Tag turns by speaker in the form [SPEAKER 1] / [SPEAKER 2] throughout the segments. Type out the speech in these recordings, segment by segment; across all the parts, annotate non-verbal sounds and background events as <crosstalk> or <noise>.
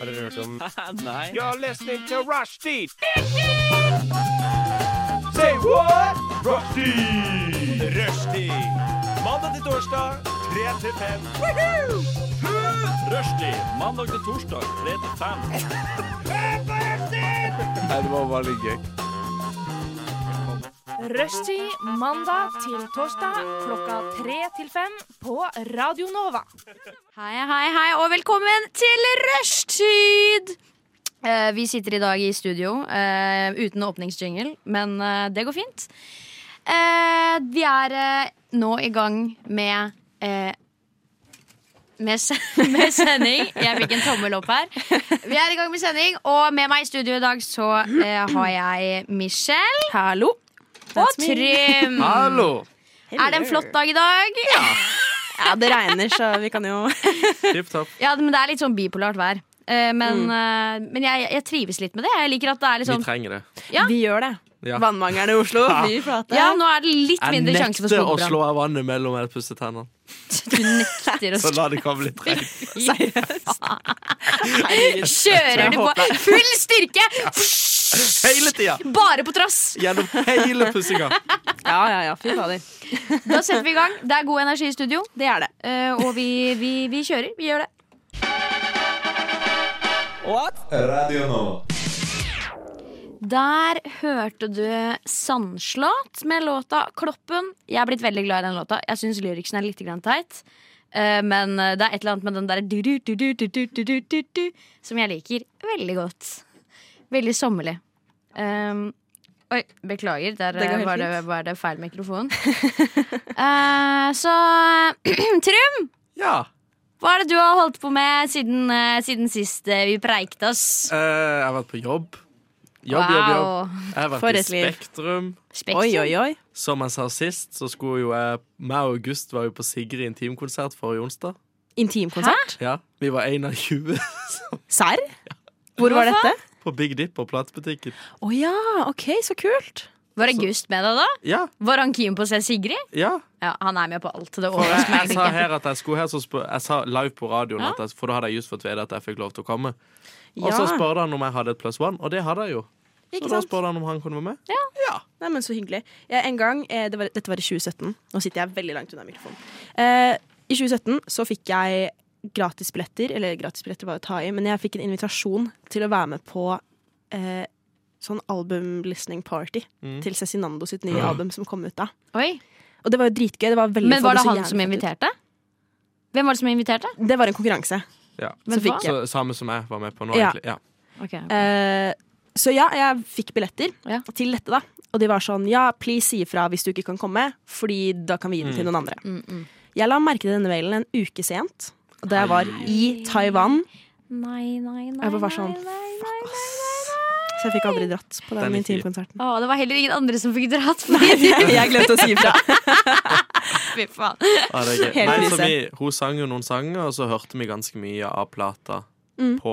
[SPEAKER 1] Har dere hørt om
[SPEAKER 2] Nei.
[SPEAKER 3] You're listening to Rushdie. Say what? Rushdie. Rushdie. Mandag til torsdag, 3 til 5. Rushdie. Mandag til torsdag, 3 til 5.
[SPEAKER 2] Nei, det var bare litt gøy.
[SPEAKER 4] Rushtid mandag til torsdag klokka tre til fem på Radio Nova.
[SPEAKER 5] Hei, hei, hei, og velkommen til rushtid! Eh, vi sitter i dag i studio eh, uten åpningsjingle, men eh, det går fint. Eh, vi er eh, nå i gang med eh, med, se <laughs> med sending. Jeg fikk en tommel opp her. Vi er i gang med sending, og med meg i studio i dag så eh, har jeg Michelle. Hallo. Og <laughs> Trym.
[SPEAKER 2] <laughs> Hallo!
[SPEAKER 5] Er det en flott dag i dag? Ja.
[SPEAKER 6] Ja, det regner, så vi kan <laughs> jo
[SPEAKER 2] Tipp topp.
[SPEAKER 5] Ja, men det er litt sånn bipolart vær. Eh, men
[SPEAKER 6] Mm.
[SPEAKER 5] eh, men jeg, jeg trives litt med det. Jeg liker at det er litt
[SPEAKER 2] Vi
[SPEAKER 5] sånn
[SPEAKER 2] trenger det.
[SPEAKER 5] Ja.
[SPEAKER 6] Vi gjør det.
[SPEAKER 2] Ja.
[SPEAKER 6] Vannmangelen i Oslo, fy flate.
[SPEAKER 5] Ja, nå er det litt
[SPEAKER 2] Jeg
[SPEAKER 5] mindre sjanse for
[SPEAKER 2] nekter å
[SPEAKER 5] skogbrann.
[SPEAKER 2] slå av vannet mellom jeg pusser tennene.
[SPEAKER 5] <laughs> Du nekter å
[SPEAKER 2] <laughs> Så
[SPEAKER 5] slå.
[SPEAKER 2] la det komme litt regn.
[SPEAKER 6] Herregud.
[SPEAKER 5] Kjører du på
[SPEAKER 2] <laughs>
[SPEAKER 5] full styrke!
[SPEAKER 2] Hele tida!
[SPEAKER 5] Bare på trass!
[SPEAKER 2] Gjennom hele pussinga.
[SPEAKER 6] Ja, ja, ja, fy fader.
[SPEAKER 5] Da setter vi i gang. Det er god energi i studio,
[SPEAKER 6] Det er det.
[SPEAKER 5] eh, og vi, vi, vi kjører. Vi gjør det.
[SPEAKER 7] Radio Nova.
[SPEAKER 5] Der hørte du Sandslott med låta Kloppen. Jeg er blitt veldig glad i den låta. Jeg syns lyriksen er litt grann teit. Eh, Men eh, det er et eller annet med den der du-du-du-du-du-du-du-du som jeg liker veldig godt. Veldig sommerlig. Um, oi, beklager. Der
[SPEAKER 6] Det går
[SPEAKER 5] eh,
[SPEAKER 6] helt
[SPEAKER 5] var det,
[SPEAKER 6] fint.
[SPEAKER 5] var det feil mikrofon. <laughs> Eh, så <clears throat> Trym,
[SPEAKER 2] Ja.
[SPEAKER 5] hva er det du har holdt på med siden, eh, siden sist eh, vi preikte oss?
[SPEAKER 2] eh, jeg har vært på jobb. Jobb, jobb, jobb.
[SPEAKER 5] Wow.
[SPEAKER 2] Jeg har
[SPEAKER 6] For
[SPEAKER 2] vært i
[SPEAKER 6] et liv.
[SPEAKER 2] Spektrum.
[SPEAKER 5] Spektrum.
[SPEAKER 6] Oi, oi, oi.
[SPEAKER 2] Som jeg sa sist, så skulle jo jeg Meg og August var jo på Sigrid intimkonsert forrige onsdag.
[SPEAKER 6] Intimkonsert?
[SPEAKER 2] Ja. Vi var én av 20
[SPEAKER 6] Serr? Hvor var dette?
[SPEAKER 2] <laughs> på Big Dip og platebutikken.
[SPEAKER 6] Å ja, OK, så kult.
[SPEAKER 5] Var August med deg da?
[SPEAKER 2] Ja,
[SPEAKER 5] Var han keen på å se Sigrid?
[SPEAKER 2] ja.
[SPEAKER 5] Ja, Han er med på alt. Det
[SPEAKER 2] For jeg,
[SPEAKER 5] overrasker meg
[SPEAKER 2] jeg sa
[SPEAKER 5] egentlig ikke.
[SPEAKER 2] her at jeg skulle her, så spør, jeg sa live på radioen, at jeg, for da hadde jeg just fått vite at jeg fikk lov til å komme. Og så
[SPEAKER 6] Ja.
[SPEAKER 2] spurte han om jeg hadde et pluss one, og det hadde jeg jo. Så da
[SPEAKER 6] Ikke sant?
[SPEAKER 2] spurte han om han kunne være med.
[SPEAKER 6] Nei, men så hyggelig. Jeg, en gang, eh, det var, dette var i 2017. Nå sitter jeg veldig langt unna mikrofonen. Eh, I 2017 så fikk jeg gratisbilletter, eller gratisbilletter var å ta i, men jeg fikk en invitasjon til å være med på eh, sånn album-listening party til Cezinando sitt nye album som kom ut da.
[SPEAKER 5] Oi.
[SPEAKER 6] Og det var jo dritgøy. Det var veldig
[SPEAKER 5] Men
[SPEAKER 6] folk,
[SPEAKER 5] var det
[SPEAKER 6] så
[SPEAKER 5] han
[SPEAKER 6] jævlig
[SPEAKER 5] som
[SPEAKER 6] fett ut.
[SPEAKER 5] inviterte? Hvem var det som inviterte?
[SPEAKER 6] Det var en konkurranse.
[SPEAKER 2] Ja.
[SPEAKER 5] Men
[SPEAKER 6] så fikk
[SPEAKER 5] hva?
[SPEAKER 6] jeg.
[SPEAKER 2] Så, samme som jeg var med på nå,
[SPEAKER 6] Ja.
[SPEAKER 2] egentlig. Ja.
[SPEAKER 5] Ok.
[SPEAKER 6] Eh, så ja, jeg fikk billetter
[SPEAKER 5] Ja.
[SPEAKER 6] til dette, da. Og de var sånn ja, please si ifra hvis du ikke kan komme, Fordi da kan vi gi den
[SPEAKER 2] Mm.
[SPEAKER 6] til noen andre.
[SPEAKER 5] Mm,
[SPEAKER 6] Jeg la merke til denne mailen en uke sent, da jeg var i Taiwan.
[SPEAKER 5] Nei, nei, nei.
[SPEAKER 6] Jeg var bare sånn
[SPEAKER 5] nei, nei, nei.
[SPEAKER 6] fuck, ass. Så jeg fikk aldri dratt på
[SPEAKER 2] Den
[SPEAKER 6] den
[SPEAKER 2] er fin.
[SPEAKER 6] intimkonserten. <laughs>
[SPEAKER 5] Å, det var heller ingen andre som fikk <laughs> dratt. Fordi du,
[SPEAKER 6] jeg glemte å si
[SPEAKER 5] <laughs>
[SPEAKER 6] ifra.
[SPEAKER 5] fy faen.
[SPEAKER 2] Ja, det er gøy.
[SPEAKER 6] <laughs> Helt
[SPEAKER 2] Nei,
[SPEAKER 6] krise.
[SPEAKER 2] så vi, hun sang jo noen sanger, og så hørte vi ganske mye av plata
[SPEAKER 6] Mm.
[SPEAKER 2] på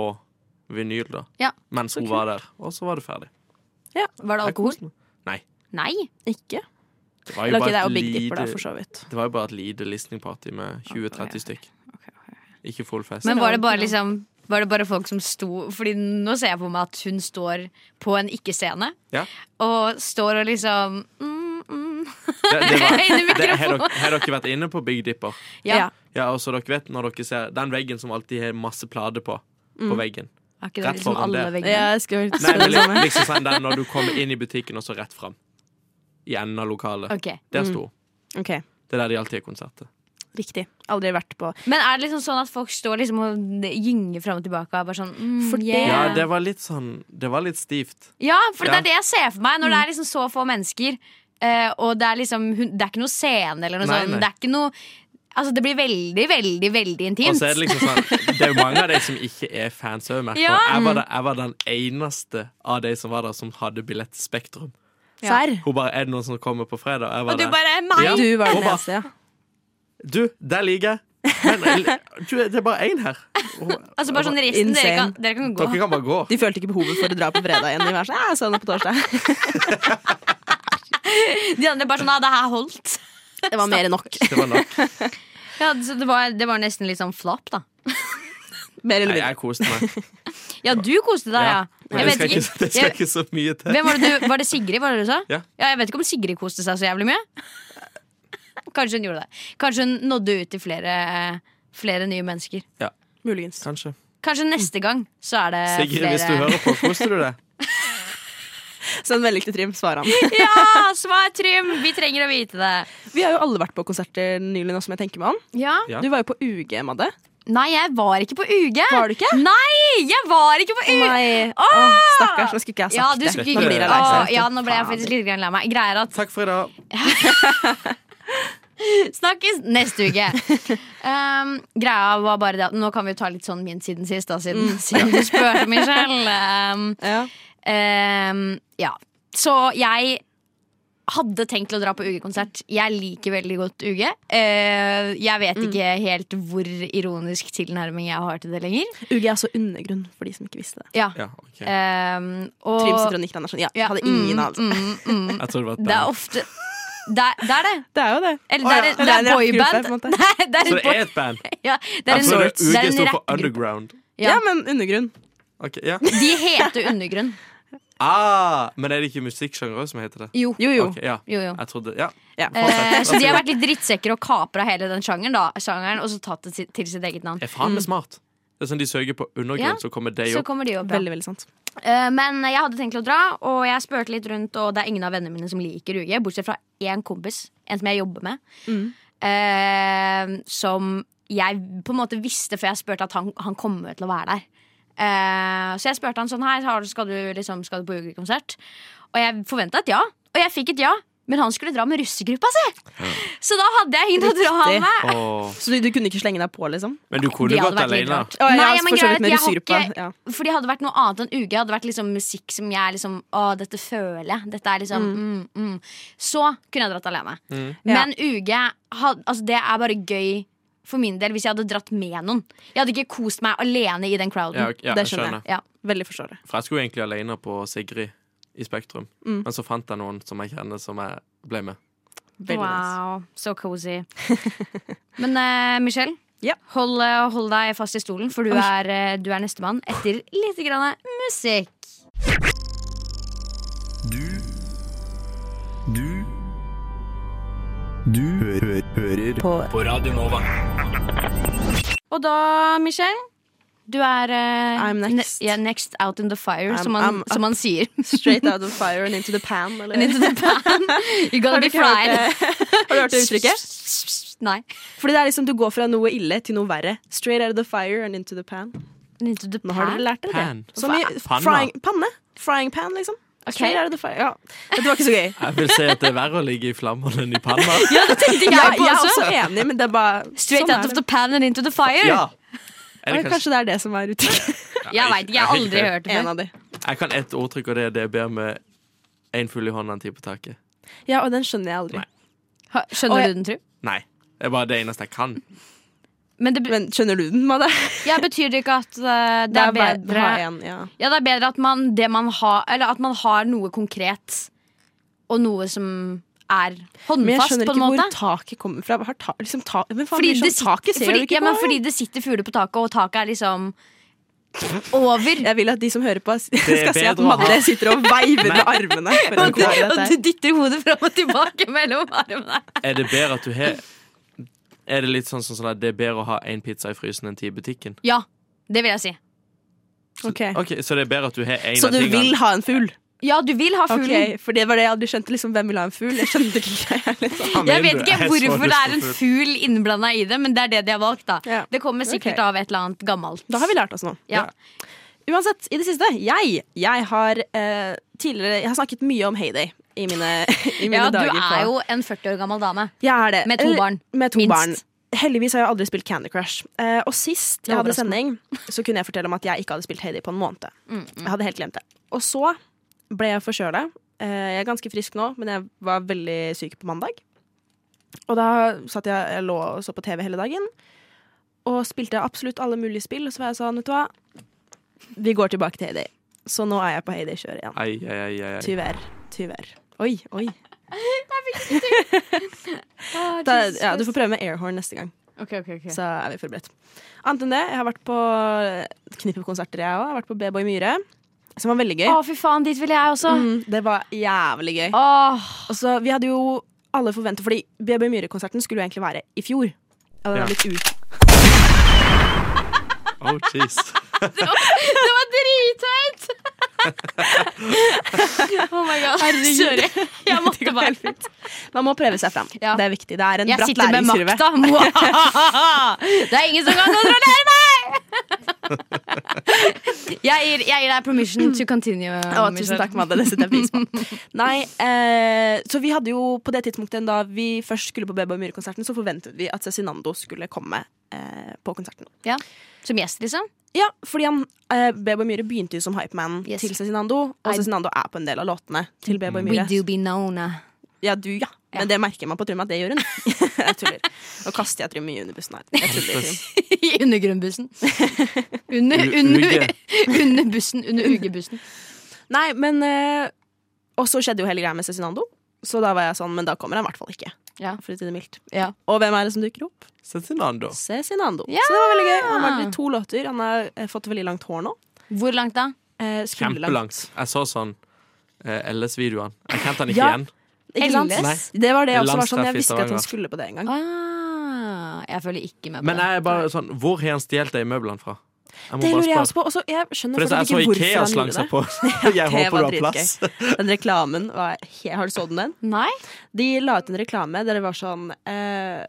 [SPEAKER 2] vinyl da
[SPEAKER 5] Ja.
[SPEAKER 2] mens hun var der. Og så var det ferdig.
[SPEAKER 5] Var det alkohol?
[SPEAKER 2] Nei.
[SPEAKER 5] Nei.
[SPEAKER 6] Ikke?
[SPEAKER 2] Det var jo
[SPEAKER 6] Eller ok, det
[SPEAKER 2] bare
[SPEAKER 6] er
[SPEAKER 2] et
[SPEAKER 6] jo Big Dipper, da,
[SPEAKER 2] lite-
[SPEAKER 6] for så vidt.
[SPEAKER 2] Det var jo bare et lite listening party med 20-30 stykk. Ikke full fest.
[SPEAKER 5] Men var det bare liksom var det bare folk som sto Fordi nå ser jeg på meg at hun står på en ikke-scene.
[SPEAKER 2] Ja.
[SPEAKER 5] Og står og liksom mm, mm.
[SPEAKER 2] det, det
[SPEAKER 6] <laughs>
[SPEAKER 2] var,
[SPEAKER 5] Inn i
[SPEAKER 2] det, har,
[SPEAKER 5] mikrofonen.
[SPEAKER 2] dere, har dere vært inne på Big Dipper?
[SPEAKER 5] Ja.
[SPEAKER 2] Ja, og så dere vet når dere ser den veggen som alltid har masse plater på,
[SPEAKER 5] Mm.
[SPEAKER 2] på
[SPEAKER 5] <laughs>
[SPEAKER 2] veggen.
[SPEAKER 5] Er ikke det
[SPEAKER 2] Rett
[SPEAKER 5] liksom
[SPEAKER 2] foran
[SPEAKER 5] alle
[SPEAKER 2] der.
[SPEAKER 6] Ja,
[SPEAKER 5] veggene?
[SPEAKER 6] jeg skulle gjort
[SPEAKER 2] Nei,
[SPEAKER 6] så
[SPEAKER 2] men
[SPEAKER 6] det
[SPEAKER 2] liksom,
[SPEAKER 6] samme.
[SPEAKER 2] liksom sånn der når du kommer
[SPEAKER 5] <laughs>
[SPEAKER 2] inn i butikken og så rett fram. I enden av lokalet.
[SPEAKER 5] Ok. Mm.
[SPEAKER 2] Der sto hun.
[SPEAKER 6] Ok,
[SPEAKER 2] Det er der de alltid har konserter.
[SPEAKER 6] Riktig. Aldri vært på
[SPEAKER 5] Men er det liksom sånn at folk står liksom og gynger fram og tilbake? Og bare sånn, mm,
[SPEAKER 6] For det-
[SPEAKER 5] yeah.
[SPEAKER 2] Ja, det var litt sånn Det var litt stivt.
[SPEAKER 5] ja, for det
[SPEAKER 2] Ja.
[SPEAKER 5] er det jeg ser for meg når det er liksom så få mennesker. eh, og det er liksom hun- Det er ikke noe scene eller noe
[SPEAKER 2] Nei,
[SPEAKER 5] sånt.
[SPEAKER 2] nei.
[SPEAKER 5] Det er ikke noe Altså, det blir veldig, veldig, veldig
[SPEAKER 2] Og
[SPEAKER 5] intimt.
[SPEAKER 2] så er det liksom sånn Det er jo mange av de
[SPEAKER 5] <laughs>
[SPEAKER 2] som ikke er fans òg, merker
[SPEAKER 5] Ja. Mm.
[SPEAKER 2] jeg. Var, den- jeg var den eneste av de som var der, som hadde billett til Spektrum.
[SPEAKER 5] Ja.
[SPEAKER 6] Serr?
[SPEAKER 2] Hun bare 'Er det noen som kommer på fredag?' Jeg var
[SPEAKER 5] og du
[SPEAKER 2] der.
[SPEAKER 5] bare Meg!
[SPEAKER 2] Ja.
[SPEAKER 6] Du var den
[SPEAKER 2] Hoppa.
[SPEAKER 6] eneste, ja.
[SPEAKER 2] Du, der ligger jeg. Men
[SPEAKER 5] <laughs>
[SPEAKER 2] el- du, det er bare én her. Og,
[SPEAKER 5] Altså bare sånn resten, dere
[SPEAKER 6] Insane.
[SPEAKER 5] kan, dere kan gå.
[SPEAKER 2] dere kan bare
[SPEAKER 5] <laughs>
[SPEAKER 2] gå.
[SPEAKER 6] De følte ikke behovet for å dra på fredag igjen. De var sånn, ja, sånn på torsdag.
[SPEAKER 5] De andre bare sånn Ja, det her holdt.
[SPEAKER 6] Det var mer enn nok.
[SPEAKER 2] Det var nok.
[SPEAKER 5] Ja, så det, var, det var nesten litt sånn flapp, da.
[SPEAKER 6] Mer eller
[SPEAKER 2] Nei,
[SPEAKER 6] mindre.
[SPEAKER 2] jeg koste meg.
[SPEAKER 5] Ja, du koste deg, <laughs> ja.
[SPEAKER 2] Men
[SPEAKER 5] Jeg
[SPEAKER 2] det
[SPEAKER 5] vet
[SPEAKER 2] skal, ikke,
[SPEAKER 5] ikke.
[SPEAKER 2] det skal
[SPEAKER 5] Jeg-
[SPEAKER 2] ikke så mye til.
[SPEAKER 5] Hvem var, det du, var det Sigrid var det du sa?
[SPEAKER 2] Ja.
[SPEAKER 5] Jeg vet ikke om Sigrid koste seg så jævlig mye. Kanskje hun gjorde det. Kanskje hun nådde ut til flere, flere nye mennesker.
[SPEAKER 6] Muligens.
[SPEAKER 2] Kanskje.
[SPEAKER 5] Kanskje neste gang så er det
[SPEAKER 2] Sigrid,
[SPEAKER 5] Eh, flere
[SPEAKER 2] hvis du hører på, koste du deg?
[SPEAKER 6] Send melding til Trym, svarer han.
[SPEAKER 5] <laughs> Ja, svar Trym! Vi trenger å vite det.
[SPEAKER 6] Vi har jo alle vært på konserter nylig nå som jeg tenker meg om.
[SPEAKER 5] Ja.
[SPEAKER 2] Ja.
[SPEAKER 6] Du var jo på UG, Madde.
[SPEAKER 5] Nei, jeg var ikke på UG.
[SPEAKER 6] Var du ikke?
[SPEAKER 5] Nei, jeg var ikke på UG!
[SPEAKER 6] Nei.
[SPEAKER 5] Åh!
[SPEAKER 6] Åh, stakkars, nå skulle ikke jeg
[SPEAKER 5] Ah! Ja,
[SPEAKER 6] sagt
[SPEAKER 5] du skulle
[SPEAKER 6] det.
[SPEAKER 5] ikke
[SPEAKER 6] Nå blir jeg lei
[SPEAKER 5] Åh,
[SPEAKER 6] meg.
[SPEAKER 5] Ja, nå ble jeg faktisk litt grann lei meg. Greier at
[SPEAKER 2] Takk for i dag.
[SPEAKER 5] Snakkes neste uke.
[SPEAKER 6] <laughs>
[SPEAKER 5] Um, greia var bare det at Nå kan vi jo ta litt sånn min siden sist, da, siden,
[SPEAKER 6] Mm.
[SPEAKER 5] siden du spurte, Michelle. Um,
[SPEAKER 6] Ja.
[SPEAKER 5] um, ja. Så jeg hadde tenkt til å dra på UG-konsert. Jeg liker veldig godt UG. Eh, jeg
[SPEAKER 6] Mm.
[SPEAKER 5] vet ikke helt hvor ironisk tilnærming jeg har til det lenger.
[SPEAKER 6] UG er altså undergrunn, for de som ikke visste det.
[SPEAKER 5] Ja.
[SPEAKER 2] Ja, ok.
[SPEAKER 5] Um, og,
[SPEAKER 6] Trym sitter og nikker, han er sånn. Ja,
[SPEAKER 5] Ja,
[SPEAKER 6] hadde ingen
[SPEAKER 5] mm,
[SPEAKER 6] anelse.
[SPEAKER 5] mm, mm.
[SPEAKER 2] Jeg tror det var et
[SPEAKER 5] Det er
[SPEAKER 2] band.
[SPEAKER 5] ofte Det er det. Er det.
[SPEAKER 6] Det er jo det.
[SPEAKER 5] Eller det er,
[SPEAKER 6] Å, ja.
[SPEAKER 5] det er,
[SPEAKER 6] Eller en rappgruppe, på en
[SPEAKER 5] boyband.
[SPEAKER 6] måte.
[SPEAKER 5] <laughs> Nei, det er
[SPEAKER 2] Så
[SPEAKER 5] en
[SPEAKER 2] det
[SPEAKER 5] boy-
[SPEAKER 2] er et band?
[SPEAKER 5] Ja, det er en,
[SPEAKER 2] Så det
[SPEAKER 5] det er
[SPEAKER 2] UG
[SPEAKER 5] en
[SPEAKER 2] står for
[SPEAKER 5] rappgruppe.
[SPEAKER 2] Underground.
[SPEAKER 5] Ja.
[SPEAKER 6] Ja, men undergrunn.
[SPEAKER 2] Ok,
[SPEAKER 5] <laughs>
[SPEAKER 2] ja.
[SPEAKER 5] De heter Undergrunn.
[SPEAKER 2] Ah, men er det ikke musikksjangre som heter det?
[SPEAKER 5] Jo.
[SPEAKER 6] Jo, jo.
[SPEAKER 2] Ok, ja.
[SPEAKER 5] Jo, jo.
[SPEAKER 2] Jeg trodde Ja.
[SPEAKER 6] Ja.
[SPEAKER 5] Eh, så de har vært litt drittsekker og kapra hele den sjangeren, da, sjangeren og så tatt det si- til sitt eget navn.
[SPEAKER 2] Er faen meg smart. Det er sånn De søker på undergrunn,
[SPEAKER 5] Mm.
[SPEAKER 2] så
[SPEAKER 5] Ja.
[SPEAKER 2] kommer de
[SPEAKER 5] Så
[SPEAKER 2] opp.
[SPEAKER 5] kommer de opp, ja.
[SPEAKER 6] Veldig, veldig sant.
[SPEAKER 5] Eh, Men jeg hadde tenkt til å dra, og jeg spurte litt rundt, og det er ingen av vennene mine som liker UG, bortsett fra én kompis, en som jeg jobber med, eh, som jeg på en måte visste før jeg spurte at han, han kommer til å være der. Eh, så jeg spurte han sånn her, har- skal du, liksom, skal du på UG-konsert? Og jeg forventa et ja, og jeg fikk et ja. Men han skulle dra med russegruppa si! Så da hadde jeg ingen å dra
[SPEAKER 6] Riktig.
[SPEAKER 5] med.
[SPEAKER 2] Åh.
[SPEAKER 6] Så du, du kunne ikke slenge deg på, liksom?
[SPEAKER 2] Men du kunne
[SPEAKER 5] Det hadde
[SPEAKER 2] gått
[SPEAKER 5] vært litt
[SPEAKER 2] alene.
[SPEAKER 5] rart.
[SPEAKER 6] Å, ja,
[SPEAKER 5] Nei,
[SPEAKER 6] altså,
[SPEAKER 5] men
[SPEAKER 6] for så vidt
[SPEAKER 5] greit,
[SPEAKER 6] med
[SPEAKER 5] jeg har
[SPEAKER 6] russegruppa,
[SPEAKER 5] ikke-
[SPEAKER 6] ja.
[SPEAKER 5] For det hadde vært noe annet enn UG. Hadde vært liksom musikk som jeg liksom Å, dette føler jeg. Dette er liksom mm. Mm, Så kunne jeg dratt alene.
[SPEAKER 2] Mm.
[SPEAKER 5] Men UG had, altså, Det er bare gøy for min del hvis jeg hadde dratt med noen. Jeg hadde ikke kost meg alene i den crowden.
[SPEAKER 2] Ja, ok, ja,
[SPEAKER 6] Det
[SPEAKER 2] jeg
[SPEAKER 6] skjønner jeg.
[SPEAKER 2] skjønner.
[SPEAKER 5] Ja.
[SPEAKER 6] Veldig forståelig.
[SPEAKER 2] For jeg skulle egentlig alene på Sigrid i Spektrum,
[SPEAKER 5] Mm.
[SPEAKER 2] men så fant jeg noen som jeg kjenner, som jeg ble med.
[SPEAKER 6] Veldig nice.
[SPEAKER 5] Wow, så
[SPEAKER 6] <laughs>
[SPEAKER 5] cozy. Men eh, Michelle,
[SPEAKER 6] Ja.
[SPEAKER 5] hold, eh, hold deg fast i stolen, for du
[SPEAKER 6] Oi.
[SPEAKER 5] er, eh, du er nestemann etter lite grann musikk.
[SPEAKER 1] Du Du Du hø hø hører på. på Radio Nova.
[SPEAKER 5] Og da, Michelle du er eh,
[SPEAKER 6] I'm next.
[SPEAKER 5] ne- ja, next out in the fire,
[SPEAKER 6] I'm-
[SPEAKER 5] som, man,
[SPEAKER 6] I'm up.
[SPEAKER 5] som man sier. <laughs>
[SPEAKER 6] Straight out of fire and into the pan, eller?
[SPEAKER 5] Into the
[SPEAKER 6] <laughs>
[SPEAKER 5] pan. You gotta
[SPEAKER 6] Har du
[SPEAKER 5] be
[SPEAKER 6] ikke hørt
[SPEAKER 5] fried. <laughs>
[SPEAKER 6] det- Har du hørt det uttrykket?
[SPEAKER 5] Nei.
[SPEAKER 6] Fordi det er liksom du går fra noe ille til noe verre. Straight out of the fire and into the pan.
[SPEAKER 5] Into the
[SPEAKER 6] Nå har dere
[SPEAKER 5] pan.
[SPEAKER 6] lært dere
[SPEAKER 2] Pan.
[SPEAKER 6] det. Som i
[SPEAKER 2] Panna.
[SPEAKER 6] frying, panne. Frying pan, liksom. Straight out of the fire. Ja. Dette var ikke så gøy.
[SPEAKER 2] Jeg vil si at det er verre å ligge i flammer enn i panna.
[SPEAKER 5] <laughs> Ja, det tenkte <laughs> ikke
[SPEAKER 6] Ja,
[SPEAKER 5] jeg på
[SPEAKER 6] jeg er
[SPEAKER 5] også.
[SPEAKER 6] også enig, men det er bare
[SPEAKER 5] Straight out
[SPEAKER 6] sånn er
[SPEAKER 5] of
[SPEAKER 6] det.
[SPEAKER 5] the pan and into the fire.
[SPEAKER 2] Ja. Er det
[SPEAKER 6] Eller kanskje det er det som er
[SPEAKER 5] <laughs>
[SPEAKER 6] uttrykket.
[SPEAKER 5] Jeg vet ikke, jeg har aldri hørt det
[SPEAKER 6] En
[SPEAKER 5] før.
[SPEAKER 6] av de.
[SPEAKER 2] Jeg kan ett ordtrykk, og det er 'det er bedre med én fugl i hånda enn ti på taket'.
[SPEAKER 6] Ja, og den skjønner jeg aldri.
[SPEAKER 2] Nei.
[SPEAKER 5] Ha- Skjønner
[SPEAKER 6] Og jeg-
[SPEAKER 5] du den, tru?
[SPEAKER 2] Nei. Det er bare det eneste jeg kan.
[SPEAKER 5] Men det, be-
[SPEAKER 6] Men skjønner du den, Madde?
[SPEAKER 5] ja, betyr det ikke at eh, det er
[SPEAKER 6] bare-
[SPEAKER 5] bedre
[SPEAKER 6] ha en, ja.
[SPEAKER 5] Ja, det er bedre at man, det man har Eller at man har noe konkret og noe som er
[SPEAKER 6] Men jeg
[SPEAKER 5] håndfast,
[SPEAKER 6] skjønner
[SPEAKER 5] på en
[SPEAKER 6] ikke
[SPEAKER 5] måte.
[SPEAKER 6] hvor taket kommer fra. Har ta, liksom ta, men faen,
[SPEAKER 5] Fordi
[SPEAKER 6] blir
[SPEAKER 5] det,
[SPEAKER 6] sånn, taket
[SPEAKER 5] sitter,
[SPEAKER 6] ser
[SPEAKER 5] fordi,
[SPEAKER 6] du ikke
[SPEAKER 5] ja, men
[SPEAKER 6] på.
[SPEAKER 5] fordi det sitter fugler på taket, og taket er liksom over.
[SPEAKER 6] Jeg vil at de som hører på, s- <laughs>
[SPEAKER 2] er
[SPEAKER 6] skal se at
[SPEAKER 2] bedre å ha-
[SPEAKER 6] Madde sitter og veiver med
[SPEAKER 2] <laughs>
[SPEAKER 6] armene. For å
[SPEAKER 5] Og du,
[SPEAKER 6] klare
[SPEAKER 5] og
[SPEAKER 6] dette.
[SPEAKER 5] du dytter hodet fram og tilbake mellom armene.
[SPEAKER 2] Er det bedre at du har Er det litt sånn, sånn, sånn at det er bedre å ha én pizza i frysen enn ti i butikken?
[SPEAKER 5] Ja, det vil jeg si.
[SPEAKER 6] <laughs> Ok.
[SPEAKER 2] Ok, Så det er bedre at du har én
[SPEAKER 6] Så
[SPEAKER 2] av
[SPEAKER 6] du vil
[SPEAKER 2] tingene?
[SPEAKER 6] ha en fugl?
[SPEAKER 5] Ja, du vil ha fuglen.
[SPEAKER 6] Ok, for det var det jeg aldri skjønte. Liksom, hvem vil ha en fugl? Jeg skjønte ikke greia. <laughs> Liksom.
[SPEAKER 2] Hva
[SPEAKER 5] Jeg
[SPEAKER 2] mener du?
[SPEAKER 5] vet ikke
[SPEAKER 2] Jeg så
[SPEAKER 5] hvorfor det
[SPEAKER 2] lyst
[SPEAKER 5] er
[SPEAKER 2] på
[SPEAKER 5] en fugl innblanda i det, men det er det de har valgt. da
[SPEAKER 6] Ja.
[SPEAKER 5] Det kommer sikkert
[SPEAKER 6] Ok.
[SPEAKER 5] av et eller annet gammelt.
[SPEAKER 6] Da har vi lært oss noe.
[SPEAKER 5] Ja.
[SPEAKER 6] Uansett, i det siste, jeg, jeg har eh, tidligere Jeg har snakket mye om Heyday i mine, <laughs> i mine
[SPEAKER 5] ja, du
[SPEAKER 6] dager. på-
[SPEAKER 5] er jo en 40 år gammel dame.
[SPEAKER 6] Jeg er det.
[SPEAKER 5] Med to
[SPEAKER 6] Eller,
[SPEAKER 5] barn,
[SPEAKER 6] Med to
[SPEAKER 5] minst.
[SPEAKER 6] barn. Heldigvis har jeg aldri spilt Candy Crush. Eh, og sist jeg hadde
[SPEAKER 5] overrasker
[SPEAKER 6] sending, så kunne jeg fortelle om at jeg ikke hadde spilt Heidi på en måned.
[SPEAKER 5] Mm,
[SPEAKER 6] Jeg hadde helt glemt det. Og så ble jeg forkjøla. Eh, jeg er ganske frisk nå, men jeg var veldig syk på mandag. Og da satt jeg, jeg lå og så på TV hele dagen og spilte absolutt alle mulige spill. Og så var jeg sånn, vet du hva, vi går tilbake til Heidi. Så nå er jeg på Heidi-kjøret igjen.
[SPEAKER 2] Ai, ai, ai, ai, ai.
[SPEAKER 6] Tyver. Tyver. Oi, <laughs> oi. Da, ja, du får prøve med airhorn neste gang.
[SPEAKER 5] Ok, ok, ok
[SPEAKER 6] så er vi forberedt. Annet enn det, jeg har vært på knippekonserter, jeg òg. Jeg har vært på B-Boy Myhre, som var veldig gøy.
[SPEAKER 5] Å, fy faen, dit vil jeg også.
[SPEAKER 6] Mm, det var jævlig
[SPEAKER 5] Ah.
[SPEAKER 6] gøy.
[SPEAKER 5] Åh,
[SPEAKER 6] Og så vi hadde jo alle forventet, fordi B.B. Myhre-konserten skulle jo egentlig være i fjor. Ja, det
[SPEAKER 2] Ja.
[SPEAKER 6] var litt ut.
[SPEAKER 2] Oh, jeez.
[SPEAKER 5] <laughs> det var <laughs> dritteit! oh my god. Sorry. Jeg måtte bare
[SPEAKER 6] Man må prøve seg fram.
[SPEAKER 5] Ja.
[SPEAKER 6] Det er viktig. Det er en
[SPEAKER 5] Jeg
[SPEAKER 6] bratt
[SPEAKER 5] sitter med
[SPEAKER 6] læringskurve.
[SPEAKER 5] makta.
[SPEAKER 6] <laughs>
[SPEAKER 5] <laughs> Det er ingen som kan kontrollere
[SPEAKER 6] <laughs>
[SPEAKER 5] meg! Jeg gir, jeg gir deg permission to continue.
[SPEAKER 6] Å, tusen takk, Madde. Det setter jeg pris
[SPEAKER 5] <laughs>
[SPEAKER 6] på. Nei, eh, så vi hadde jo på det tidspunktet da vi først skulle på B.B. Myhre-konserten, så forventet vi at Cezinando skulle komme eh, på konserten.
[SPEAKER 5] Ja. Som gjest, liksom?
[SPEAKER 6] Ja, fordi han, eh, B.B. Myhre begynte jo som hypeman
[SPEAKER 5] Yes.
[SPEAKER 6] til Cezinando, og
[SPEAKER 5] I-
[SPEAKER 6] Cezinando er på en del av låtene til B.B.
[SPEAKER 5] We
[SPEAKER 6] Myhre.
[SPEAKER 5] do be known.
[SPEAKER 6] <laughs>
[SPEAKER 5] eh.
[SPEAKER 6] Ja, du, ja. Men det merker man på Trym at det gjør hun. <laughs> jeg tuller. Nå kaster jeg Trym mye under bussen her. Jeg tuller, Trym.
[SPEAKER 5] I undergrunnbussen. Under,
[SPEAKER 2] U-
[SPEAKER 5] under,
[SPEAKER 2] Uge.
[SPEAKER 5] <laughs> under bussen. Under UG-bussen.
[SPEAKER 6] Nei, men eh, Og så skjedde jo hele greia med Cezinando. Så da var jeg sånn, men da kommer han i hvert fall ikke.
[SPEAKER 5] Ja.
[SPEAKER 6] For å si det mildt.
[SPEAKER 5] Ja.
[SPEAKER 6] Og hvem er det som dukker opp?
[SPEAKER 2] Cezinando.
[SPEAKER 6] Cezinando.
[SPEAKER 5] Ja!
[SPEAKER 6] Så det var veldig gøy. Han har vært i to låter. Han har eh, fått veldig langt hår nå.
[SPEAKER 5] Hvor langt da?
[SPEAKER 6] Eh, skulderlangt.
[SPEAKER 2] Kjempelangt. Jeg så sånn eh, LS-videoen. Jeg kjente den ikke
[SPEAKER 6] Ja.
[SPEAKER 2] igjen.
[SPEAKER 6] Ikke sant?
[SPEAKER 5] Elles?
[SPEAKER 2] Nei.
[SPEAKER 6] Det var det jeg også var
[SPEAKER 2] Landstreff i
[SPEAKER 6] sånn.
[SPEAKER 2] altså.
[SPEAKER 6] Jeg visste ikke at
[SPEAKER 2] Stavanger.
[SPEAKER 6] hun skulle på det engang.
[SPEAKER 5] Ah, jeg følger ikke med på
[SPEAKER 2] Men
[SPEAKER 5] det.
[SPEAKER 2] jeg er bare sånn Hvor har han stjålet de møblene fra? må
[SPEAKER 6] Det
[SPEAKER 2] bare
[SPEAKER 6] lurer jeg
[SPEAKER 2] spørre.
[SPEAKER 6] også på. Og så jeg skjønner
[SPEAKER 2] For det er
[SPEAKER 6] fortsatt
[SPEAKER 2] så
[SPEAKER 6] ikke
[SPEAKER 2] Ikea
[SPEAKER 6] hvorfor han
[SPEAKER 2] slang
[SPEAKER 6] gjorde
[SPEAKER 2] seg
[SPEAKER 6] det.
[SPEAKER 2] på. <laughs> Jeg
[SPEAKER 6] Det
[SPEAKER 2] håper du
[SPEAKER 6] var
[SPEAKER 2] har plass.
[SPEAKER 6] dritgøy. Den reklamen var he- Har du så den? den?
[SPEAKER 5] Nei?
[SPEAKER 6] De la ut en reklame der det var sånn eh,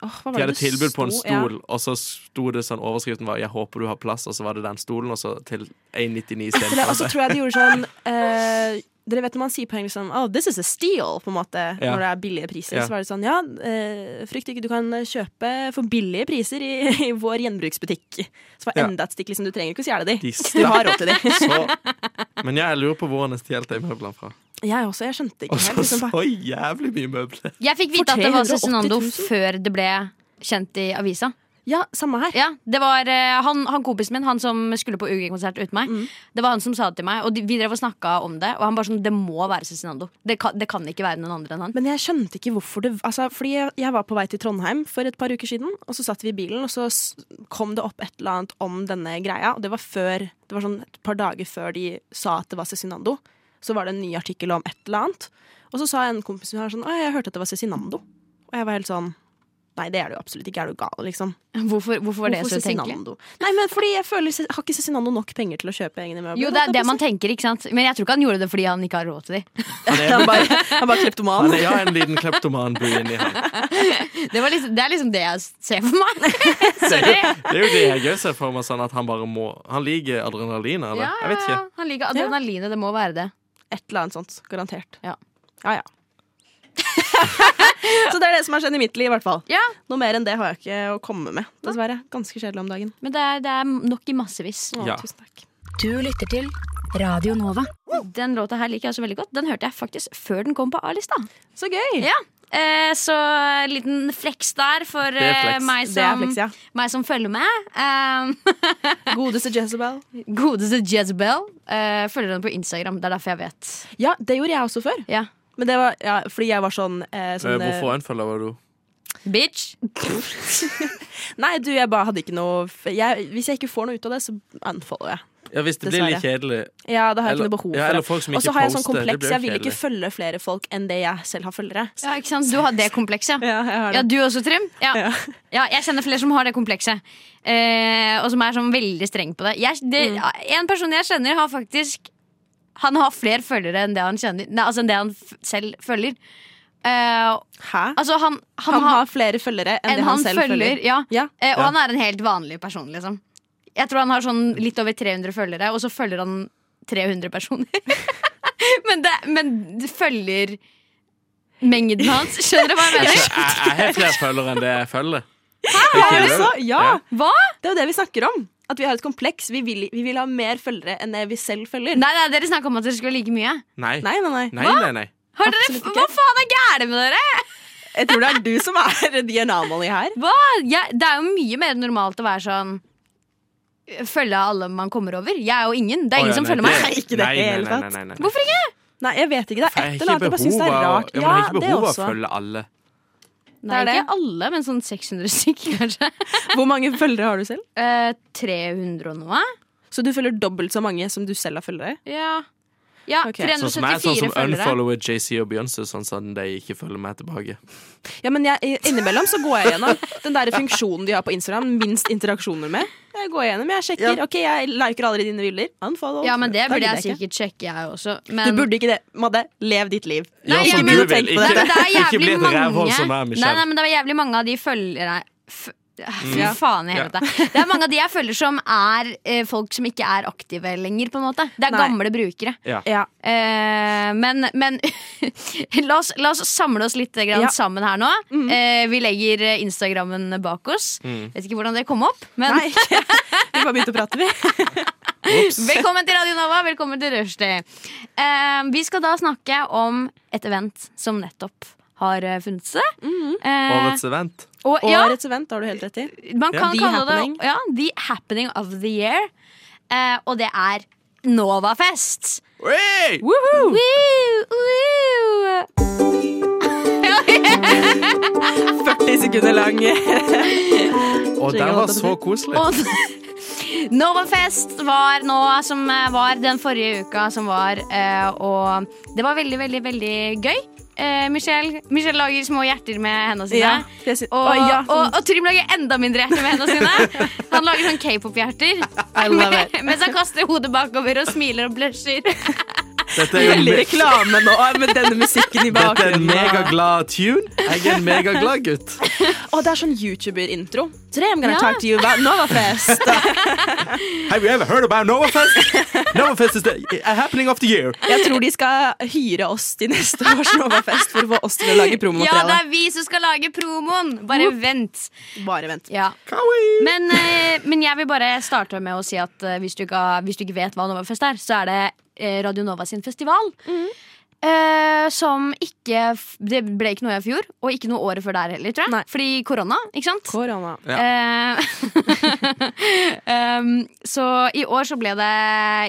[SPEAKER 6] åh, hva var
[SPEAKER 2] De
[SPEAKER 6] det
[SPEAKER 2] hadde
[SPEAKER 6] det
[SPEAKER 2] tilbud på en
[SPEAKER 6] sto? Ja.
[SPEAKER 2] stol, og så sto det sånn overskriften var 'Jeg håper du har plass', og så var det den stolen, og så
[SPEAKER 6] <laughs>
[SPEAKER 2] til 1,99
[SPEAKER 6] Eller, Og
[SPEAKER 2] istedenfor.
[SPEAKER 6] så tror jeg de gjorde sånn
[SPEAKER 2] <laughs>
[SPEAKER 6] eh, Dere vet når man sier på engelsk sånn Oh, this is a steal, på en måte,
[SPEAKER 2] Ja.
[SPEAKER 6] når det er billige priser.
[SPEAKER 2] Ja.
[SPEAKER 6] Så var det sånn, ja, eh, frykt ikke, du kan kjøpe for billige priser i, i <laughs> vår gjenbruksbutikk. Så var
[SPEAKER 2] Ja.
[SPEAKER 6] enda et stikk, liksom. Du trenger ikke å stjele de.
[SPEAKER 2] De
[SPEAKER 6] Du
[SPEAKER 2] stakk
[SPEAKER 6] har råd til <laughs>
[SPEAKER 2] <laughs>
[SPEAKER 6] de.
[SPEAKER 2] så Men jeg lurer på hvor han har stjålet de møblene fra.
[SPEAKER 6] Jeg også, jeg
[SPEAKER 2] Og
[SPEAKER 6] skjønte ikke
[SPEAKER 2] så
[SPEAKER 6] helt. Liksom, bare,
[SPEAKER 2] så jævlig mye møbler.
[SPEAKER 5] Jeg fikk vite
[SPEAKER 6] For
[SPEAKER 5] at det var
[SPEAKER 6] 380 000?
[SPEAKER 5] Cezinando før det ble kjent i avisa.
[SPEAKER 6] ja, samme her.
[SPEAKER 5] Ja, det var eh, han, han kompisen min, han som skulle på UG-konsert uten meg. Det var han som sa det til meg, og de, vi drev og snakka om det. Og han bare sånn Det må være Cezinando. Det kan, det kan ikke være noen andre enn han.
[SPEAKER 6] Men jeg skjønte ikke hvorfor det altså, Fordi jeg, jeg var på vei til Trondheim for et par uker siden, og så satt vi i bilen, og så s- kom det opp et eller annet om denne greia, og det var før Det var sånn et par dager før de sa at det var Cezinando. Så var det en ny artikkel om et eller annet. Og så sa en kompis min her sånn Å, jeg hørte at det var Cezinando. Og jeg var helt sånn Nei, det er det jo absolutt ikke. Er du gal, liksom?
[SPEAKER 5] Hvorfor, hvorfor var det
[SPEAKER 6] Hvorfor
[SPEAKER 5] så utenkelig?
[SPEAKER 6] Cezinando? Nei, men fordi jeg føler Se- Har ikke Cezinando nok penger til å kjøpe egne møbler?
[SPEAKER 5] Jo, det er det man tenker, ikke sant? Men jeg tror ikke han gjorde det fordi han ikke har råd <laughs> til de.
[SPEAKER 6] Han bare, <laughs> han bare kleptoman.
[SPEAKER 2] Han er, ja, en liten kleptoman bor inni
[SPEAKER 6] <laughs>
[SPEAKER 2] han.
[SPEAKER 5] Det, var liksom, det er liksom det jeg ser for meg.
[SPEAKER 2] Det er jo det jeg også ser for meg, sånn at han bare må Han liker adrenalin, eller?
[SPEAKER 5] Ja,
[SPEAKER 2] Jeg vet
[SPEAKER 5] ja,
[SPEAKER 2] ikke.
[SPEAKER 5] ja. Han liker adrenalinet, det må være det.
[SPEAKER 6] Et eller annet sånt, garantert.
[SPEAKER 5] Ja.
[SPEAKER 6] ja. <laughs> ja. så det er det som har skjedd i mitt liv, i hvert fall.
[SPEAKER 5] Ja,
[SPEAKER 6] Noe mer enn det har jeg ikke å komme med, dessverre. Ganske kjedelig om dagen.
[SPEAKER 5] Men det er, det er nok i massevis.
[SPEAKER 6] Å,
[SPEAKER 2] Ja.
[SPEAKER 6] Tusen takk.
[SPEAKER 8] Du lytter til Radio Nova.
[SPEAKER 5] Den låta her liker jeg også veldig godt. Den hørte jeg faktisk før den kom på A-lista.
[SPEAKER 6] Så gøy!
[SPEAKER 5] Ja. Eh, så liten fleks der for
[SPEAKER 2] er
[SPEAKER 5] eh,
[SPEAKER 2] flex.
[SPEAKER 5] meg,
[SPEAKER 6] Det er
[SPEAKER 5] som,
[SPEAKER 6] Flexia.
[SPEAKER 5] meg som følger med. Eh,
[SPEAKER 6] <laughs> Godeste Jezebel.
[SPEAKER 5] <laughs> godeste Jezebel. Eh, følger henne på Instagram. Det er derfor jeg vet.
[SPEAKER 6] Ja, det gjorde jeg også før.
[SPEAKER 5] Ja.
[SPEAKER 6] Men det var ja, fordi jeg var sånn, eh,
[SPEAKER 2] Eh,
[SPEAKER 6] sånn eh,
[SPEAKER 2] Hvorfor unfollower du?
[SPEAKER 5] Bitch.
[SPEAKER 6] Nei, du, jeg bare hadde ikke noe f- jeg, Hvis jeg ikke får noe ut av det, så unfollower jeg.
[SPEAKER 2] Ja, hvis det blir
[SPEAKER 6] Dessverre.
[SPEAKER 2] litt kjedelig.
[SPEAKER 6] Ja, da har jeg
[SPEAKER 2] Eller-
[SPEAKER 6] ikke noe behov
[SPEAKER 2] ja, eller folk
[SPEAKER 6] for
[SPEAKER 2] som
[SPEAKER 6] det. Og så
[SPEAKER 2] ikke
[SPEAKER 6] har jeg sånn
[SPEAKER 2] poster, det blir
[SPEAKER 6] kompleks,
[SPEAKER 2] jo
[SPEAKER 6] jeg vil ikke
[SPEAKER 2] kjedelig.
[SPEAKER 6] følge flere folk enn det jeg selv har følgere.
[SPEAKER 5] Ja, ikke sant? Du har det komplekset.
[SPEAKER 6] Ja, jeg har
[SPEAKER 5] Ja,
[SPEAKER 6] det.
[SPEAKER 5] du også, Trym? Ja.
[SPEAKER 6] Ja.
[SPEAKER 5] ja, jeg kjenner flere som har det komplekset. Eh, og som er sånn veldig streng på det. Jeg, det En person jeg kjenner, har faktisk Han har flere følgere enn det han, kjenner, nei, altså enn det han f selv følger. Eh,
[SPEAKER 6] Hæ?
[SPEAKER 5] altså, han, han,
[SPEAKER 6] Han
[SPEAKER 5] har
[SPEAKER 6] har flere følgere enn,
[SPEAKER 5] enn
[SPEAKER 6] det
[SPEAKER 5] han,
[SPEAKER 6] han selv
[SPEAKER 5] følger.
[SPEAKER 6] følger.
[SPEAKER 5] Ja.
[SPEAKER 6] Ja.
[SPEAKER 5] Eh, og
[SPEAKER 2] Ja.
[SPEAKER 5] han er en helt vanlig person, liksom. Jeg tror han har sånn litt over 300 følgere, og så følger han 300 personer. <laughs> men, det, men det følger mengden hans. Skjønner du hva jeg
[SPEAKER 2] Jeg,
[SPEAKER 5] mener?
[SPEAKER 2] jeg har flere følgere enn det jeg følger.
[SPEAKER 6] Ja, men så, ja.
[SPEAKER 5] <laughs> Hva?
[SPEAKER 6] Det er jo det vi snakker om. At vi har et kompleks. Vi vil, vi vil ha mer følgere enn det vi selv følger.
[SPEAKER 5] Nei, nei, dere snakka om at dere skulle like mye.
[SPEAKER 2] Nei.
[SPEAKER 6] Nei, nei, nei.
[SPEAKER 2] Nei, nei, nei.
[SPEAKER 5] Har dere,
[SPEAKER 6] Absolutt ikke.
[SPEAKER 5] hva faen er gærent med dere?
[SPEAKER 6] Jeg tror det er du som er <laughs> DNA-målet her.
[SPEAKER 5] Hva? Jeg, det er jo mye mer normalt å være sånn eh, Følge alle man kommer over. Jeg er jo ingen. Det er
[SPEAKER 2] Å,
[SPEAKER 5] ingen
[SPEAKER 2] ja,
[SPEAKER 5] som
[SPEAKER 2] nei,
[SPEAKER 5] følger meg.
[SPEAKER 6] Nei, ikke det
[SPEAKER 2] nei, nei,
[SPEAKER 6] hele
[SPEAKER 2] nei,
[SPEAKER 6] tatt.
[SPEAKER 2] nei, nei, nei.
[SPEAKER 5] Hvorfor ikke?
[SPEAKER 6] Nei, jeg vet ikke. Det
[SPEAKER 2] For
[SPEAKER 6] er
[SPEAKER 2] jeg
[SPEAKER 6] et
[SPEAKER 2] har
[SPEAKER 6] eller
[SPEAKER 2] ikke
[SPEAKER 6] annet jeg bare syns det er
[SPEAKER 2] behov av-
[SPEAKER 6] rart.
[SPEAKER 2] Ja, men jeg har ikke
[SPEAKER 6] det
[SPEAKER 2] behov av å
[SPEAKER 6] også.
[SPEAKER 2] følge alle.
[SPEAKER 5] Nei,
[SPEAKER 6] det er det.
[SPEAKER 5] ikke alle, men sånn 600 stykker, kanskje. <laughs>
[SPEAKER 6] Hvor mange følgere har du selv?
[SPEAKER 5] Eh, 300 og noe.
[SPEAKER 6] Så du følger dobbelt så mange som du selv har følgere?
[SPEAKER 5] Ja. Ja,
[SPEAKER 6] Ok.
[SPEAKER 2] Sånn som jeg, sånn
[SPEAKER 5] 374
[SPEAKER 2] som
[SPEAKER 5] følgere.
[SPEAKER 2] unfollower JC og Beyoncé, sånn at de ikke følger meg tilbake.
[SPEAKER 6] Ja, men jeg, innimellom så går jeg gjennom den der funksjonen de har på Instagram. Minst interaksjoner med. Jeg går gjennom, jeg sjekker. Ok, jeg liker alle dine bilder. Unfollow.
[SPEAKER 5] Ja, men det
[SPEAKER 6] Da
[SPEAKER 5] burde
[SPEAKER 6] gidder
[SPEAKER 5] jeg
[SPEAKER 6] ikke.
[SPEAKER 5] sikkert sjekke, jeg også.
[SPEAKER 6] Du
[SPEAKER 5] Men
[SPEAKER 6] burde ikke det. Madde, lev ditt liv.
[SPEAKER 5] Nei,
[SPEAKER 2] ja,
[SPEAKER 5] jeg
[SPEAKER 2] for
[SPEAKER 5] mener-
[SPEAKER 2] du vil
[SPEAKER 6] tenk på
[SPEAKER 5] Nei,
[SPEAKER 2] ikke,
[SPEAKER 5] men det er
[SPEAKER 2] ikke bli
[SPEAKER 5] jævlig
[SPEAKER 2] et rævhål
[SPEAKER 5] mange
[SPEAKER 2] som meg,
[SPEAKER 5] Nei,
[SPEAKER 2] Michelle.
[SPEAKER 5] nei, men det er jævlig mange av de følgere f- Fy
[SPEAKER 6] Ja.
[SPEAKER 5] faen i helvete. Det er mange av de jeg følger som er eh, folk som ikke er aktive lenger, på en måte. Det er
[SPEAKER 6] Nei.
[SPEAKER 5] gamle brukere.
[SPEAKER 2] Ja.
[SPEAKER 6] Ja.
[SPEAKER 5] Eh, men men <laughs> la, oss, la oss samle oss litt grann
[SPEAKER 6] Ja.
[SPEAKER 5] sammen her nå. Eh, vi legger eh, Instagrammen bak oss. Vet ikke hvordan det kom opp, men
[SPEAKER 6] Nei, <laughs> ikke. Vi bare begynte å prate, vi.
[SPEAKER 5] velkommen til Radio Nova, velkommen til Rushdie. Eh, vi skal da snakke om et event som nettopp har eh, funnet seg. Eh,
[SPEAKER 2] Årets event.
[SPEAKER 5] og, ja,
[SPEAKER 6] Årets event har du helt rett i.
[SPEAKER 5] man
[SPEAKER 2] Ja.
[SPEAKER 5] kan
[SPEAKER 6] The
[SPEAKER 5] kalle
[SPEAKER 6] happening.
[SPEAKER 5] det ja, The Happening of the Year. Eh, og det er Novafest.
[SPEAKER 2] Oi!
[SPEAKER 5] Woo, woo.
[SPEAKER 6] 40 sekunder lang.
[SPEAKER 2] Og den var så koselig.
[SPEAKER 5] Og <laughs> Novafest var nå som eh, var den forrige uka som var, eh, og det var veldig, veldig, veldig gøy. Eh, Michelle, Michelle lager små hjerter med hendene sine.
[SPEAKER 6] Ja, jeg sy-
[SPEAKER 5] Og,
[SPEAKER 6] Oi, ja, sånn.
[SPEAKER 5] og, og Trym lager enda mindre hjerter med hendene sine. Han lager sånn k-pop-hjerter
[SPEAKER 6] I love it.
[SPEAKER 5] mens han kaster hodet bakover og smiler og blusher.
[SPEAKER 2] Dette er jo
[SPEAKER 6] Veldig
[SPEAKER 2] me-
[SPEAKER 6] reklame nå med denne musikken i
[SPEAKER 2] dette er en
[SPEAKER 6] bakgrunnen.
[SPEAKER 2] megaglad tune. Jeg er en megaglad gutt.
[SPEAKER 6] Å, det er sånn YouTuber-intro. Today I'm gonna
[SPEAKER 5] Ja.
[SPEAKER 6] talk to you about Novafest.
[SPEAKER 2] Have you ever heard about
[SPEAKER 6] <laughs>
[SPEAKER 2] Novafest? Novafest is the a happening of the year.
[SPEAKER 6] Jeg tror de skal hyre oss til neste års Novafest for å få oss til å lage
[SPEAKER 5] Ja, det
[SPEAKER 6] promomateriale.
[SPEAKER 5] er vi som skal lage promoen! Bare vent.
[SPEAKER 6] Bare vent.
[SPEAKER 5] Ja.
[SPEAKER 2] Kawaii.
[SPEAKER 5] Men, eh, men jeg vil bare starte med å si at eh, hvis, du ikke, har- hvis du ikke vet hva Novafest er, så er det eh, Radio Nova sin festival.
[SPEAKER 6] Mhm.
[SPEAKER 5] Eh, som ikke f- Det ble ikke noe i fjor, og ikke noe året før der heller, tror jeg.
[SPEAKER 6] Nei.
[SPEAKER 5] Fordi korona, ikke sant?
[SPEAKER 6] Korona.
[SPEAKER 2] Ja.
[SPEAKER 5] <laughs> Eh, em, så i år så ble det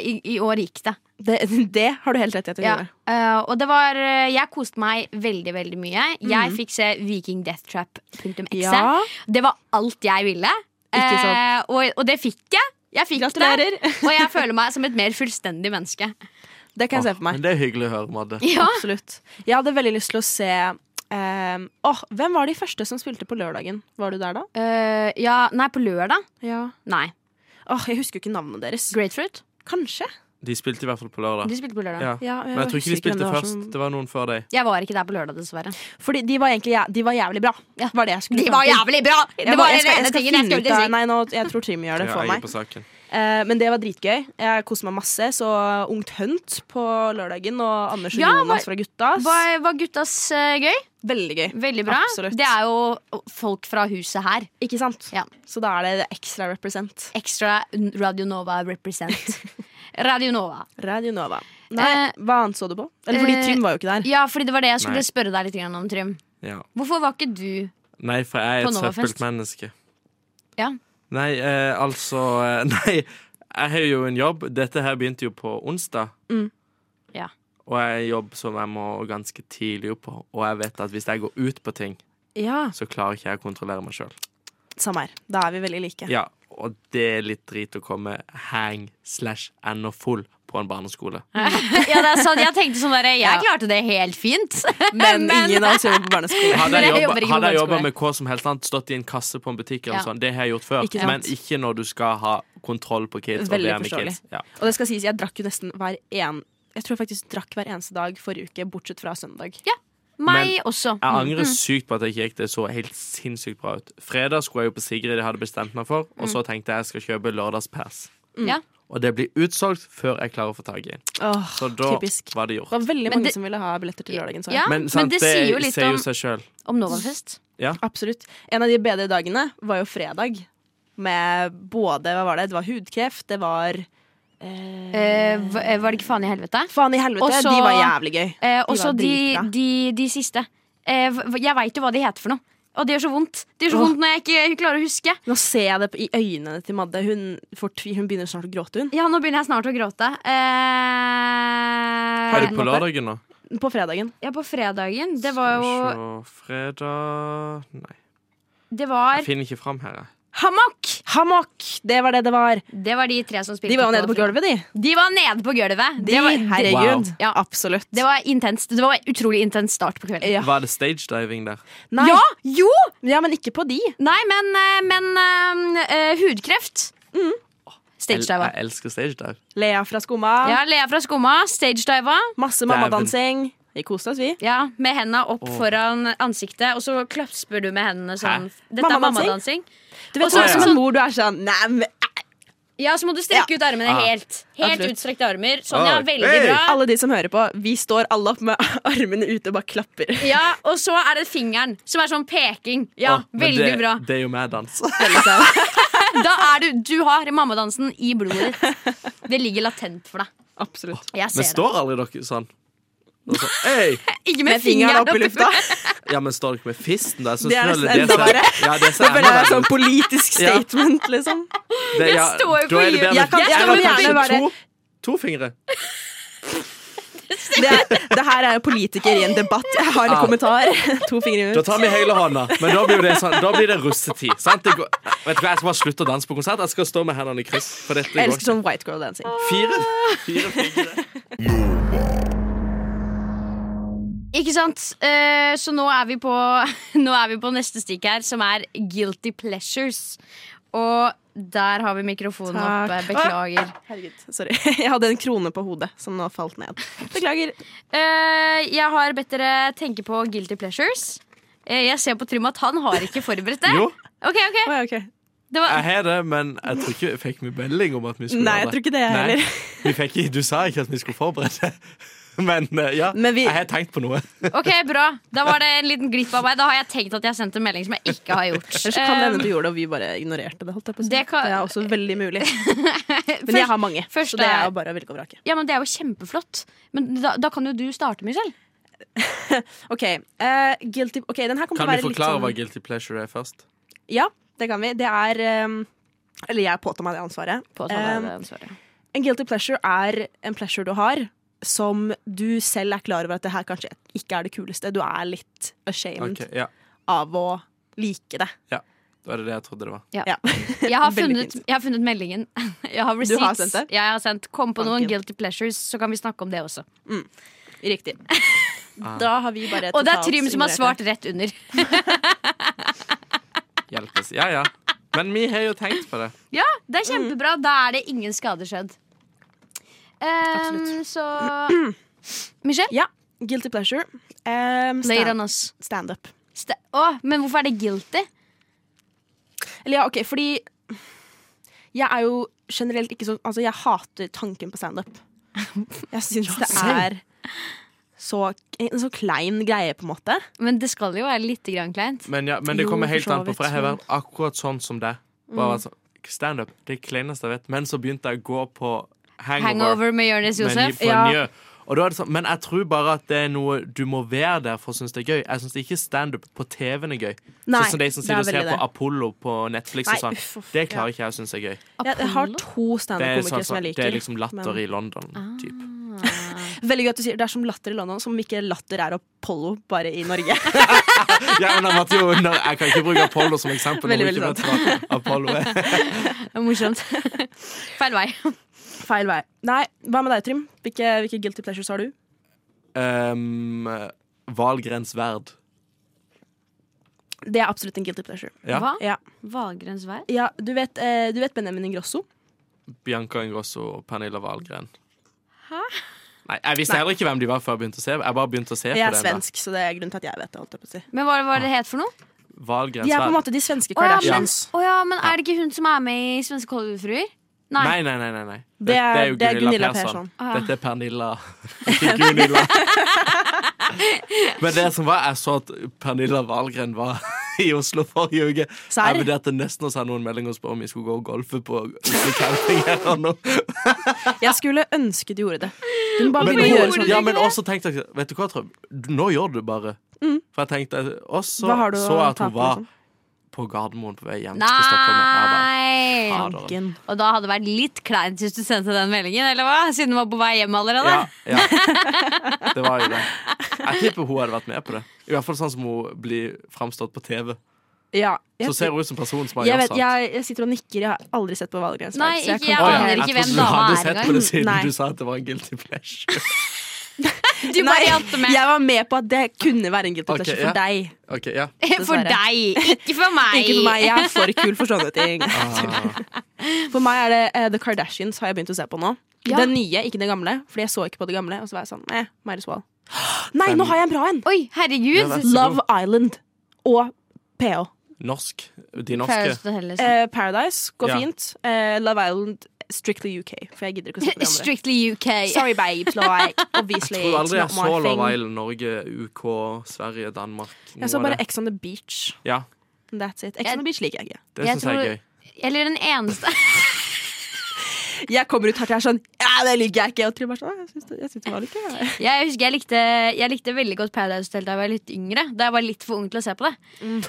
[SPEAKER 5] I, i år gikk det.
[SPEAKER 6] Det, det har du helt rett i at jeg
[SPEAKER 5] Ja.
[SPEAKER 6] gjorde.
[SPEAKER 5] Eh, og det var eh, Jeg koste meg veldig, veldig mye. Jeg fikk se vikingdeathtrap.exe.
[SPEAKER 6] Mhm. Ja.
[SPEAKER 5] Det var alt jeg ville.
[SPEAKER 6] Ikke sant.
[SPEAKER 5] Eh, og, og det fikk jeg. Jeg fikk
[SPEAKER 6] Gratulerer.
[SPEAKER 5] det. Og jeg føler meg som et mer fullstendig menneske.
[SPEAKER 6] Det kan jeg se for meg.
[SPEAKER 2] Ah, Men det er hyggelig å høre, Madde.
[SPEAKER 5] Ja.
[SPEAKER 6] Absolutt. Jeg hadde veldig lyst til å se eh, åh, Hvem var de første som spilte på lørdagen? Var du der da?
[SPEAKER 5] Eh, ja, nei, på lørdag?
[SPEAKER 6] Ja.
[SPEAKER 5] Nei.
[SPEAKER 6] Åh, jeg husker jo ikke navnet deres.
[SPEAKER 5] Grapefruit?
[SPEAKER 6] Kanskje?
[SPEAKER 2] De spilte i hvert fall på lørdag.
[SPEAKER 5] De spilte på lørdag.
[SPEAKER 2] Ja.
[SPEAKER 6] Ja,
[SPEAKER 2] Men jeg tror ikke de
[SPEAKER 6] husker hvem
[SPEAKER 2] spilte
[SPEAKER 6] det var
[SPEAKER 2] først.
[SPEAKER 6] som-
[SPEAKER 2] Det var noen før deg.
[SPEAKER 5] Jeg var ikke der på lørdag, dessverre.
[SPEAKER 6] Fordi de var egentlig jæ- de var jævlig bra.
[SPEAKER 5] Ja.
[SPEAKER 6] Var det jeg skulle
[SPEAKER 5] De var
[SPEAKER 6] fram til.
[SPEAKER 5] jævlig bra! Det
[SPEAKER 6] Jeg
[SPEAKER 5] var
[SPEAKER 6] bare-
[SPEAKER 5] den
[SPEAKER 6] jeg skal- jeg
[SPEAKER 5] ene
[SPEAKER 6] skal
[SPEAKER 5] tingen jeg
[SPEAKER 6] finne ut
[SPEAKER 5] skulle
[SPEAKER 6] av-
[SPEAKER 5] si.
[SPEAKER 6] Nei, nå, jeg tror Trym gjør det
[SPEAKER 2] Ja,
[SPEAKER 6] for
[SPEAKER 2] jeg er
[SPEAKER 6] meg.
[SPEAKER 2] på saken.
[SPEAKER 6] Eh, men det var dritgøy. Jeg koste meg masse. Så Ungt Hunt på lørdagen, og Anders og
[SPEAKER 5] Ja,
[SPEAKER 6] Jonas
[SPEAKER 5] hva-
[SPEAKER 6] fra Guttas.
[SPEAKER 5] Var, var guttas eh, gøy?
[SPEAKER 6] Veldig gøy.
[SPEAKER 5] Veldig bra.
[SPEAKER 6] Absolutt.
[SPEAKER 5] Det er jo folk fra huset her.
[SPEAKER 6] Ikke sant?
[SPEAKER 5] Ja.
[SPEAKER 6] Så da er det ekstra represent.
[SPEAKER 5] Ekstra Radio Nova <laughs> represent. Radio Nova.
[SPEAKER 6] Radio Nova. Nei,
[SPEAKER 5] Eh,
[SPEAKER 6] hva annet så du på? Eller fordi
[SPEAKER 5] eh,
[SPEAKER 6] Trym var jo ikke der.
[SPEAKER 5] Ja, fordi det var det jeg
[SPEAKER 2] Nei.
[SPEAKER 5] skulle spørre deg litt grann om, Trym.
[SPEAKER 2] Ja.
[SPEAKER 5] Hvorfor var ikke du
[SPEAKER 2] Nei, for jeg er et
[SPEAKER 5] På Novafest.
[SPEAKER 2] søppelt menneske.
[SPEAKER 5] Ja.
[SPEAKER 2] Nei, eh, altså eh, <laughs> Nei, jeg har jo en jobb. Dette her begynte jo på onsdag.
[SPEAKER 6] Mm.
[SPEAKER 5] Ja.
[SPEAKER 2] Og jeg har en jobb som jeg må ganske tidlig opp på. Og jeg vet at hvis jeg går ut på ting,
[SPEAKER 6] Ja,
[SPEAKER 2] så klarer ikke jeg å kontrollere meg sjøl.
[SPEAKER 6] Samme her. Da er vi veldig like.
[SPEAKER 2] Ja, og det er litt drit å komme hang slash ennå full på en barneskole.
[SPEAKER 5] Ja, det er sant. Jeg tenkte sånn derre Jeg
[SPEAKER 6] Ja.
[SPEAKER 5] klarte det helt fint. <laughs>
[SPEAKER 6] Men, ingen av oss jobber <laughs> på barneskole.
[SPEAKER 2] Hadde
[SPEAKER 5] Men
[SPEAKER 2] jeg
[SPEAKER 5] jeg
[SPEAKER 2] jobba-
[SPEAKER 5] jobber ikke på
[SPEAKER 2] hadde jeg
[SPEAKER 5] barneskole.
[SPEAKER 2] jobba med hva som helst annet, stått i en kasse på en butikk, eller
[SPEAKER 5] Ja.
[SPEAKER 2] sånn, det har jeg gjort før.
[SPEAKER 6] Ikke sant.
[SPEAKER 2] men ikke når du skal ha kontroll på kids.
[SPEAKER 6] Veldig
[SPEAKER 2] og være med
[SPEAKER 6] forståelig.
[SPEAKER 2] kids. Ja.
[SPEAKER 6] Og det skal sies, jeg drakk jo nesten hver en Jeg tror jeg faktisk drakk hver eneste dag forrige uke, bortsett fra søndag.
[SPEAKER 5] Meg også. Mm.
[SPEAKER 2] Jeg angrer sykt på at jeg ikke gikk det så helt sinnssykt bra ut. Fredag skulle jeg jo på Sigrid, jeg hadde bestemt meg for, og
[SPEAKER 5] Mm.
[SPEAKER 2] så tenkte jeg jeg skal kjøpe lørdagspass.
[SPEAKER 5] Ja.
[SPEAKER 2] Og det blir utsolgt før jeg klarer å få tak i en.
[SPEAKER 6] Åh,
[SPEAKER 2] Så da
[SPEAKER 6] typisk.
[SPEAKER 2] var det
[SPEAKER 6] Det
[SPEAKER 2] gjort.
[SPEAKER 6] var veldig
[SPEAKER 5] Men
[SPEAKER 6] mange
[SPEAKER 5] det-
[SPEAKER 6] som ville ha billetter til lørdagen. Så jeg.
[SPEAKER 5] Ja, men,
[SPEAKER 2] Men, sant,
[SPEAKER 5] det, sier jo litt
[SPEAKER 2] sier
[SPEAKER 5] om,
[SPEAKER 2] jo seg sjøl.
[SPEAKER 5] om Novafest.
[SPEAKER 6] Absolutt. En av de bedre dagene var jo fredag. Med både Hva var det? Det var hudkreft, det var eh,
[SPEAKER 5] Eh, v- eh, var det ikke faen i helvete?
[SPEAKER 6] Faen i helvete,
[SPEAKER 5] og så-
[SPEAKER 6] de var jævlig gøy.
[SPEAKER 5] Eh, og
[SPEAKER 6] De
[SPEAKER 5] så
[SPEAKER 6] var
[SPEAKER 5] de,
[SPEAKER 6] dritbra.
[SPEAKER 5] de, de siste. Eh, v- jeg veit jo hva de heter for noe. Og det gjør så vondt. Det gjør så
[SPEAKER 6] Åh.
[SPEAKER 5] vondt når jeg ikke klarer å huske.
[SPEAKER 6] Nå ser jeg det på- i øynene til Madde. Hun, fortvi, hun begynner snart å gråte, hun.
[SPEAKER 5] Ja, nå begynner jeg snart å gråte. Eh,
[SPEAKER 2] Er du på lørdagen nå?
[SPEAKER 6] På fredagen.
[SPEAKER 5] Ja, på fredagen. Det var jo
[SPEAKER 2] Skal vi se Fredag Nei.
[SPEAKER 5] Det var
[SPEAKER 2] Jeg finner ikke fram her. jeg.
[SPEAKER 5] Hammock!
[SPEAKER 6] Hammock! Det var det det var.
[SPEAKER 5] Det var de tre som spilte.
[SPEAKER 6] De var jo nede på
[SPEAKER 5] fredag.
[SPEAKER 6] gulvet, de.
[SPEAKER 5] De var nede på gulvet.
[SPEAKER 6] de
[SPEAKER 5] det, var,
[SPEAKER 6] herregud.
[SPEAKER 2] Wow.
[SPEAKER 6] Ja. Absolutt.
[SPEAKER 5] det var intenst. Det var utrolig intens start på kvelden.
[SPEAKER 6] Ja.
[SPEAKER 2] Var det stagediving der?
[SPEAKER 6] Nei.
[SPEAKER 5] Ja! Jo!
[SPEAKER 6] Ja, men ikke på de.
[SPEAKER 5] Nei, men, eh, men eh, eh, hudkreft. Stagediva.
[SPEAKER 2] Jeg, jeg elsker stagedive.
[SPEAKER 6] Lea fra Skumma.
[SPEAKER 5] Ja, Lea fra Skumma. Stagediva.
[SPEAKER 6] Masse
[SPEAKER 2] Dæven.
[SPEAKER 6] mammadansing. Vi koste oss, vi.
[SPEAKER 5] Ja, med hendene opp
[SPEAKER 2] Åh.
[SPEAKER 5] foran ansiktet, og så klapper du med hendene
[SPEAKER 2] Hæ?
[SPEAKER 5] sånn. Dette er
[SPEAKER 6] Mammadansing?
[SPEAKER 5] mammadansing.
[SPEAKER 6] Du vet,
[SPEAKER 5] Og så
[SPEAKER 6] du
[SPEAKER 2] er
[SPEAKER 6] er
[SPEAKER 2] det
[SPEAKER 6] som
[SPEAKER 5] sånn-
[SPEAKER 6] en mor. Du er sånn Nei, men
[SPEAKER 5] Ja, så må du strekke ut armene
[SPEAKER 2] Ah.
[SPEAKER 5] helt. Helt
[SPEAKER 6] Absolutt.
[SPEAKER 5] utstrekte armer. Sånn, ja.
[SPEAKER 2] Ah.
[SPEAKER 5] Veldig
[SPEAKER 2] Hey!
[SPEAKER 5] bra.
[SPEAKER 6] Alle de som hører på, vi står alle opp med <laughs> armene ute og bare klapper.
[SPEAKER 5] Ja, Og så er det fingeren, som er sånn peking. Ja,
[SPEAKER 2] Å, men
[SPEAKER 5] veldig
[SPEAKER 2] det,
[SPEAKER 5] bra. <laughs>
[SPEAKER 2] Det er jo med dans.
[SPEAKER 5] Da
[SPEAKER 6] <laughs>
[SPEAKER 5] er du, du har mammadansen i blodet ditt. Det ligger latent for deg.
[SPEAKER 6] Absolutt.
[SPEAKER 5] Jeg
[SPEAKER 2] Men
[SPEAKER 5] ser det.
[SPEAKER 2] står aldri dere sånn? Og så, «Ei!»
[SPEAKER 5] Ikke med,
[SPEAKER 6] Med fingeren opp i lufta.
[SPEAKER 2] Ja, men står dere med fisten der?
[SPEAKER 6] Det er
[SPEAKER 2] nesten
[SPEAKER 6] nesten enda verre.
[SPEAKER 2] Ja, det
[SPEAKER 6] Det
[SPEAKER 2] ser
[SPEAKER 6] føler <laughs> jeg er sånn
[SPEAKER 2] ut.
[SPEAKER 6] politisk
[SPEAKER 2] Ja.
[SPEAKER 6] statement, liksom.
[SPEAKER 2] Det- ja,
[SPEAKER 5] Jeg står jo
[SPEAKER 2] da
[SPEAKER 5] på
[SPEAKER 2] er det bedre
[SPEAKER 5] hjul.
[SPEAKER 2] med-
[SPEAKER 6] Jeg kan- jeg
[SPEAKER 2] eller
[SPEAKER 6] kan gjerne
[SPEAKER 2] kanskje
[SPEAKER 6] være-
[SPEAKER 2] to, to fingre.
[SPEAKER 6] Det, det her er jo politiker i en debatt. Jeg har en
[SPEAKER 2] Ah.
[SPEAKER 6] kommentar. <laughs> To fingre
[SPEAKER 2] Da
[SPEAKER 6] ut.
[SPEAKER 2] tar vi hele hånda. Men da blir jo det, sånn, da blir det russetid. Sant? Det går, vet du hva, Jeg skal bare slutte å danse på konsert. Jeg skal stå med hendene i kryss. For dette går
[SPEAKER 6] Jeg elsker sånn white girl dancing.
[SPEAKER 2] Fire, fire fingre.
[SPEAKER 5] Ikke sant? Eh, så nå er, vi på, <laughs> nå er vi på neste stikk her, som er guilty pleasures. Og der har vi mikrofonen
[SPEAKER 6] Takk.
[SPEAKER 5] oppe. Beklager.
[SPEAKER 6] Herregud, sorry. <laughs> Jeg hadde en krone på hodet som nå falt ned. Beklager.
[SPEAKER 5] Eh, jeg har bedt dere tenke på guilty pleasures. Eh, jeg ser på Trym at han har ikke forberedt det.
[SPEAKER 2] Jo,
[SPEAKER 5] Ok, ok.
[SPEAKER 6] Å, ja, ok.
[SPEAKER 5] Det var,
[SPEAKER 2] jeg <laughs> har det, men jeg tror ikke jeg fikk vi melding om at vi skulle
[SPEAKER 6] Nei,
[SPEAKER 2] ha
[SPEAKER 6] jeg tror ikke det
[SPEAKER 2] Nei.
[SPEAKER 6] heller.
[SPEAKER 2] Vi fikk, ikke- du sa ikke at vi skulle forberede. <laughs> Men eh, ja,
[SPEAKER 6] Men vi-
[SPEAKER 2] jeg har tenkt på noe.
[SPEAKER 5] ok, bra. Da var det en liten glipp av meg. Da har jeg tenkt at jeg har sendt en melding som jeg ikke har gjort.
[SPEAKER 6] <laughs> Ellers så kan det hende du gjorde det, og vi bare ignorerte det. Holdt jeg på å si.
[SPEAKER 5] Det kan-
[SPEAKER 6] det er også veldig
[SPEAKER 5] <laughs>
[SPEAKER 6] mulig.
[SPEAKER 5] Eh,
[SPEAKER 6] Men jeg
[SPEAKER 5] først-
[SPEAKER 6] har mange,
[SPEAKER 5] først
[SPEAKER 6] så det
[SPEAKER 5] er-
[SPEAKER 6] er jo bare å velge og vrake.
[SPEAKER 5] ja, men det er jo kjempeflott. Men da, da kan jo du starte, Michelle.
[SPEAKER 6] Ok, eh, guilty Ok, den her kommer
[SPEAKER 2] Kan vi
[SPEAKER 6] til å være litt
[SPEAKER 2] forklare
[SPEAKER 6] sånn
[SPEAKER 2] hva guilty pleasure er først?
[SPEAKER 6] Ja, det kan vi. Det er ehm, Eller jeg påtar meg det ansvaret.
[SPEAKER 5] På
[SPEAKER 6] Ehm,
[SPEAKER 5] samarbeidansvaret.
[SPEAKER 6] en guilty pleasure er en pleasure du har som du selv er klar over at det her kanskje ikke er det kuleste. Du er litt ashamed
[SPEAKER 2] Ok, ja,
[SPEAKER 6] av å like det.
[SPEAKER 2] Da er det det jeg trodde det var.
[SPEAKER 6] <laughs>
[SPEAKER 5] Jeg har,
[SPEAKER 6] Veldig
[SPEAKER 5] funnet,
[SPEAKER 6] fint.
[SPEAKER 5] jeg har funnet meldingen. <laughs> Jeg har
[SPEAKER 6] Du har
[SPEAKER 5] receipts.
[SPEAKER 6] sendt det?
[SPEAKER 5] Ja, Jeg har sendt. Kom på noen
[SPEAKER 6] Banken.
[SPEAKER 5] guilty pleasures, så kan vi snakke om det også.
[SPEAKER 6] Riktig.
[SPEAKER 2] Ah.
[SPEAKER 6] Da har vi bare
[SPEAKER 5] Og det er
[SPEAKER 6] totalt
[SPEAKER 5] Trym som har
[SPEAKER 6] ignorert
[SPEAKER 5] svart rett under.
[SPEAKER 6] <laughs>
[SPEAKER 2] Hjelpes. Ja, ja. Men vi har jo tenkt på det.
[SPEAKER 5] Ja, det er kjempebra. Mm. Da er det ingen skader skjedd. Um, så Michelle,
[SPEAKER 6] <clears throat> det. Ja. Guilty pleasure. Um,
[SPEAKER 5] lay it
[SPEAKER 6] stand,
[SPEAKER 5] on us.
[SPEAKER 6] standup.
[SPEAKER 5] St Å, men hvorfor er det guilty?
[SPEAKER 6] Eller ja, OK, fordi jeg er jo generelt ikke så Altså, jeg hater tanken på standup. <laughs> Jeg syns det er så, en så klein greie, på en måte.
[SPEAKER 5] Men det skal jo være litt grann kleint.
[SPEAKER 2] Men, ja, men det
[SPEAKER 6] Jo,
[SPEAKER 2] kommer
[SPEAKER 6] for
[SPEAKER 2] helt
[SPEAKER 6] så
[SPEAKER 2] an på, for jeg har
[SPEAKER 6] vidt. Mm.
[SPEAKER 2] vært akkurat sånn som det. Bare vært sånn, Standup, det kleineste jeg vet. Men så begynte jeg å gå på hangover.
[SPEAKER 5] Hangover med Jonis
[SPEAKER 2] med Ny
[SPEAKER 5] Josef.
[SPEAKER 2] på
[SPEAKER 6] Ja.
[SPEAKER 2] Njø. Og da er det sånn, men jeg tror bare at det er noe du må være der for å synes det er gøy. Jeg syns ikke standup på TV-en er gøy.
[SPEAKER 6] Nei,
[SPEAKER 2] sånn som de som
[SPEAKER 6] det
[SPEAKER 2] sitter
[SPEAKER 6] er
[SPEAKER 2] og ser
[SPEAKER 6] veldig
[SPEAKER 2] på
[SPEAKER 6] det.
[SPEAKER 2] Apollo på Netflix
[SPEAKER 6] Nei,
[SPEAKER 2] og sånn.
[SPEAKER 6] uff, uff,
[SPEAKER 2] Det
[SPEAKER 6] ja.
[SPEAKER 2] klarer ikke jeg å synes er gøy.
[SPEAKER 6] Jeg, jeg har
[SPEAKER 2] Det
[SPEAKER 6] to
[SPEAKER 2] er,
[SPEAKER 6] standup-komikere
[SPEAKER 2] sånn,
[SPEAKER 6] som
[SPEAKER 2] som-
[SPEAKER 6] jeg liker.
[SPEAKER 2] det er liksom latter
[SPEAKER 6] men-
[SPEAKER 2] i London. Typ.
[SPEAKER 6] Veldig gøy at du sier Det er som latter i London, som om ikke latter er Apollo, bare i <laughs> Norge.
[SPEAKER 2] Ja, men han måtte jo, nei, jeg kan ikke bruke Apollo som eksempel. når
[SPEAKER 6] Veldig,
[SPEAKER 2] vi ikke
[SPEAKER 6] veldig
[SPEAKER 2] vet hva Apollo er.
[SPEAKER 5] <laughs> Det er Morsomt. <laughs> Feil vei.
[SPEAKER 6] Feil vei. Nei, hva med deg, Trym? Hvilke, hvilke guilty pleasures har du?
[SPEAKER 2] Um, Valgrens verd.
[SPEAKER 6] Det er absolutt en guilty pleasure.
[SPEAKER 2] Ja.
[SPEAKER 5] Hva?
[SPEAKER 6] Ah. Ja,
[SPEAKER 5] Valgrens vei?
[SPEAKER 6] ja du, vet, eh, du vet Benjamin Ingrosso?
[SPEAKER 2] Bianca Ingrosso og Pernilla Wahlgren. Nei, Jeg visste heller ikke hvem de var før jeg begynte å se. Jeg bare begynte å se
[SPEAKER 6] Jeg er
[SPEAKER 2] på den.
[SPEAKER 6] svensk, så det er grunnen til at jeg vet det. Holdt jeg på å si.
[SPEAKER 5] Men hva var det het for noe?
[SPEAKER 2] da. Wahlgrens
[SPEAKER 6] De er på en
[SPEAKER 2] verd.
[SPEAKER 6] måte de svenske
[SPEAKER 5] Å ja, men,
[SPEAKER 6] Kardashians.
[SPEAKER 5] å ja, men er det ikke hun som er med i Svenske Kollerudfruer? Nei.
[SPEAKER 2] Nei, nei, nei. nei, nei.
[SPEAKER 6] Det er-
[SPEAKER 2] Dette er jo
[SPEAKER 6] det er
[SPEAKER 2] Gunilla,
[SPEAKER 6] Gunilla
[SPEAKER 2] Persson.
[SPEAKER 6] Persson.
[SPEAKER 5] Ah.
[SPEAKER 2] Dette er Pernilla. <laughs> Ikke Gunilla.
[SPEAKER 6] <laughs>
[SPEAKER 2] Men det som var, jeg så at Pernilla Wahlgren var <laughs> i Oslo forrige uke.
[SPEAKER 6] Serr?
[SPEAKER 2] Jeg vurderte nesten å sende noen meldinger og spørre om vi skulle gå og golfe på Oslo camping eller
[SPEAKER 6] <laughs>
[SPEAKER 2] noe.
[SPEAKER 6] Jeg skulle ønske du gjorde det. Du må bare
[SPEAKER 2] Men,
[SPEAKER 6] begynne å gjøre
[SPEAKER 2] nå-
[SPEAKER 6] sånn.
[SPEAKER 2] ja, men også tenkte jeg Vet du hva, Trøm? Nå gjør du det bare. For jeg tenkte Og så
[SPEAKER 6] Mm. Hva har du
[SPEAKER 2] så
[SPEAKER 6] å
[SPEAKER 2] jeg at
[SPEAKER 6] tape,
[SPEAKER 2] hun var
[SPEAKER 6] liksom?
[SPEAKER 2] på Gardermoen på vei hjem til Stockholm. Jeg bare,
[SPEAKER 5] Nei!
[SPEAKER 2] fader.
[SPEAKER 6] Tanken.
[SPEAKER 5] Og da hadde det vært litt kleint hvis du sendte den meldingen, eller hva? Siden du var på vei hjem allerede.
[SPEAKER 2] Ja, ja. Det var jo det. Jeg tipper hun hadde vært med på det. I hvert fall sånn som hun blir framstått på TV.
[SPEAKER 6] Ja.
[SPEAKER 2] Så
[SPEAKER 6] Jeg,
[SPEAKER 2] ser hun ut som personen som har
[SPEAKER 6] jeg,
[SPEAKER 2] gjort
[SPEAKER 6] vet,
[SPEAKER 2] sånn.
[SPEAKER 6] jeg, jeg sitter og nikker. Jeg har aldri sett på Valgrens
[SPEAKER 5] Nei,
[SPEAKER 6] så jeg
[SPEAKER 5] ikke
[SPEAKER 6] kan
[SPEAKER 2] Å,
[SPEAKER 5] jeg
[SPEAKER 2] ja,
[SPEAKER 5] aner
[SPEAKER 2] jeg
[SPEAKER 5] ikke hvem
[SPEAKER 2] trodde du
[SPEAKER 5] dama
[SPEAKER 2] hadde
[SPEAKER 5] er
[SPEAKER 2] sett på det
[SPEAKER 5] engang.
[SPEAKER 2] siden
[SPEAKER 6] Nei.
[SPEAKER 2] du sa at det var en guilty pleasure. <laughs>
[SPEAKER 5] Du bare hjalp
[SPEAKER 6] Nei,
[SPEAKER 5] med.
[SPEAKER 6] jeg var med på at det kunne være en guilty
[SPEAKER 2] Ok,
[SPEAKER 6] pleasure
[SPEAKER 2] ja.
[SPEAKER 6] for deg.
[SPEAKER 2] Ok, ja
[SPEAKER 5] <laughs> For
[SPEAKER 6] dessverre.
[SPEAKER 5] deg, ikke for meg.
[SPEAKER 6] Ikke for meg. Jeg er for kul for sånne ting.
[SPEAKER 2] ah,
[SPEAKER 6] For meg er det eh, The Kardashians har jeg begynt å se på nå.
[SPEAKER 5] Ja.
[SPEAKER 6] Den nye, ikke den gamle. Fordi jeg så ikke på det gamle. Og så var jeg sånn, eh, might as well. <gasps> Nei, nå har jeg en bra en!
[SPEAKER 5] Oi,
[SPEAKER 2] Ja,
[SPEAKER 5] herregud.
[SPEAKER 2] vær så god.
[SPEAKER 6] Love Island og PH.
[SPEAKER 2] Norsk. De
[SPEAKER 5] Paradise
[SPEAKER 2] norske.
[SPEAKER 5] Hotel, liksom.
[SPEAKER 6] Eh, Paradise går
[SPEAKER 2] Ja.
[SPEAKER 6] fint. Eh, Love Island strictly UK. For jeg gidder ikke å se på det andre.
[SPEAKER 5] Strictly UK.
[SPEAKER 6] Sorry,
[SPEAKER 5] <laughs>
[SPEAKER 6] babes. Like, obviously,
[SPEAKER 2] Jeg tror aldri jeg
[SPEAKER 6] it's not
[SPEAKER 2] så
[SPEAKER 6] my thing.
[SPEAKER 2] Love Island, Norge, UK, Sverige, Danmark noe
[SPEAKER 6] Jeg så
[SPEAKER 2] av
[SPEAKER 6] bare
[SPEAKER 2] det.
[SPEAKER 6] Ex on the Beach.
[SPEAKER 2] Ja,
[SPEAKER 6] And That's it. Ex
[SPEAKER 5] Jeg-
[SPEAKER 6] on the Beach liker jeg ikke.
[SPEAKER 2] det
[SPEAKER 5] Jeg
[SPEAKER 2] syns jeg er gøy.
[SPEAKER 5] tror- Eller den eneste
[SPEAKER 6] Jeg kommer ut her til jeg er sånn Ja, det liker jeg ikke. Og Trym er sånn «Å, Jeg syns det, jeg syns det var litt gøy. jeg».
[SPEAKER 5] Jeg husker jeg likte, jeg likte veldig godt Paradise Hotel da jeg var litt yngre. Da jeg var litt for ung til å se på det.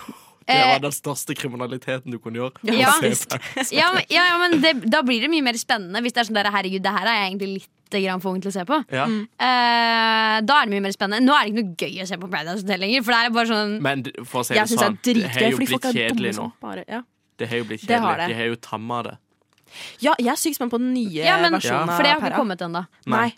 [SPEAKER 6] <laughs>
[SPEAKER 2] Det
[SPEAKER 5] Eh,
[SPEAKER 2] var den største kriminaliteten du kunne gjøre.
[SPEAKER 5] Ja.
[SPEAKER 2] Å se på.
[SPEAKER 5] ja, men- ja, ja, men det, da blir det mye mer spennende hvis det er sånn der, herregud, det her er jeg egentlig litt grann for ung til å se på.
[SPEAKER 2] Ja.
[SPEAKER 6] Mm.
[SPEAKER 5] Eh, da er det mye mer spennende. Nå er det ikke noe gøy å se på Paradise Hotel lenger. For det er bare sånn
[SPEAKER 2] Men d- for å si det
[SPEAKER 6] Jeg syns det er
[SPEAKER 2] sånn, det har
[SPEAKER 6] dritgøy,
[SPEAKER 2] jo
[SPEAKER 6] fordi
[SPEAKER 2] blitt
[SPEAKER 6] folk er dumme
[SPEAKER 2] kjedelig nå.
[SPEAKER 6] som bare ja.
[SPEAKER 2] Det har jo blitt
[SPEAKER 6] Det har
[SPEAKER 2] kjedelig.
[SPEAKER 6] det.
[SPEAKER 2] De har jo tamma det.
[SPEAKER 6] ja, jeg er sykt spent på den nye
[SPEAKER 5] Ja, men-
[SPEAKER 2] Ja.
[SPEAKER 6] versjonen
[SPEAKER 5] For det har
[SPEAKER 6] av
[SPEAKER 5] ikke
[SPEAKER 6] Para.
[SPEAKER 5] kommet ennå.
[SPEAKER 6] Nei.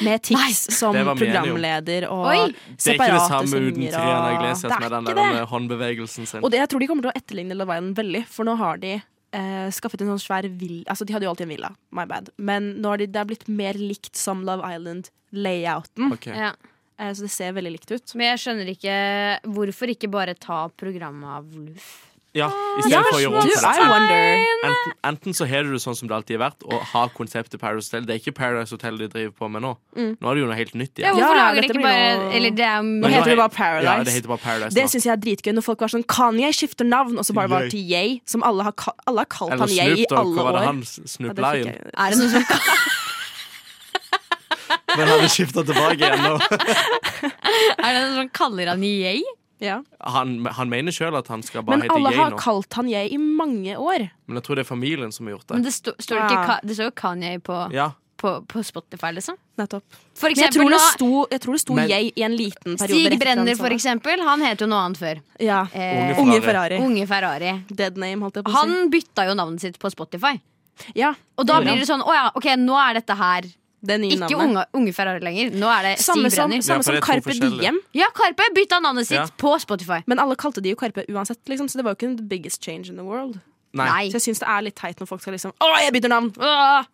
[SPEAKER 6] Med tics som
[SPEAKER 2] Det var meningen, jo.
[SPEAKER 6] programleder og
[SPEAKER 5] Oi.
[SPEAKER 2] Det er ikke det
[SPEAKER 6] separate
[SPEAKER 2] samme
[SPEAKER 6] sanger
[SPEAKER 2] uten
[SPEAKER 6] og-
[SPEAKER 2] Triana Iglesias
[SPEAKER 6] Det er
[SPEAKER 2] med den
[SPEAKER 6] ikke
[SPEAKER 2] der med håndbevegelsen sin.
[SPEAKER 6] Og det, jeg tror de kommer til å etterligne Love Island veldig, for nå har de eh, skaffet en sånn svær villa Altså, de hadde jo alltid en villa, my bad, men nå har de, det er blitt mer likt som Love Island-layouten,
[SPEAKER 2] Ok.
[SPEAKER 5] Ja.
[SPEAKER 6] eh, så det ser veldig likt ut.
[SPEAKER 5] Men jeg skjønner ikke hvorfor ikke bare ta programmet av Luff.
[SPEAKER 2] Ja, i stedet for å gjøre om
[SPEAKER 6] Du,
[SPEAKER 2] til det.
[SPEAKER 6] I wonder.
[SPEAKER 2] Enten, enten så har du det sånn som det alltid har vært, og har konseptet Paradise Hotel. Det er ikke Paradise Hotel de driver på med nå. Nå er det jo noe helt nytt
[SPEAKER 5] Ja,
[SPEAKER 2] igjen.
[SPEAKER 5] hvorfor
[SPEAKER 6] Ja,
[SPEAKER 5] lager de
[SPEAKER 6] dette
[SPEAKER 5] ikke
[SPEAKER 6] blir
[SPEAKER 5] bare
[SPEAKER 6] jo-
[SPEAKER 5] Eller det er
[SPEAKER 2] Men
[SPEAKER 6] Nå
[SPEAKER 2] nå
[SPEAKER 6] heter Mm. det bare
[SPEAKER 2] he- Ja,
[SPEAKER 6] Paradise.
[SPEAKER 2] det heter bare Paradise
[SPEAKER 6] Det
[SPEAKER 2] nå.
[SPEAKER 6] syns jeg er dritgøy når folk var sånn Kanye skifter navn, og så bare var det til Yay, som alle har, ka- alle har kalt
[SPEAKER 2] Eller
[SPEAKER 6] han Yay i
[SPEAKER 2] Snoop Dogg,
[SPEAKER 6] alle
[SPEAKER 2] hva var det
[SPEAKER 6] år.
[SPEAKER 2] han?
[SPEAKER 6] Ja,
[SPEAKER 2] Snoop
[SPEAKER 6] det fikk
[SPEAKER 2] Lion?
[SPEAKER 6] jeg-
[SPEAKER 5] Er det noe som
[SPEAKER 2] Men han har skifta tilbake igjen nå. <laughs>
[SPEAKER 5] Er det noen som kaller han yay?
[SPEAKER 6] Ja.
[SPEAKER 2] Han, han mener sjøl at han skal bare
[SPEAKER 6] Men
[SPEAKER 2] hete
[SPEAKER 6] alle
[SPEAKER 2] Yay
[SPEAKER 6] har
[SPEAKER 2] nå,
[SPEAKER 6] kalt han Yay i mange år.
[SPEAKER 2] men jeg tror det er familien som har gjort
[SPEAKER 5] Men
[SPEAKER 2] det.
[SPEAKER 5] det, sto, står det, ikke,
[SPEAKER 6] Ja.
[SPEAKER 5] Ka- det står jo Kanye på,
[SPEAKER 2] Ja,
[SPEAKER 5] på, på Spotify, liksom.
[SPEAKER 6] Nettopp.
[SPEAKER 5] For
[SPEAKER 6] Men jeg
[SPEAKER 5] eksempel
[SPEAKER 6] tror det
[SPEAKER 5] nå
[SPEAKER 6] sto, jeg tror det sto
[SPEAKER 2] Men-
[SPEAKER 6] Yay i en liten
[SPEAKER 5] Stig
[SPEAKER 6] periode. rett etter
[SPEAKER 5] Brenner,
[SPEAKER 6] han
[SPEAKER 5] for
[SPEAKER 6] sa-
[SPEAKER 5] eksempel. Han het jo noe annet før.
[SPEAKER 6] Ja.
[SPEAKER 5] Eh,
[SPEAKER 2] Unge
[SPEAKER 6] Unge
[SPEAKER 2] Ferrari.
[SPEAKER 6] Ferrari.
[SPEAKER 5] Unge Ferrari.
[SPEAKER 6] Dead name, holdt jeg på å
[SPEAKER 5] Han bytta jo navnet sitt på Spotify.
[SPEAKER 6] si. Ja,
[SPEAKER 5] Og da blir det sånn, å ja, ok, nå er dette her
[SPEAKER 6] det nye
[SPEAKER 5] ikke
[SPEAKER 6] navnet.
[SPEAKER 5] unge, unge Ferrari lenger. Nå er det
[SPEAKER 6] Samme
[SPEAKER 5] Stig
[SPEAKER 6] som,
[SPEAKER 5] Brenner.
[SPEAKER 2] Ja,
[SPEAKER 6] samme
[SPEAKER 2] for
[SPEAKER 6] som
[SPEAKER 2] det er to
[SPEAKER 6] Carpe
[SPEAKER 2] forskjellige.
[SPEAKER 6] Diem.
[SPEAKER 5] Ja, Karpe bytta navnet sitt
[SPEAKER 2] Ja.
[SPEAKER 5] på Spotify.
[SPEAKER 6] Men alle kalte de jo Carpe uansett, liksom, så det var jo ikke the biggest change in the world.
[SPEAKER 2] Nei.
[SPEAKER 5] Nei.
[SPEAKER 6] Så jeg syns det er litt teit når folk skal liksom Å, jeg bytter navn! Åh!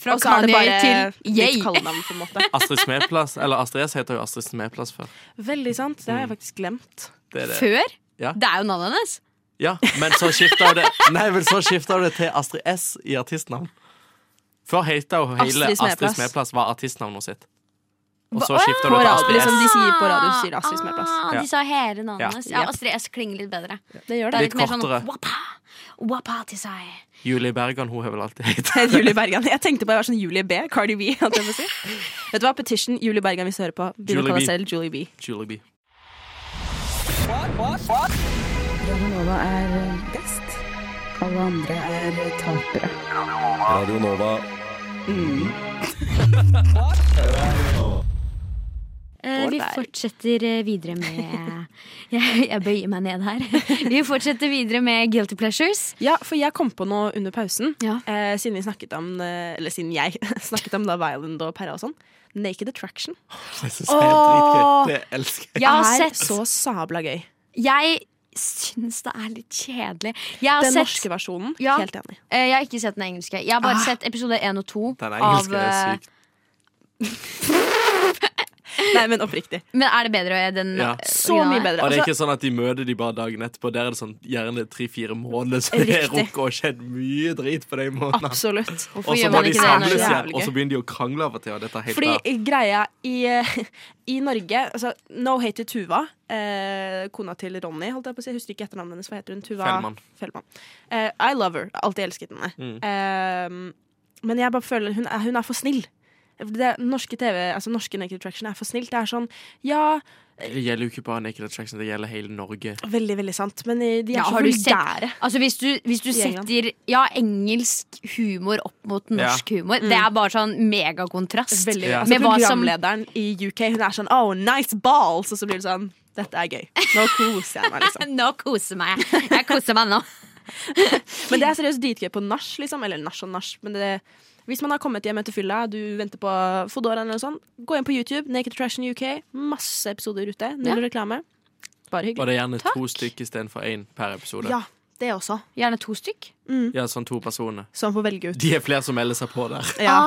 [SPEAKER 5] Fra
[SPEAKER 6] Og så er det
[SPEAKER 5] Kanye
[SPEAKER 6] bare
[SPEAKER 5] til Yay.
[SPEAKER 6] nytt kallenavn, på en måte. <laughs>
[SPEAKER 2] Astrid Smeplass, eller Astrid S heter jo Astrid Smeplass før.
[SPEAKER 6] Veldig sant. Det har
[SPEAKER 2] Mm.
[SPEAKER 6] jeg faktisk glemt.
[SPEAKER 2] Det er det.
[SPEAKER 5] Før?
[SPEAKER 2] Ja.
[SPEAKER 5] Det er jo navnet hennes.
[SPEAKER 2] Ja, men så skifta
[SPEAKER 6] <laughs>
[SPEAKER 2] hun det Nei, men så skifta hun det til Astrid S i artistnavn. Før heita hun hele
[SPEAKER 6] Astrid Smeplass.
[SPEAKER 2] Astrid Smeplass var artistnavnet sitt. Og så
[SPEAKER 5] Å,
[SPEAKER 2] skifta hun
[SPEAKER 6] På
[SPEAKER 2] det til
[SPEAKER 6] radio,
[SPEAKER 2] Astrid
[SPEAKER 6] liksom,
[SPEAKER 2] S.
[SPEAKER 6] de sier på radio så sier Astrid som er
[SPEAKER 5] Ah,
[SPEAKER 6] plass.
[SPEAKER 2] Ja.
[SPEAKER 5] de sa hele navnet
[SPEAKER 2] Ja.
[SPEAKER 5] hennes. Ja.
[SPEAKER 6] Ja.
[SPEAKER 5] Astrid S klinger litt bedre.
[SPEAKER 6] Det
[SPEAKER 5] Det er
[SPEAKER 6] gjør det.
[SPEAKER 2] Litt
[SPEAKER 5] litt mer sånn
[SPEAKER 2] kortere.
[SPEAKER 5] wapa, wapa til seg.
[SPEAKER 2] Julie Bergan, hun har vel alltid hett
[SPEAKER 6] Det
[SPEAKER 2] <laughs>
[SPEAKER 6] er Julie Bergan. Jeg tenkte på jeg var sånn Julie B. Cardi B. holdt jeg på å si. Vet du hva? Petition Julie Bergan hvis du hører på. Begynn å
[SPEAKER 2] Julie
[SPEAKER 6] kalle
[SPEAKER 2] B.
[SPEAKER 6] deg selv Julie B.
[SPEAKER 2] Julie B.
[SPEAKER 9] Radionova er best. Alle andre er tapere.
[SPEAKER 7] Radio Nova.
[SPEAKER 5] Eh, vi fortsetter eh, videre med <laughs> jeg, jeg bøyer meg ned <laughs> her. Vi fortsetter videre med Guilty Pleasures.
[SPEAKER 6] Ja, for jeg kom på noe under pausen.
[SPEAKER 5] Ja.
[SPEAKER 6] Eh, siden vi snakket om eh, Eller siden jeg <laughs> snakket om Love Island og Perra og sånn. Naked Attraction.
[SPEAKER 2] Jeg synes det er helt
[SPEAKER 6] Åh.
[SPEAKER 2] riktig. Det elsker jeg.
[SPEAKER 5] Jeg har
[SPEAKER 6] er
[SPEAKER 5] sett
[SPEAKER 6] så sabla gøy.
[SPEAKER 5] Jeg syns det er litt kjedelig. Jeg har,
[SPEAKER 6] Den
[SPEAKER 5] sett,
[SPEAKER 6] norske versjonen.
[SPEAKER 5] Ja.
[SPEAKER 6] Helt enig.
[SPEAKER 5] eh, jeg har ikke sett den engelske. Jeg har
[SPEAKER 6] Ah.
[SPEAKER 5] bare sett episode én og to.
[SPEAKER 2] Den
[SPEAKER 5] Av,
[SPEAKER 2] engelske er
[SPEAKER 5] eh,
[SPEAKER 2] syk.
[SPEAKER 6] Nei, men oppriktig.
[SPEAKER 5] men er det bedre eh, den
[SPEAKER 2] Ja.
[SPEAKER 6] Så mye bedre.
[SPEAKER 2] Og det er
[SPEAKER 6] Altså,
[SPEAKER 2] ikke sånn at de møter de bare dagen etterpå. Der er det sånn gjerne tre-fire måneder, så det
[SPEAKER 6] Riktig.
[SPEAKER 2] rukker å skjedd mye drit på de månedene.
[SPEAKER 6] absolutt.
[SPEAKER 2] Og så
[SPEAKER 5] gjør
[SPEAKER 2] må
[SPEAKER 5] man
[SPEAKER 2] de
[SPEAKER 5] ikke det når
[SPEAKER 2] samles
[SPEAKER 5] det er
[SPEAKER 2] igjen,
[SPEAKER 6] jævlig
[SPEAKER 2] og
[SPEAKER 6] gøy?
[SPEAKER 2] så begynner de å krangle av og til. Og dette er helt
[SPEAKER 6] Fordi
[SPEAKER 2] rart.
[SPEAKER 6] greia i, <laughs> i Norge altså, No hate to Tuva, eh, kona til Ronny, holdt jeg på å si. Jeg husker ikke etternavnet hennes. Hva heter hun? Tuva
[SPEAKER 2] Fellmann.
[SPEAKER 6] Fellmann. Eh, I love her. Alltid elsket henne.
[SPEAKER 2] Mm.
[SPEAKER 6] Eh, men jeg bare føler hun er, hun er for snill. det norske TV, altså norske Naked Attraction er for snilt. Det er sånn, ja,
[SPEAKER 2] Det gjelder jo ikke bare Naked Attraction, det gjelder hele Norge.
[SPEAKER 6] veldig, veldig sant, men eh, de
[SPEAKER 5] Ja,
[SPEAKER 6] er så
[SPEAKER 5] har du sett-
[SPEAKER 6] vulgære.
[SPEAKER 5] Altså Hvis du, hvis du
[SPEAKER 6] I England.
[SPEAKER 5] setter ja, engelsk humor opp mot norsk humor, det er bare sånn megakontrast.
[SPEAKER 6] Mm. Veldig,
[SPEAKER 2] Ja.
[SPEAKER 6] altså,
[SPEAKER 5] Med hva som-
[SPEAKER 6] programlederen i UK hun er sånn Oh, nice balls! Og så blir det sånn Dette er gøy. Nå koser jeg meg, liksom.
[SPEAKER 5] <laughs> Nå koser meg. Jeg koser meg
[SPEAKER 6] <laughs>
[SPEAKER 5] nå.
[SPEAKER 6] Men det er seriøst dritgøy på nach, liksom. Eller nach og nach. Men det, hvis man har kommet hjem etter fylla, du venter på Foodora eller noe sånt, gå inn på YouTube. Naked Attraction UK. Masse episoder ute. Null reklame. Bare
[SPEAKER 2] Og
[SPEAKER 6] hyggelig.
[SPEAKER 2] det er gjerne to stykker istedenfor én per episode. Ja.
[SPEAKER 6] Ja, det også.
[SPEAKER 5] Gjerne to stykk.
[SPEAKER 2] sånn to personer.
[SPEAKER 6] Så man får velge <laughs> ut.
[SPEAKER 2] De er flere som melder seg på der.
[SPEAKER 6] Ja.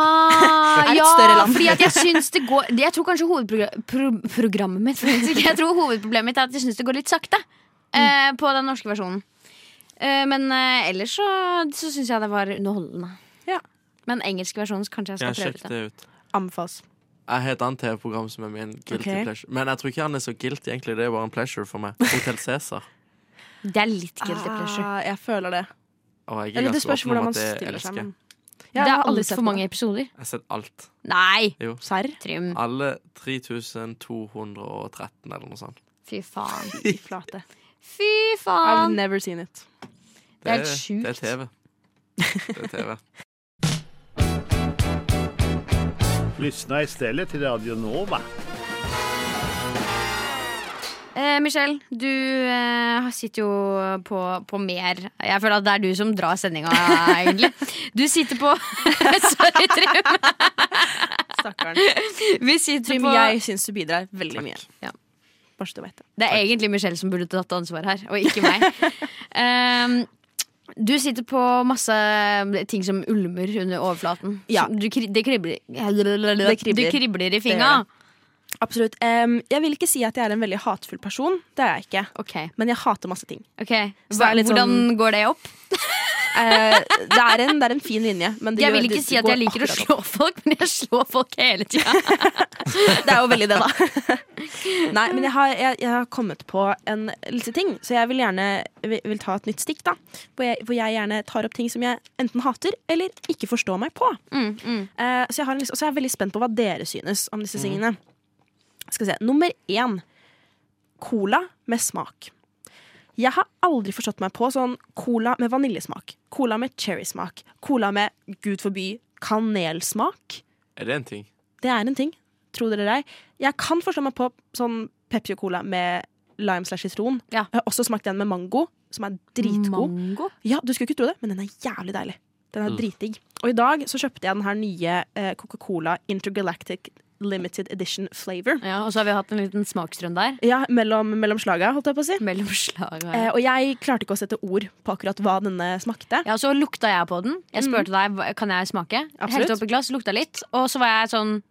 [SPEAKER 6] <laughs>
[SPEAKER 5] Ah,
[SPEAKER 6] et
[SPEAKER 5] ja,
[SPEAKER 6] større land.
[SPEAKER 5] fordi at jeg syns det går Jeg tror kanskje hovedprogrammet mitt Jeg tror hovedproblemet mitt er at jeg syns det går litt sakte eh,
[SPEAKER 6] Mm.
[SPEAKER 5] på den norske versjonen. Eh, men eh, ellers så, så syns jeg det var underholdende.
[SPEAKER 6] Ja.
[SPEAKER 5] Men engelske versjonen så kanskje jeg
[SPEAKER 2] Ja,
[SPEAKER 5] skal
[SPEAKER 2] sjekk
[SPEAKER 5] prøve ut.
[SPEAKER 2] det ut.
[SPEAKER 6] Anbefales.
[SPEAKER 2] Jeg har et annet TV-program som er min guilty
[SPEAKER 6] Ok.
[SPEAKER 2] pleasure. Men jeg tror ikke han er så guilty, egentlig. Det er bare en pleasure for meg. Hotel Cæsar.
[SPEAKER 5] Det. det er litt guilty pleasure.
[SPEAKER 6] Ah, jeg føler det.
[SPEAKER 2] Og jeg er
[SPEAKER 6] Eller det
[SPEAKER 2] ganske
[SPEAKER 6] spørs
[SPEAKER 2] åpen om
[SPEAKER 6] hvordan man
[SPEAKER 2] at jeg
[SPEAKER 6] stiller seg.
[SPEAKER 2] elsker.
[SPEAKER 6] men-
[SPEAKER 2] Jeg
[SPEAKER 6] Ja, jeg
[SPEAKER 5] det
[SPEAKER 6] har
[SPEAKER 5] er
[SPEAKER 6] aldri sett
[SPEAKER 5] altfor mange
[SPEAKER 6] det.
[SPEAKER 5] episoder.
[SPEAKER 2] har sett alt.
[SPEAKER 5] Nei!
[SPEAKER 2] <laughs>
[SPEAKER 6] Serr?
[SPEAKER 5] Trym.
[SPEAKER 2] Alle 3213 eller noe sånt.
[SPEAKER 5] Fy faen.
[SPEAKER 6] I flate.
[SPEAKER 5] Fy
[SPEAKER 6] I've
[SPEAKER 5] faen!
[SPEAKER 6] never seen it.
[SPEAKER 5] Det er helt sjukt.
[SPEAKER 2] Det er TV. Det er TV.
[SPEAKER 10] Lyssna istället till Radio Nova.
[SPEAKER 5] Eh, Michelle, du eh, sitter jo på, på mer Jeg føler at det er du som drar sendinga, egentlig. Du sitter på <laughs> Sorry, Trym.
[SPEAKER 6] Stakkaren.
[SPEAKER 5] Vi sitter
[SPEAKER 6] Trym,
[SPEAKER 5] på
[SPEAKER 6] jeg syns du bidrar veldig mye.
[SPEAKER 5] Ja.
[SPEAKER 6] Bare så du vet det.
[SPEAKER 5] Det er egentlig Michelle som burde tatt ansvar her, og ikke meg. Ehm, du sitter på masse eh, ting som ulmer under overflaten.
[SPEAKER 6] Ja.
[SPEAKER 5] Som Du, kri- det kribler
[SPEAKER 6] kribler.
[SPEAKER 5] Du kribler i
[SPEAKER 6] gjør
[SPEAKER 5] fingra.
[SPEAKER 6] Absolutt. Em, jeg vil ikke si at jeg er en veldig hatefull person. Det er jeg ikke.
[SPEAKER 5] Ok,
[SPEAKER 6] Men jeg hater masse ting.
[SPEAKER 5] ok
[SPEAKER 6] Så det
[SPEAKER 5] Hva,
[SPEAKER 6] er litt sånn-
[SPEAKER 5] Hvordan går det opp?
[SPEAKER 6] Eh, det, er en, det er en fin linje. Men det
[SPEAKER 5] Jeg
[SPEAKER 6] gjør-
[SPEAKER 5] vil ikke
[SPEAKER 6] det-
[SPEAKER 5] si
[SPEAKER 6] det
[SPEAKER 5] at jeg
[SPEAKER 6] går
[SPEAKER 5] liker å
[SPEAKER 6] akkurat opp.
[SPEAKER 5] slå folk, <laughs> men jeg slår folk hele tida.
[SPEAKER 6] Det er jo veldig det, da.
[SPEAKER 5] <laughs>
[SPEAKER 6] Nei, men jeg har, jeg, jeg har kommet på en liten ting, så jeg vil gjerne vil, vil ta et nytt stikk. da hvor jeg, hvor jeg gjerne tar opp ting som jeg enten hater eller ikke forstår meg på. Eh, så jeg har en, liste- og så er jeg veldig spent på hva dere synes om
[SPEAKER 5] Mm.
[SPEAKER 6] disse tingene. Skal vi se. Nummer én. Cola med smak. Jeg har aldri forstått meg på sånn cola med vaniljesmak, cola med cherrysmak, cola med gud forby kanelsmak.
[SPEAKER 2] Er det en ting?
[SPEAKER 6] Det er en ting. Tro det eller ei. Jeg kan forstå meg på sånn Pepsi Cola med lime slash sitron.
[SPEAKER 5] Ja.
[SPEAKER 6] Jeg har også smakt den med mango, som er dritgod.
[SPEAKER 5] Mango?
[SPEAKER 6] Ja, du skulle ikke tro det, men den er jævlig deilig. Den er
[SPEAKER 2] Mm.
[SPEAKER 6] dritdigg. Og i dag så kjøpte jeg den her nye eh, Coca-Cola Intergalactic Limited Edition Flavor.
[SPEAKER 5] Ja, og så har vi hatt en liten smaksrunde der.
[SPEAKER 6] Ja, mellom, mellom slaga, holdt jeg på å si.
[SPEAKER 5] Mellom slag og
[SPEAKER 6] Eh, og jeg klarte ikke å sette ord på akkurat hva denne smakte.
[SPEAKER 5] Ja, så lukta jeg på den. Jeg spurte deg "Hva- kan jeg smake.
[SPEAKER 6] Mhm. Absolutt.
[SPEAKER 5] Helte opp i glass, lukta litt. Og så var jeg sånn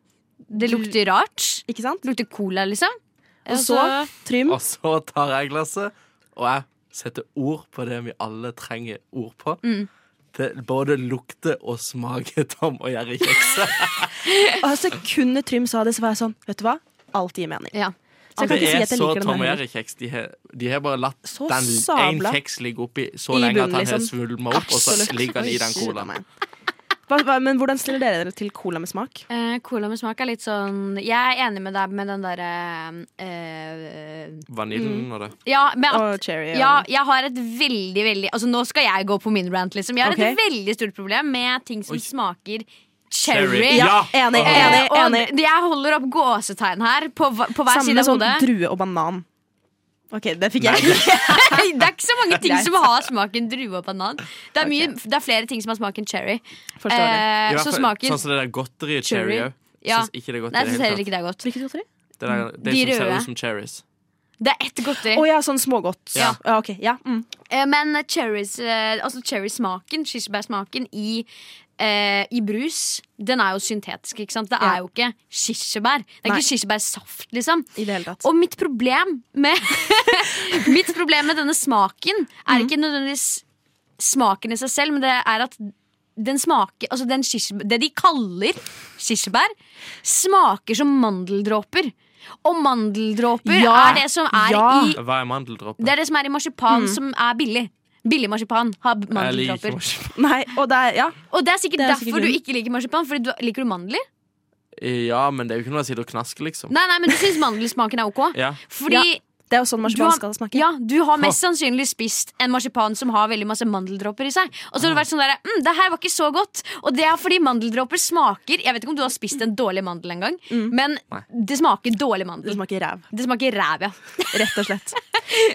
[SPEAKER 5] Det lukter rart.
[SPEAKER 6] Ikke sant?
[SPEAKER 5] Det lukter cola, liksom.
[SPEAKER 6] Og så, Trym,
[SPEAKER 2] <laughs> Og så tar jeg glasset, og jeg setter ord på det vi alle trenger ord på.
[SPEAKER 6] Mm.
[SPEAKER 2] Det både lukter og smaker Tom og Jerry-kjekse.
[SPEAKER 6] og sekundet Trym sa det, så var jeg sånn, vet du hva? Alt gir mening.
[SPEAKER 5] ja.
[SPEAKER 6] Så
[SPEAKER 2] Det
[SPEAKER 6] jeg kan ikke si
[SPEAKER 2] er
[SPEAKER 6] at jeg
[SPEAKER 2] så
[SPEAKER 6] liker den
[SPEAKER 2] Tom og
[SPEAKER 6] her.
[SPEAKER 2] Jerry-kjeks. De, har- de har bare latt
[SPEAKER 6] Så
[SPEAKER 2] den én
[SPEAKER 6] sabla.
[SPEAKER 2] kjeks ligge oppi så
[SPEAKER 6] I
[SPEAKER 2] lenge at
[SPEAKER 6] bunnen,
[SPEAKER 2] han har
[SPEAKER 6] liksom.
[SPEAKER 2] svulma opp, og så
[SPEAKER 6] Absolutt.
[SPEAKER 2] ligger han i den
[SPEAKER 6] Oi, shit,
[SPEAKER 2] colaen.
[SPEAKER 6] amen. Hva, hva, men hvordan stiller dere dere til cola med smak?
[SPEAKER 5] Eh, cola med smak er litt sånn Jeg er enig med deg med den derre eh,
[SPEAKER 2] Vaniljen
[SPEAKER 6] Mm.
[SPEAKER 2] og det.
[SPEAKER 5] Ja, med at
[SPEAKER 6] Og cherry?
[SPEAKER 5] Ja,
[SPEAKER 6] og,
[SPEAKER 5] jeg har et veldig, veldig Altså Nå skal jeg gå på min rant, liksom. Jeg har
[SPEAKER 6] Ok.
[SPEAKER 5] et veldig stort problem med ting som
[SPEAKER 2] Oi.
[SPEAKER 5] smaker cherry.
[SPEAKER 2] Cherry.
[SPEAKER 5] Ja.
[SPEAKER 2] Ja.
[SPEAKER 6] Enig, enig,
[SPEAKER 5] Eh, og
[SPEAKER 6] enig.
[SPEAKER 5] jeg holder opp gåsetegn her på, hva- på hver
[SPEAKER 6] Samme
[SPEAKER 5] side
[SPEAKER 6] med
[SPEAKER 5] av
[SPEAKER 6] sånn
[SPEAKER 5] hodet. <laughs>
[SPEAKER 6] drue og banan. OK, det fikk
[SPEAKER 2] Nei,
[SPEAKER 6] jeg.
[SPEAKER 5] det er ikke så mange ting
[SPEAKER 6] Greit.
[SPEAKER 5] som har smaken drue og banan. Det er, mye, det er flere ting som har smaken cherry.
[SPEAKER 6] Forstår det.
[SPEAKER 5] Eh,
[SPEAKER 2] I hvert
[SPEAKER 5] så
[SPEAKER 2] fall,
[SPEAKER 5] smaken
[SPEAKER 2] Sånn som det der godteriet
[SPEAKER 5] Cherry.
[SPEAKER 2] cherry òg.
[SPEAKER 5] Ja.
[SPEAKER 2] Syns ikke det er godt
[SPEAKER 5] Nei,
[SPEAKER 2] i
[SPEAKER 5] jeg
[SPEAKER 2] det
[SPEAKER 5] syns
[SPEAKER 2] hele
[SPEAKER 5] heller
[SPEAKER 2] tatt.
[SPEAKER 5] ikke det er godt.
[SPEAKER 6] Hvilket godteri?
[SPEAKER 2] Det, der, det
[SPEAKER 5] De
[SPEAKER 2] som ser
[SPEAKER 5] røde.
[SPEAKER 2] ut som cherries.
[SPEAKER 5] Det er ett godteri.
[SPEAKER 6] Å ja, sånn smågodt.
[SPEAKER 2] Ja.
[SPEAKER 6] Ja, ok, ja. Mm.
[SPEAKER 5] Eh, men cherries, eh, altså cherrysmaken, kirsebærsmaken, i eh, i brus, den er jo syntetisk. ikke sant? Det
[SPEAKER 6] Ja.
[SPEAKER 5] er jo ikke kirsebær. Det er
[SPEAKER 6] Nei.
[SPEAKER 5] ikke kirsebærsaft, liksom.
[SPEAKER 6] I det hele tatt.
[SPEAKER 5] Og mitt problem med <laughs> Mitt problem med denne smaken er ikke nødvendigvis smaken i seg selv, men det er at den smaker Altså den kirsebær, det de kaller kirsebær, smaker som mandeldråper. Og mandeldråper
[SPEAKER 6] Ja,
[SPEAKER 5] er det som er
[SPEAKER 6] ja.
[SPEAKER 5] i
[SPEAKER 2] Hva er mandeldråper?
[SPEAKER 5] Det er det som er i marsipan, som er billig. Billig marsipan har
[SPEAKER 2] Jeg liker ikke
[SPEAKER 5] mandeldråper.
[SPEAKER 2] marsipan.
[SPEAKER 6] Nei, og det er, ja.
[SPEAKER 5] Og det er sikkert
[SPEAKER 6] Det er sikkert
[SPEAKER 5] derfor du
[SPEAKER 6] grunnen.
[SPEAKER 5] ikke liker marsipan. Fordi du, liker du mandler?
[SPEAKER 2] Ja, men det er jo ikke noe jeg sitter og knasker, liksom.
[SPEAKER 5] Nei, nei, men du syns mandelsmaken er ok?
[SPEAKER 2] Ja.
[SPEAKER 5] Fordi
[SPEAKER 6] Ja, Det er jo
[SPEAKER 5] du
[SPEAKER 6] sånn marsipan
[SPEAKER 5] har,
[SPEAKER 6] skal smake.
[SPEAKER 5] ja, du har mest sannsynlig spist en marsipan som har veldig masse mandeldråper i seg. Og så har du vært sånn der, mm, det her var ikke så godt Og det er fordi mandeldråper smaker Jeg vet ikke om du har spist en dårlig mandel en gang, men det smaker dårlig
[SPEAKER 6] Det
[SPEAKER 5] mandel.
[SPEAKER 6] smaker ræv.
[SPEAKER 5] Det smaker ræv, ja.
[SPEAKER 6] Rett og slett.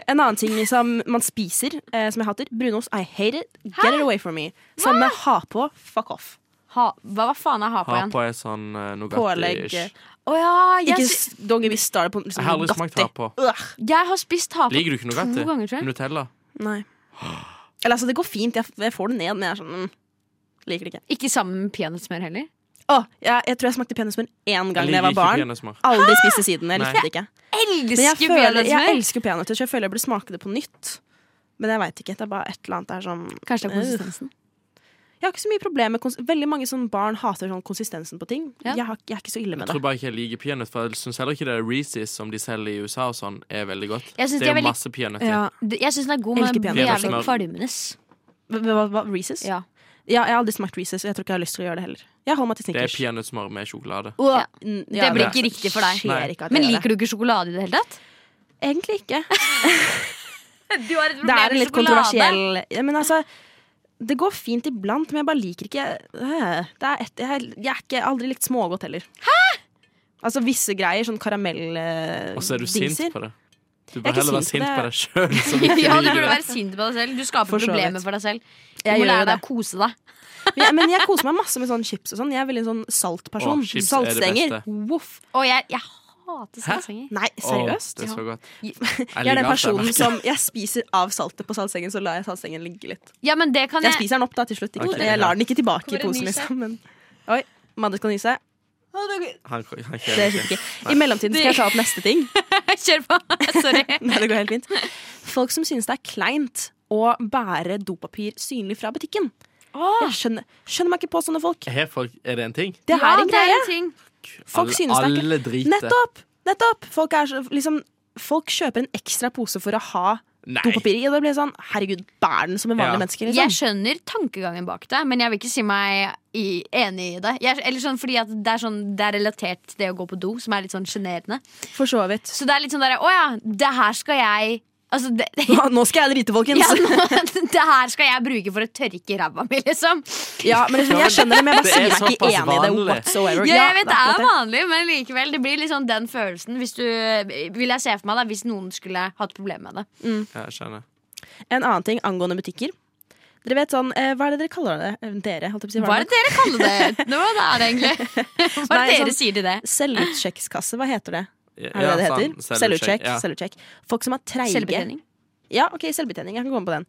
[SPEAKER 6] En annen ting som man spiser, eh, som jeg hater. Brunost. I hate it. Get it away from me. Samme med ha på. Fuck off.
[SPEAKER 5] Ha, hva, hva faen er ha på
[SPEAKER 2] Ha
[SPEAKER 5] igjen?
[SPEAKER 2] på ei sånn uh,
[SPEAKER 6] Pålegg.
[SPEAKER 2] Nugatti-ish.
[SPEAKER 6] eh,
[SPEAKER 5] Å ja,
[SPEAKER 6] Ikke
[SPEAKER 5] jeg,
[SPEAKER 6] s- don't get me started på liksom,
[SPEAKER 2] Jeg har aldri smakt ha på.
[SPEAKER 6] Ugh,
[SPEAKER 5] sy- jeg har spist ha på
[SPEAKER 2] Liker du ikke
[SPEAKER 5] to ganger, tror
[SPEAKER 2] Nugatti?
[SPEAKER 5] jeg.
[SPEAKER 2] Nutella?
[SPEAKER 6] Nei. Eller altså, det går fint. Jeg, f- jeg får det ned, men jeg er sånn mm, Liker det ikke.
[SPEAKER 5] Ikke sammen med peanøttsmør heller.
[SPEAKER 6] Å, jeg, jeg tror jeg smakte peanøttsmør én gang
[SPEAKER 2] Jeg
[SPEAKER 6] da jeg
[SPEAKER 2] liker
[SPEAKER 6] var
[SPEAKER 2] ikke
[SPEAKER 6] barn.
[SPEAKER 2] peanøttsmør.
[SPEAKER 6] Aldri spiste siden. Jeg
[SPEAKER 2] Nei.
[SPEAKER 6] likte det ikke. Men jeg,
[SPEAKER 5] Elsker
[SPEAKER 6] føler, jeg
[SPEAKER 5] peanøttsmør!
[SPEAKER 6] elsker peanøtter, så jeg føler jeg burde smake det på nytt. Men jeg veit ikke. Det er bare et eller annet der som
[SPEAKER 5] Kanskje det er
[SPEAKER 6] Øh.
[SPEAKER 5] konsistensen.
[SPEAKER 6] Jeg har ikke så mye problem med kons- Veldig mange sånn barn hater sånn konsistensen på ting.
[SPEAKER 5] Ja.
[SPEAKER 6] Jeg, har, jeg er ikke så ille med
[SPEAKER 2] Jeg tror
[SPEAKER 6] det.
[SPEAKER 2] bare ikke jeg liker peanøtt, for jeg syns heller ikke det er Reese's som de selger i USA og sånn, er veldig godt.
[SPEAKER 5] Jeg synes
[SPEAKER 2] det
[SPEAKER 5] de
[SPEAKER 2] er
[SPEAKER 5] er
[SPEAKER 2] jo
[SPEAKER 5] veldig-
[SPEAKER 2] masse peanøtter.
[SPEAKER 6] Ja.
[SPEAKER 5] Det- Jeg syns den er god, men
[SPEAKER 6] Elsker
[SPEAKER 5] den blir
[SPEAKER 2] peanøttsmør.
[SPEAKER 5] jævlig kvalmende.
[SPEAKER 6] Hva, hva, hva, Reeses? Ja.
[SPEAKER 5] Ja.
[SPEAKER 6] jeg har aldri smakt Reeses, og jeg tror ikke jeg har lyst til å gjøre det heller. Jeg holder meg til
[SPEAKER 2] Det er
[SPEAKER 6] Snickers.
[SPEAKER 2] peanøttsmør med sjokolade.
[SPEAKER 5] Ja.
[SPEAKER 6] Mm,
[SPEAKER 5] Det blir
[SPEAKER 2] det-
[SPEAKER 5] ikke riktig for deg.
[SPEAKER 6] skjer ikke at
[SPEAKER 5] Men
[SPEAKER 6] jeg gjør
[SPEAKER 5] liker du ikke sjokolade i det hele tatt?
[SPEAKER 6] det. Egentlig ikke.
[SPEAKER 5] Du har et
[SPEAKER 6] Det er en litt kontroversiell ja, Men altså det går fint iblant, men jeg bare liker ikke øh, det er et, Jeg, jeg er ikke, aldri likt smågodt heller. Hæ? Altså visse greier, sånn øh,
[SPEAKER 2] Og så er du sint
[SPEAKER 6] karamelldiser.
[SPEAKER 2] på det. Du
[SPEAKER 6] Jeg er
[SPEAKER 2] bør
[SPEAKER 6] ikke
[SPEAKER 2] heller være
[SPEAKER 6] sint
[SPEAKER 2] sint
[SPEAKER 6] på
[SPEAKER 2] på
[SPEAKER 6] det.
[SPEAKER 2] deg sjøl.
[SPEAKER 6] <laughs>
[SPEAKER 5] Ja, du burde være sint på deg selv. Du skaper
[SPEAKER 6] For så vidt.
[SPEAKER 5] problemer for deg selv. Du
[SPEAKER 6] Jeg
[SPEAKER 5] må
[SPEAKER 6] gjør jo
[SPEAKER 5] lære deg
[SPEAKER 6] det.
[SPEAKER 5] å kose deg.
[SPEAKER 6] Men jeg, men jeg koser meg masse med sånn chips og sånn. Jeg er veldig en sånn salt person.
[SPEAKER 2] Åh, chips er det
[SPEAKER 6] Saltstenger.
[SPEAKER 2] beste.
[SPEAKER 6] Voff.
[SPEAKER 5] Og jeg, jeg hater saltstenger.
[SPEAKER 6] Nei, seriøst?
[SPEAKER 2] Det er så godt.
[SPEAKER 6] <laughs> Jeg er den
[SPEAKER 2] liker alt
[SPEAKER 6] personen
[SPEAKER 2] merket.
[SPEAKER 6] som jeg spiser av saltet på saltsengen, så lar jeg saltsengen ligge litt.
[SPEAKER 5] Ja, men det kan
[SPEAKER 6] Jeg
[SPEAKER 5] jeg.
[SPEAKER 6] spiser den opp da til slutt. Ikke?
[SPEAKER 2] Ok.
[SPEAKER 6] Jeg lar den ikke tilbake i
[SPEAKER 5] Kommer det
[SPEAKER 6] posen,
[SPEAKER 5] nys her?
[SPEAKER 6] liksom. Men... Oi, Madde skal nyse.
[SPEAKER 2] <laughs> Han, han
[SPEAKER 6] Det
[SPEAKER 2] kjenner
[SPEAKER 6] er
[SPEAKER 2] ikke.
[SPEAKER 6] ikke. I mellomtiden skal jeg ta opp neste
[SPEAKER 5] <laughs>
[SPEAKER 6] ting.
[SPEAKER 5] <laughs> Kjør på. Sorry.
[SPEAKER 6] Nei, det går helt fint. Folk som synes det er kleint å bære dopapir synlig fra butikken.
[SPEAKER 5] Ah.
[SPEAKER 6] Jeg skjønner, skjønner meg ikke på sånne folk.
[SPEAKER 2] Her folk, er det en ting?
[SPEAKER 6] Det her er en greie.
[SPEAKER 5] ting.
[SPEAKER 6] Folk
[SPEAKER 2] alle,
[SPEAKER 6] synes det er
[SPEAKER 2] alle driter.
[SPEAKER 6] Nettopp! Nettopp! Folk, er, så- liksom, folk kjøper en ekstra pose for å ha
[SPEAKER 2] Nei.
[SPEAKER 6] dopapir i, og da blir det sånn Herregud, bær den som en vanlig
[SPEAKER 2] Ja.
[SPEAKER 6] menneske. Liksom.
[SPEAKER 5] Jeg skjønner tankegangen bak det, men jeg vil ikke si meg i, enig i det. Jeg, eller sånn, fordi at det, er sånn, det er relatert til det å gå på do, som er litt sånn sjenerende.
[SPEAKER 6] For så vidt. <laughs>
[SPEAKER 5] Så det er litt sånn derre Å ja, det her skal jeg Altså, det, <laughs>
[SPEAKER 6] Nå nå skal jeg drite, folkens!
[SPEAKER 5] ja, nå, <laughs> det her skal jeg bruke for å tørke ræva mi, liksom.
[SPEAKER 6] Ja, men liksom, jeg skjønner det, men jeg
[SPEAKER 2] Det er
[SPEAKER 6] bare sier meg ikke
[SPEAKER 2] såpass
[SPEAKER 6] enig i det
[SPEAKER 2] vanlig.
[SPEAKER 6] whatsoever.
[SPEAKER 5] Ja, jeg vet det er
[SPEAKER 6] akkurat
[SPEAKER 5] vanlig, men likevel. Det blir liksom den følelsen hvis du, Vil jeg se for meg da, hvis noen skulle hatt problemer med det.
[SPEAKER 2] Jeg skjønner.
[SPEAKER 6] det. En annen ting angående butikker. Dere vet sånn, eh, Hva er det dere kaller det? Eh, Dere, holdt jeg på å si. hva
[SPEAKER 5] Hva er
[SPEAKER 6] er
[SPEAKER 5] det dere kaller det? <laughs> Nå, hva er det egentlig? Hva er
[SPEAKER 6] Nei,
[SPEAKER 5] det dere
[SPEAKER 6] sånn-
[SPEAKER 5] sier til det?
[SPEAKER 6] Selvutsjekkskasse, hva heter det?
[SPEAKER 2] Ja,
[SPEAKER 6] Er det det det
[SPEAKER 2] sant.
[SPEAKER 6] heter? Selvutsjekk.
[SPEAKER 2] Ja.
[SPEAKER 6] Selvutsjekk. Folk som er treige.
[SPEAKER 5] Selvbetjening?
[SPEAKER 6] Ja, ok, selvbetjening. Jeg kan komme på den.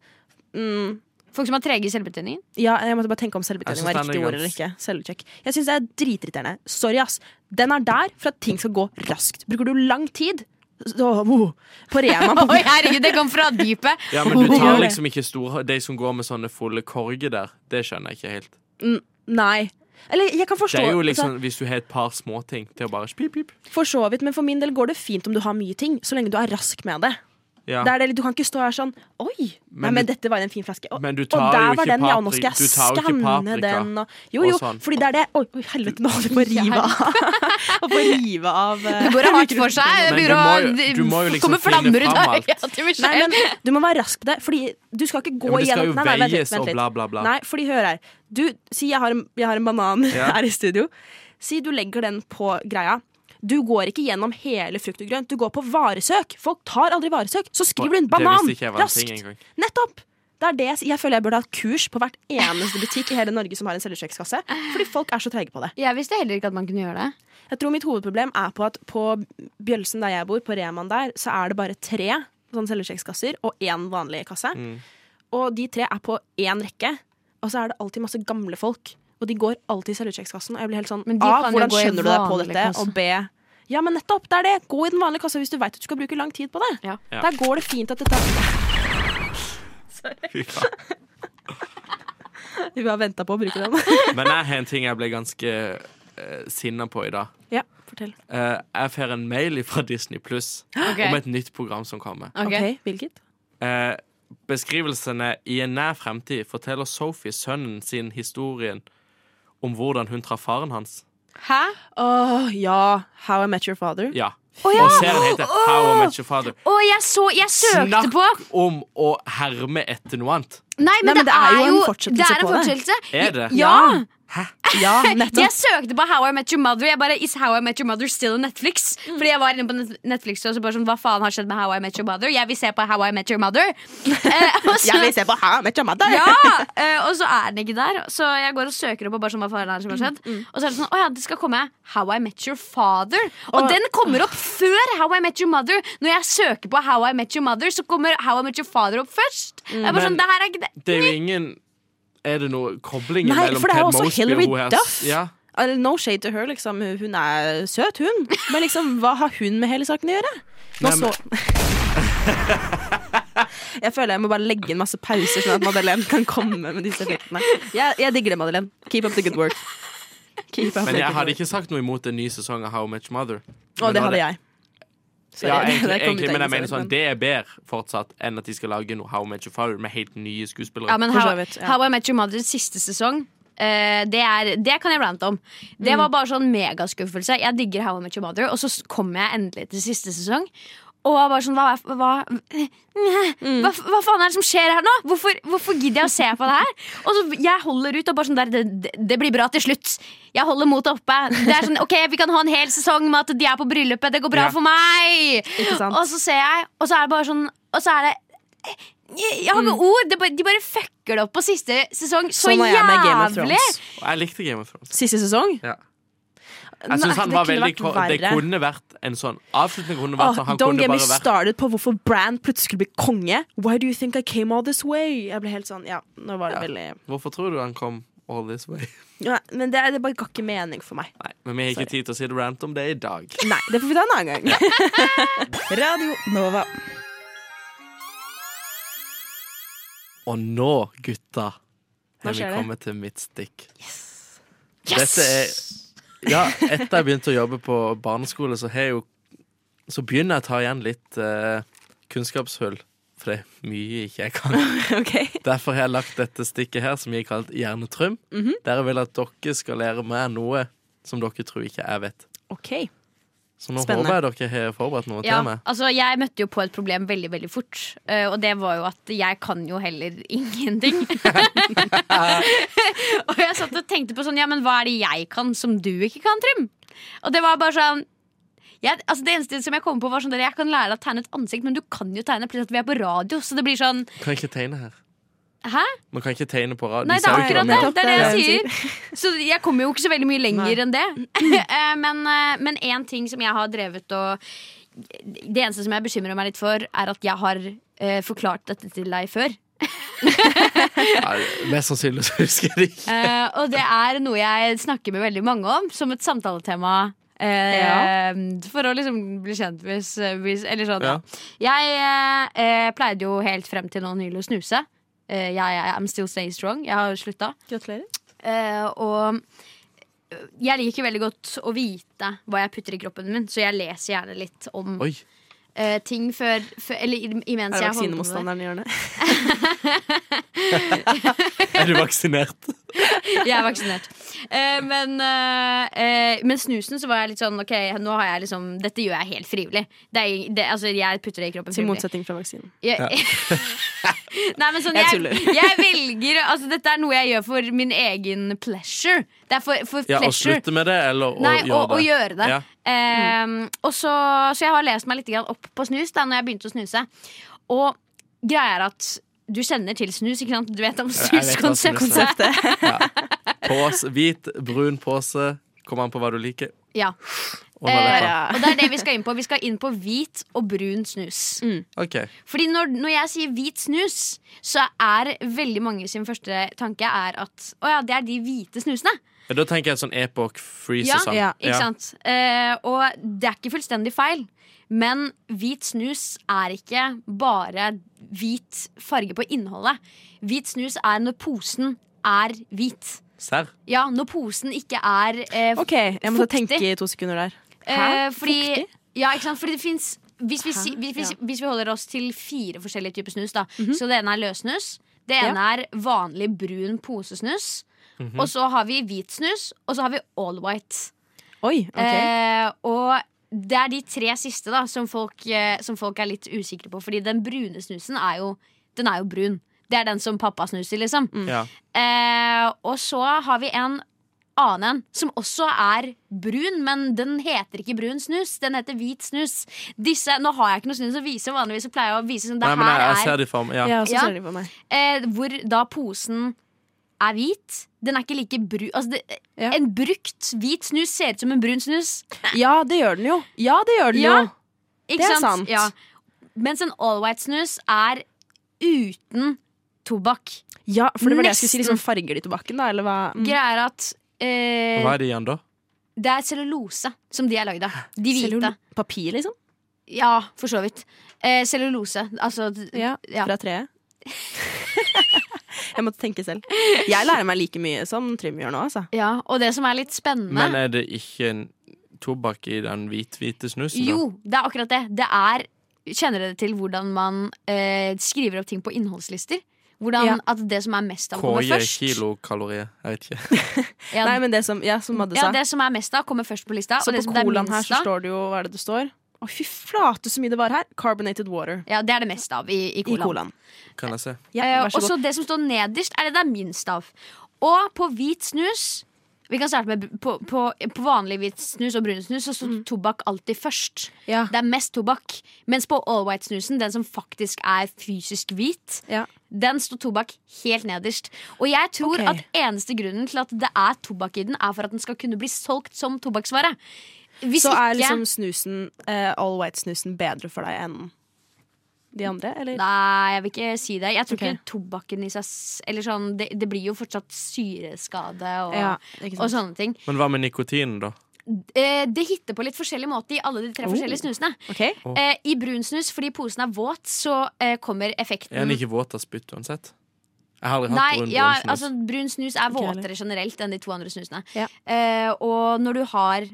[SPEAKER 6] Mm,
[SPEAKER 5] Folk som er trege i <laughs> selvbetjeningen?
[SPEAKER 6] ja, jeg måtte bare tenke om
[SPEAKER 2] Jeg
[SPEAKER 6] selvbetjening
[SPEAKER 2] synes
[SPEAKER 6] var
[SPEAKER 2] den er
[SPEAKER 6] riktig
[SPEAKER 2] gans-
[SPEAKER 6] ord eller ikke. Selvutsjekk. Jeg syns det er dritirriterende. Sorry, ass. Den er der for at ting skal gå raskt. Bruker du lang tid så- wow, på Rema på
[SPEAKER 5] <laughs> Oi, herregud, det kom fra dypet!
[SPEAKER 2] ja, men du
[SPEAKER 6] Gjør
[SPEAKER 2] tar
[SPEAKER 6] det.
[SPEAKER 2] liksom ikke store De som går med sånne fulle korger der, det skjønner jeg ikke helt.
[SPEAKER 6] Nei. Eller jeg kan forstå
[SPEAKER 2] Det er jo
[SPEAKER 6] altså-
[SPEAKER 2] liksom Hvis du har et par småting til å bare pip, pip.
[SPEAKER 6] For så vidt, men for min del går det fint om du har mye ting, så lenge du er rask med det.
[SPEAKER 2] Ja.
[SPEAKER 6] Det er det, du kan ikke stå her sånn Oi! nei,
[SPEAKER 2] du-
[SPEAKER 6] men dette var en fin flaske. Og,
[SPEAKER 2] Men du
[SPEAKER 6] og
[SPEAKER 2] tar
[SPEAKER 6] der
[SPEAKER 2] jo ikke
[SPEAKER 6] var den, ja. og Nå skal
[SPEAKER 2] paprika-
[SPEAKER 6] jeg
[SPEAKER 2] du tar jo ikke
[SPEAKER 6] skanne
[SPEAKER 2] paprika
[SPEAKER 6] den. Og, jo, jo,
[SPEAKER 2] og sånn.
[SPEAKER 6] fordi det er det Oi, oi helvete, nå holder jeg på å
[SPEAKER 2] <laughs>
[SPEAKER 6] rive av. Og på å rive av eh,
[SPEAKER 5] Det går hardt for seg.
[SPEAKER 2] Men
[SPEAKER 5] Det
[SPEAKER 2] du må jo- du
[SPEAKER 5] begynner
[SPEAKER 2] må
[SPEAKER 5] å
[SPEAKER 2] jo liksom
[SPEAKER 5] komme
[SPEAKER 2] finne
[SPEAKER 5] flammer ut
[SPEAKER 2] fram
[SPEAKER 5] av <laughs>
[SPEAKER 2] alt.
[SPEAKER 5] øya til
[SPEAKER 6] Nei,
[SPEAKER 5] Michelle.
[SPEAKER 6] men du må være rask på det, fordi du skal ikke
[SPEAKER 2] Ja,
[SPEAKER 6] gå
[SPEAKER 2] men det skal
[SPEAKER 6] igjennom
[SPEAKER 2] jo
[SPEAKER 6] Nei, nei, vent litt,
[SPEAKER 2] veies
[SPEAKER 6] vent
[SPEAKER 2] og
[SPEAKER 6] litt.
[SPEAKER 2] bla, bla, bla.
[SPEAKER 6] Nei, fordi hør her. Du, si jeg har en, jeg har en banan
[SPEAKER 2] Ja.
[SPEAKER 6] <laughs> her i studio. Si du legger den på greia. Du går ikke gjennom hele frukt og grønt. Du går på varesøk. Folk tar aldri varesøk. Så skriver du en
[SPEAKER 2] Det visste
[SPEAKER 6] banan
[SPEAKER 2] ikke jeg var en ting
[SPEAKER 6] raskt.
[SPEAKER 2] engang.
[SPEAKER 6] Nettopp. Det er det jeg, sier. jeg føler jeg burde ha et kurs på hvert eneste butikk i hele Norge som har en selvsjekkskasse. Fordi folk er så treige på det.
[SPEAKER 5] Jeg visste heller ikke at man kunne gjøre det.
[SPEAKER 6] Jeg tror mitt hovedproblem er på at på Bjølsen der jeg bor, på Reman der, så er det bare tre sånne selvsjekkskasser og én vanlig kasse. Og de tre er på én rekke, og så er det alltid masse gamle folk. Og de går alltid i selvsjekkskassen, og jeg blir helt sånn
[SPEAKER 5] Men de
[SPEAKER 6] A.
[SPEAKER 5] kan jo
[SPEAKER 6] Hvordan
[SPEAKER 5] gå i
[SPEAKER 6] skjønner du deg på
[SPEAKER 5] vanlig
[SPEAKER 6] dette?
[SPEAKER 5] kasse.
[SPEAKER 6] Og B. Ja, men nettopp! Det er det! Gå i den vanlige kassa hvis du veit at du skal bruke lang tid på det.
[SPEAKER 5] Ja.
[SPEAKER 2] Ja.
[SPEAKER 6] Der går det fint at dette
[SPEAKER 2] Fy faen.
[SPEAKER 6] Vi har venta på å bruke den.
[SPEAKER 2] Men jeg har en ting jeg ble ganske uh, sinna på i dag.
[SPEAKER 6] <laughs> ja, fortell.
[SPEAKER 2] Eh, jeg får en mail fra Disney
[SPEAKER 6] <gasps>
[SPEAKER 2] Pluss
[SPEAKER 5] Ok.
[SPEAKER 2] om et nytt program som kommer.
[SPEAKER 5] Ok.
[SPEAKER 6] OK, hvilket?
[SPEAKER 2] Eh, beskrivelsene i en nær fremtid forteller Sophie sønnen sin historien om hvordan hun traff faren hans.
[SPEAKER 5] Hæ?
[SPEAKER 6] Åh, ja. How I Met Your Father.
[SPEAKER 2] Ja.
[SPEAKER 5] Å, ja.
[SPEAKER 2] Og serien heter How I Met Your Father.
[SPEAKER 5] Å, jeg så Jeg søkte
[SPEAKER 2] Snakk
[SPEAKER 5] på
[SPEAKER 2] om å herme etter noe annet.
[SPEAKER 5] Nei, men, det, er jo en fortsettelse det er en
[SPEAKER 6] på det.
[SPEAKER 5] fortsettelse.
[SPEAKER 2] Er det?
[SPEAKER 5] Ja.
[SPEAKER 6] <laughs> Ja,
[SPEAKER 5] Jeg
[SPEAKER 6] nettopp.
[SPEAKER 5] søkte på How I Met Your Mother. Jeg bare, Is How I Met Your Mother still on Netflix?
[SPEAKER 6] Mm.
[SPEAKER 5] Fordi jeg var inne på Net- Netflix og så bare sånn, hva faen har skjedd med How I Met Your Mother? Jeg vil se på How I Met Your
[SPEAKER 6] <laughs>
[SPEAKER 5] Mother. Eh, og så-
[SPEAKER 6] Jeg vil se på How I Met Your Mother.
[SPEAKER 5] ja, eh, Og så er den ikke der, så jeg går og søker opp. Og bare sånn, hva faen er det som har skjedd
[SPEAKER 6] Mm,
[SPEAKER 5] Og så er det sånn, å ja, det skal komme How I Met Your Father. Og, den kommer opp før How I Met Your Mother. Når jeg søker på How I Met Your Mother, så kommer How I Met Your Father opp først.
[SPEAKER 6] Mm,
[SPEAKER 5] Jeg er bare
[SPEAKER 2] Men
[SPEAKER 5] sånn, det her er ikke det
[SPEAKER 2] Det er jo ingen Er det noe kobling
[SPEAKER 6] Nei,
[SPEAKER 2] mellom
[SPEAKER 6] for det er
[SPEAKER 2] Ted
[SPEAKER 6] jo også
[SPEAKER 2] Mosby
[SPEAKER 6] Hilary
[SPEAKER 2] og hun her?
[SPEAKER 6] Duff.
[SPEAKER 2] Ja.
[SPEAKER 6] Eller, No shade to her, liksom. Hun er søt, hun. Men liksom, hva har hun med hele saken å gjøre? Nå
[SPEAKER 2] Nei,
[SPEAKER 6] så <laughs> Jeg føler jeg må bare legge inn masse pauser, sånn at Madeleine kan komme med disse effektene. Jeg, jeg digger det, Madeleine. Keep up the good work. Keep up
[SPEAKER 2] Men
[SPEAKER 6] the
[SPEAKER 2] jeg
[SPEAKER 6] good
[SPEAKER 2] hadde
[SPEAKER 6] work.
[SPEAKER 2] ikke sagt noe imot en ny sesong av How I Met Your Mother.
[SPEAKER 6] Å,
[SPEAKER 2] Men
[SPEAKER 6] det
[SPEAKER 2] nå er
[SPEAKER 6] hadde jeg. Sorry, <laughs>
[SPEAKER 2] Ja,
[SPEAKER 6] det-
[SPEAKER 2] egentlig,
[SPEAKER 6] det kom
[SPEAKER 2] egentlig,
[SPEAKER 6] ut av
[SPEAKER 2] men jeg mener
[SPEAKER 6] ingenting,
[SPEAKER 2] sånn Det er bedre fortsatt enn at de skal lage noe How I Met Your Father med helt nye skuespillere.
[SPEAKER 5] Ja, men
[SPEAKER 6] For så
[SPEAKER 5] How,
[SPEAKER 6] vidt, ja.
[SPEAKER 5] How I Met Your Mothers siste sesong eh, det, er, det kan jeg rante om.
[SPEAKER 6] Mm.
[SPEAKER 5] Det var bare sånn megaskuffelse. Jeg digger How I Met Your Mother, og så s- kom jeg endelig til siste sesong. Og var bare sånn, hva, er- hva,
[SPEAKER 6] Mm.
[SPEAKER 5] hva, hva faen er det som skjer her nå? Hvorfor, hvorfor gidder jeg å se på det her? Og så Jeg holder ut og bare sånn der, det, det- det blir bra til slutt. Jeg holder motet oppe. Det er sånn, ok, Vi kan ha en hel sesong med at de er på bryllupet. Det går bra
[SPEAKER 2] Ja.
[SPEAKER 5] for meg!
[SPEAKER 6] Ikke sant?
[SPEAKER 5] Og så ser jeg, og så er det bare sånn Og så er det jeg jeg har
[SPEAKER 6] Mm.
[SPEAKER 5] ikke ord! Det bare, de bare fucker det opp på siste sesong. Så
[SPEAKER 6] Sånn er jeg med Game of
[SPEAKER 5] jævlig!
[SPEAKER 6] Thrones.
[SPEAKER 2] Og jeg likte Game of Thrones.
[SPEAKER 6] Siste sesong?
[SPEAKER 2] Ja.
[SPEAKER 6] Nei,
[SPEAKER 2] Jeg synes han
[SPEAKER 6] det
[SPEAKER 2] var veldig
[SPEAKER 6] kunne vært
[SPEAKER 2] ko- Det
[SPEAKER 6] verre.
[SPEAKER 2] kunne vært en sånn avslutning. Kunne vært,
[SPEAKER 6] Åh,
[SPEAKER 2] sånn, han
[SPEAKER 6] don't
[SPEAKER 2] kunne
[SPEAKER 6] get me
[SPEAKER 2] bare vært
[SPEAKER 6] started på hvorfor Brand plutselig skulle bli konge. Why do you think I came all this way? Jeg ble helt sånn, ja, nå var det
[SPEAKER 2] Ja.
[SPEAKER 6] veldig
[SPEAKER 2] Hvorfor tror du han kom all this way? <laughs>
[SPEAKER 6] ja, Men det, det bare ga ikke mening for meg.
[SPEAKER 2] Nei, men vi har ikke tid til å si det rant om det i dag.
[SPEAKER 6] Nei, det får vi ta en
[SPEAKER 5] <laughs>
[SPEAKER 6] annen gang.
[SPEAKER 9] Radio Nova.
[SPEAKER 2] Og nå, gutta, er
[SPEAKER 6] Hva
[SPEAKER 2] vi
[SPEAKER 6] skjer det?
[SPEAKER 2] kommet til mitt stikk. Dette er Ja, etter jeg begynte å jobbe på barneskole, så har jeg jo Så begynner jeg å ta igjen litt eh, kunnskapshull. For det er mye ikke jeg kan. <laughs>
[SPEAKER 6] ok
[SPEAKER 2] Derfor har jeg lagt dette stikket her, som jeg har kalt Hjernetrym.
[SPEAKER 5] Mhm.
[SPEAKER 2] Der jeg vil at dere skal lære meg noe som dere tror ikke jeg vet.
[SPEAKER 6] Ok
[SPEAKER 2] Så nå
[SPEAKER 6] Spennende.
[SPEAKER 2] håper jeg dere har forberedt noe
[SPEAKER 5] Ja,
[SPEAKER 2] til meg.
[SPEAKER 5] altså Jeg møtte jo på et problem veldig veldig fort. eh, Og det var jo at jeg kan jo heller <laughs>
[SPEAKER 2] <laughs>
[SPEAKER 5] ingenting. og jeg satt og tenkte på sånn Ja, men hva er det jeg kan som du ikke kan, Trym? Og det var bare sånn jeg, altså Det eneste som jeg kom på, var sånn der, jeg kan lære deg å tegne et ansikt, men du kan jo tegne plutselig at vi er på radio. Så det blir sånn
[SPEAKER 2] Kan jeg ikke tegne her.
[SPEAKER 5] Hæ?
[SPEAKER 2] Man kan ikke tegne på radio.
[SPEAKER 5] Nei,
[SPEAKER 2] De
[SPEAKER 5] det
[SPEAKER 2] ser
[SPEAKER 5] er
[SPEAKER 2] jo ikke
[SPEAKER 5] akkurat
[SPEAKER 2] hva
[SPEAKER 5] det.
[SPEAKER 2] vi gjør.
[SPEAKER 5] Det er det jeg
[SPEAKER 6] Det er det
[SPEAKER 5] sier. Så jeg kommer jo ikke så veldig mye lenger
[SPEAKER 6] Nei.
[SPEAKER 5] enn det. Eh, Men eh, men én ting som jeg har drevet og Det eneste som jeg bekymrer meg litt for, er at jeg har eh, forklart dette til deg før.
[SPEAKER 2] Nei, Mest sannsynlig så husker jeg det ikke.
[SPEAKER 5] Eh, og det er noe jeg snakker med veldig mange om, som et samtaletema. eh, For å liksom bli kjent hvis, hvis Eller sånn, ja. Jeg eh, eh, pleide jo helt frem til nå nylig å snuse. Eh, jeg, jeg I'm still stay strong. Jeg har slutta.
[SPEAKER 6] Gratulerer.
[SPEAKER 5] Eh, og jeg liker veldig godt å vite hva jeg putter i kroppen min, så jeg leser gjerne litt om
[SPEAKER 2] Oi.
[SPEAKER 5] eh, ting før, før Eller i- imens
[SPEAKER 6] Er
[SPEAKER 5] jeg holder på med det.
[SPEAKER 6] vaksinemotstanderen i hjørnet?
[SPEAKER 2] Er du vaksinert?
[SPEAKER 5] <laughs> Jeg er vaksinert. Eh, men, eh, eh, men snusen så var jeg litt sånn OK, nå har jeg liksom Dette gjør jeg helt frivillig. Det er, det, altså, jeg putter det i kroppen
[SPEAKER 6] Til
[SPEAKER 5] frivillig.
[SPEAKER 6] motsetning fra vaksinen.
[SPEAKER 5] Jeg, <laughs> Nei, men sånn,
[SPEAKER 6] Jeg
[SPEAKER 5] jeg,
[SPEAKER 6] tuller.
[SPEAKER 5] <laughs> jeg velger Altså, dette er noe jeg gjør for min egen pleasure. Det er for, for
[SPEAKER 2] Ja, Å
[SPEAKER 5] pleasure.
[SPEAKER 2] slutte med det, eller å
[SPEAKER 5] Nei,
[SPEAKER 2] gjøre
[SPEAKER 5] å,
[SPEAKER 2] det?
[SPEAKER 5] å gjøre det.
[SPEAKER 2] Ja.
[SPEAKER 5] Ehm, og så, så jeg har lest meg litt grann opp på snus da når jeg begynte å snuse. Og greia er at du kjenner til snus, ikke sant? Du vet om
[SPEAKER 2] jeg vet hva snus er.
[SPEAKER 5] snuskonseptet.
[SPEAKER 2] Påse, hvit, brun pose. Kommer an på hva du liker.
[SPEAKER 5] Ja.
[SPEAKER 2] Under leppa.
[SPEAKER 5] Eh, og det er det vi skal inn på. Vi skal inn på hvit og brun snus.
[SPEAKER 2] OK.
[SPEAKER 5] Fordi når, når jeg sier hvit snus, så er veldig mange sin første tanke er at å ja, det er de hvite snusene.
[SPEAKER 2] Ja, Da tenker jeg sånn Epoch Freeze
[SPEAKER 5] Ja,
[SPEAKER 2] og sånn.
[SPEAKER 6] ja,
[SPEAKER 5] Ikke sant? Eh, og det er ikke fullstendig feil. Men hvit snus er ikke bare hvit farge på innholdet. Hvit snus er når posen er hvit.
[SPEAKER 2] Serr?
[SPEAKER 5] Ja, når posen ikke er eh,
[SPEAKER 6] Ok, jeg måtte
[SPEAKER 5] Fuktig.
[SPEAKER 6] tenke i to sekunder der.
[SPEAKER 5] eh, fordi,
[SPEAKER 6] Fuktig?
[SPEAKER 5] ja, ikke sant? fordi det fins hvis, vi
[SPEAKER 6] Hæ?
[SPEAKER 5] si- hvis, hvis,
[SPEAKER 6] Ja. Mhm.
[SPEAKER 5] hvis vi holder oss til fire forskjellige typer snus, da. Så det ene er løssnus. Det ene er vanlig brun posesnus. Og så har vi hvit snus, og så har vi all white.
[SPEAKER 6] Oi, ok.
[SPEAKER 5] Eh, og det er de tre siste da som folk, eh, som folk er litt usikre på. Fordi den brune snusen er jo, den er jo brun. Det er den som pappa snuser, liksom.
[SPEAKER 2] Ja.
[SPEAKER 5] Eh, og så har vi en annen en som også er brun, men den heter ikke brun snus. Den heter hvit snus. Disse, nå har jeg ikke noe snus å vise, vanligvis så pleier jeg å vise sånn. Det
[SPEAKER 2] Nei, men jeg, jeg
[SPEAKER 5] her
[SPEAKER 2] ser
[SPEAKER 5] er
[SPEAKER 2] de for meg. Ja.
[SPEAKER 6] Ja, så
[SPEAKER 5] Ja.
[SPEAKER 6] ser de på meg.
[SPEAKER 5] eh, hvor da posen er hvit. Den er ikke like brun altså det,
[SPEAKER 6] Ja.
[SPEAKER 5] En brukt hvit snus ser ut som en brun snus.
[SPEAKER 6] Ja, det gjør den jo. Ja, det gjør den
[SPEAKER 5] Ja.
[SPEAKER 6] jo.
[SPEAKER 5] Ikke
[SPEAKER 6] Det er
[SPEAKER 5] sant?
[SPEAKER 6] sant.
[SPEAKER 5] Ja. Mens en all white snus er uten tobakk.
[SPEAKER 6] Ja, for det var det jeg skulle si.
[SPEAKER 5] Nesten.
[SPEAKER 6] Liksom farger de tobakken, da? Eller hva? Mm.
[SPEAKER 5] Greia er at eh,
[SPEAKER 2] Hva er det igjen, da?
[SPEAKER 5] det er cellulose som de er lagd av. De hvite.
[SPEAKER 6] Cellul- Mm. Papir, liksom?
[SPEAKER 5] Ja, for så vidt. Eh, cellulose. Altså
[SPEAKER 6] Ja,
[SPEAKER 5] Ja.
[SPEAKER 6] Fra treet. <laughs> jeg måtte tenke selv. Jeg lærer meg like mye som Trym gjør nå, altså.
[SPEAKER 5] ja. Og det som er litt spennende
[SPEAKER 2] Men er det ikke en tobakk i den hvit-hvite snusen? da?
[SPEAKER 5] Jo, det er akkurat det. Det er Kjenner dere til hvordan man eh, skriver opp ting på innholdslister? Hvordan
[SPEAKER 6] Ja.
[SPEAKER 5] at det som er mest av, kommer
[SPEAKER 2] KJ
[SPEAKER 5] først.
[SPEAKER 2] kilokalorier. Jeg vet ikke. <laughs>
[SPEAKER 5] Ja,
[SPEAKER 6] Nei, men det som, ja, som Madde
[SPEAKER 5] ja,
[SPEAKER 6] sa.
[SPEAKER 5] det som er mest av, kommer først på lista.
[SPEAKER 6] så
[SPEAKER 5] og det
[SPEAKER 6] på
[SPEAKER 5] som det er
[SPEAKER 6] colaen her
[SPEAKER 5] minst
[SPEAKER 6] så
[SPEAKER 5] av,
[SPEAKER 6] står det jo Hva er det det står? Å, fy flate så mye det var her! Carbonated water
[SPEAKER 5] Ja, det er det mest av i, i
[SPEAKER 6] i
[SPEAKER 5] colaen.
[SPEAKER 6] colaen.
[SPEAKER 2] Kan jeg se?
[SPEAKER 6] Ja, vær
[SPEAKER 5] og
[SPEAKER 6] så
[SPEAKER 5] så
[SPEAKER 6] god.
[SPEAKER 5] Eh, det som står nederst, er det det er minst av. Og på hvit snus vi kan starte med På, på, på vanlig hvit snus og brun snus så står tobakk alltid først.
[SPEAKER 6] Mm. Ja.
[SPEAKER 5] Det er mest tobakk. Mens på all white-snusen, den som faktisk er fysisk hvit,
[SPEAKER 6] Ja.
[SPEAKER 5] den står tobakk helt nederst. Og jeg tror
[SPEAKER 6] Ok.
[SPEAKER 5] at eneste grunnen til at det er tobakk i den, er for at den skal kunne bli solgt som tobakksvare. Hvis
[SPEAKER 6] Så er
[SPEAKER 5] ikke
[SPEAKER 6] liksom snusen, eh, all white-snusen, bedre for deg enn de andre, eller?
[SPEAKER 5] Nei, jeg vil ikke si det. Jeg tror
[SPEAKER 6] Ok.
[SPEAKER 5] ikke tobakken i seg s- Eller sånn, det, det blir jo fortsatt syreskade og,
[SPEAKER 6] Ja, ikke sant.
[SPEAKER 5] og sånn, sånne ting.
[SPEAKER 2] Men hva med nikotinen, da?
[SPEAKER 5] Eh, det hitter på litt forskjellig måte i alle de
[SPEAKER 6] Oh.
[SPEAKER 5] tre forskjellige snusene.
[SPEAKER 6] Ok.
[SPEAKER 5] Eh, I brun snus, fordi posen er våt, så eh, kommer effekten
[SPEAKER 2] Er den ikke våt av spytt uansett? Jeg har aldri hatt
[SPEAKER 5] Nei,
[SPEAKER 2] brun
[SPEAKER 5] ja,
[SPEAKER 2] brun snus.
[SPEAKER 5] altså brun snus er
[SPEAKER 6] Ikke heller.
[SPEAKER 5] våtere generelt enn de to andre snusene.
[SPEAKER 6] Ja.
[SPEAKER 5] Eh, og når du har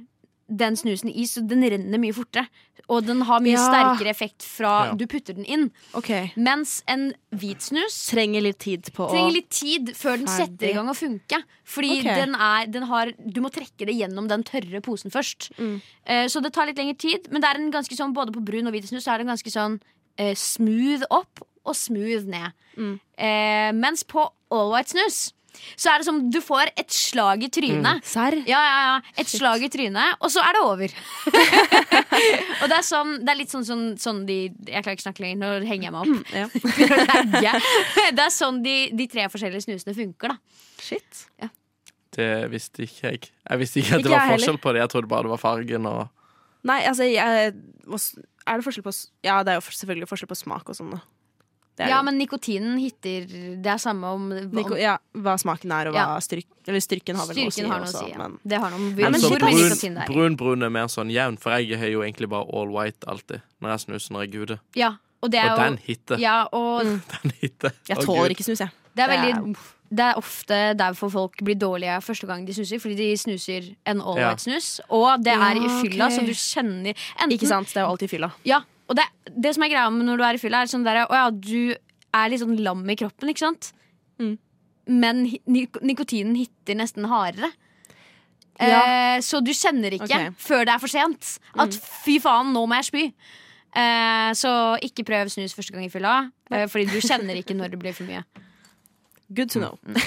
[SPEAKER 5] den snusen i, så den renner mye fortere. Og den har mye
[SPEAKER 6] Ja.
[SPEAKER 5] sterkere effekt fra
[SPEAKER 2] Ja.
[SPEAKER 5] du putter den inn.
[SPEAKER 6] Ok.
[SPEAKER 5] Mens en hvit snus
[SPEAKER 6] Trenger litt tid på å
[SPEAKER 5] trenger litt tid før den
[SPEAKER 6] Ferdig.
[SPEAKER 5] setter i gang å funke. Fordi
[SPEAKER 6] Ok.
[SPEAKER 5] den er, den har, du må trekke det gjennom den tørre posen først.
[SPEAKER 6] Mm.
[SPEAKER 5] Eh, så det tar litt lengre tid. Men det er en ganske sånn, både på brun og hvit snus så er det en ganske sånn eh, smooth opp og smooth ned.
[SPEAKER 6] Mm.
[SPEAKER 5] Eh, mens på all white snus så er det som du får et slag i trynet.
[SPEAKER 6] Serr?
[SPEAKER 5] Ja, ja, ja. Et slag i trynet, og så er det over. <laughs> og det er, sånn, det er litt sånn, sånn, sånn de Jeg klarer ikke å snakke lenger, nå henger jeg meg opp.
[SPEAKER 6] Ja.
[SPEAKER 5] <laughs>
[SPEAKER 6] <laughs>
[SPEAKER 5] det er sånn de, de tre forskjellige snusene funker, da.
[SPEAKER 6] Shit.
[SPEAKER 2] Det visste ikke jeg. Jeg visste ikke at
[SPEAKER 6] Ikke
[SPEAKER 2] det var
[SPEAKER 6] jeg heller.
[SPEAKER 2] forskjell på det. Jeg trodde bare det var fargen og
[SPEAKER 6] Nei, altså jeg, hva s- Er det forskjell på s- Ja, det er jo f- selvfølgelig forskjell på smak og sånn, da. Det er
[SPEAKER 5] Ja,
[SPEAKER 6] det.
[SPEAKER 5] men nikotinen hitter Det er samme om, om
[SPEAKER 6] Niko, ja, hva smaken er, og hva
[SPEAKER 5] Ja.
[SPEAKER 6] styrk, eller styrken har vel
[SPEAKER 5] styrken har noe å
[SPEAKER 6] også,
[SPEAKER 5] si. Ja.
[SPEAKER 6] men-
[SPEAKER 5] Det har noe om
[SPEAKER 6] Nei, men
[SPEAKER 2] så
[SPEAKER 5] hvor
[SPEAKER 6] shit,
[SPEAKER 5] mye
[SPEAKER 6] ass.
[SPEAKER 5] nikotin det er. i.
[SPEAKER 2] brun, brun er mer sånn jevn, for jeg har jo egentlig bare all white alltid når jeg snuser når jeg guder.
[SPEAKER 5] Ja, og det er
[SPEAKER 2] Og
[SPEAKER 5] jo
[SPEAKER 2] den hitter.
[SPEAKER 5] ja, og
[SPEAKER 2] Den hitter.
[SPEAKER 6] Jeg
[SPEAKER 2] Å,
[SPEAKER 6] tåler
[SPEAKER 2] Gud.
[SPEAKER 6] ikke snus, jeg.
[SPEAKER 5] det er,
[SPEAKER 6] Mm. Det er-
[SPEAKER 5] veldig, det er ofte derfor folk blir dårlige første gang de snuser. Fordi de snuser en all
[SPEAKER 2] Ja.
[SPEAKER 5] white snus, og det er i
[SPEAKER 6] Ja,
[SPEAKER 5] fylla,
[SPEAKER 6] ok.
[SPEAKER 5] så du kjenner
[SPEAKER 6] Ikke
[SPEAKER 5] Enten
[SPEAKER 6] sant? Det er jo alltid fylla.
[SPEAKER 5] Ja, og det, det som er greia med når du er i fylla, er sånn der, å ja, du er litt sånn lam i kroppen, ikke sant?
[SPEAKER 6] Mm.
[SPEAKER 5] Men hi- nik nikotinen hitter nesten hardere. Eh, så du kjenner ikke
[SPEAKER 6] Ok.
[SPEAKER 5] før det er for sent at fy faen, nå må jeg spy. Eh, så ikke prøv snus første gang i fylla, eh, fordi du kjenner ikke når det blir for mye.
[SPEAKER 6] Good to know.
[SPEAKER 5] Mhm.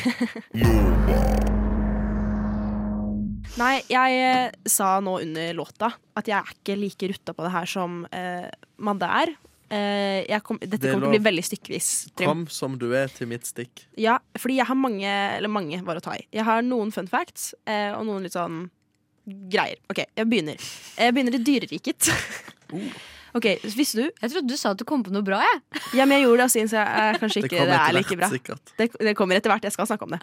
[SPEAKER 6] <laughs> Nei, jeg eh, sa nå under låta at jeg er ikke like rutta på det her som eh, Madde er. Eh, jeg kom, dette
[SPEAKER 2] Det er
[SPEAKER 6] kommer til å bli
[SPEAKER 2] lov.
[SPEAKER 6] veldig stykkvis. Trym.
[SPEAKER 2] Kom som du er til mitt stikk.
[SPEAKER 6] Ja, fordi jeg har mange Eller mange var å ta i. Jeg har noen fun facts eh, og noen litt sånn greier. OK, jeg begynner. Jeg begynner i dyreriket.
[SPEAKER 2] Uh.
[SPEAKER 6] OK, visste du
[SPEAKER 5] <laughs> Jeg trodde du sa at du kom på noe bra, jeg.
[SPEAKER 6] Ja, men jeg gjorde det av sin, så jeg er kanskje
[SPEAKER 2] Det
[SPEAKER 6] ikke
[SPEAKER 2] kommer
[SPEAKER 6] Det er
[SPEAKER 2] etter
[SPEAKER 6] like bra.
[SPEAKER 2] hvert, sikkert.
[SPEAKER 6] Det, det kommer etter hvert. Jeg skal snakke om det.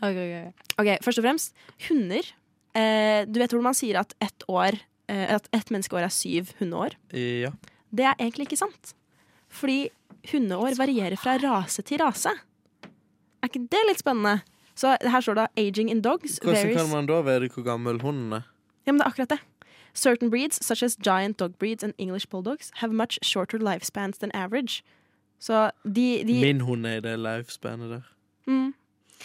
[SPEAKER 6] Ok, Først og fremst, hunder. Eh, du vet hvordan man sier at ett år eh, At ett menneskeår er syv hundeår?
[SPEAKER 2] Ja.
[SPEAKER 6] Det er egentlig ikke sant. Fordi hundeår varierer fra rase til rase. Er ikke det litt spennende? Så her står det 'aging in dogs'.
[SPEAKER 2] Hvordan
[SPEAKER 6] varies-
[SPEAKER 2] kan man da vite hvor gammel hunden er?
[SPEAKER 6] Ja, men det er akkurat det. Certain breeds, such as giant dog breeds and English bulldogs, have much shorter lifespans than average. Så de, de
[SPEAKER 2] Min hund er i det lifespanet der.
[SPEAKER 6] mm,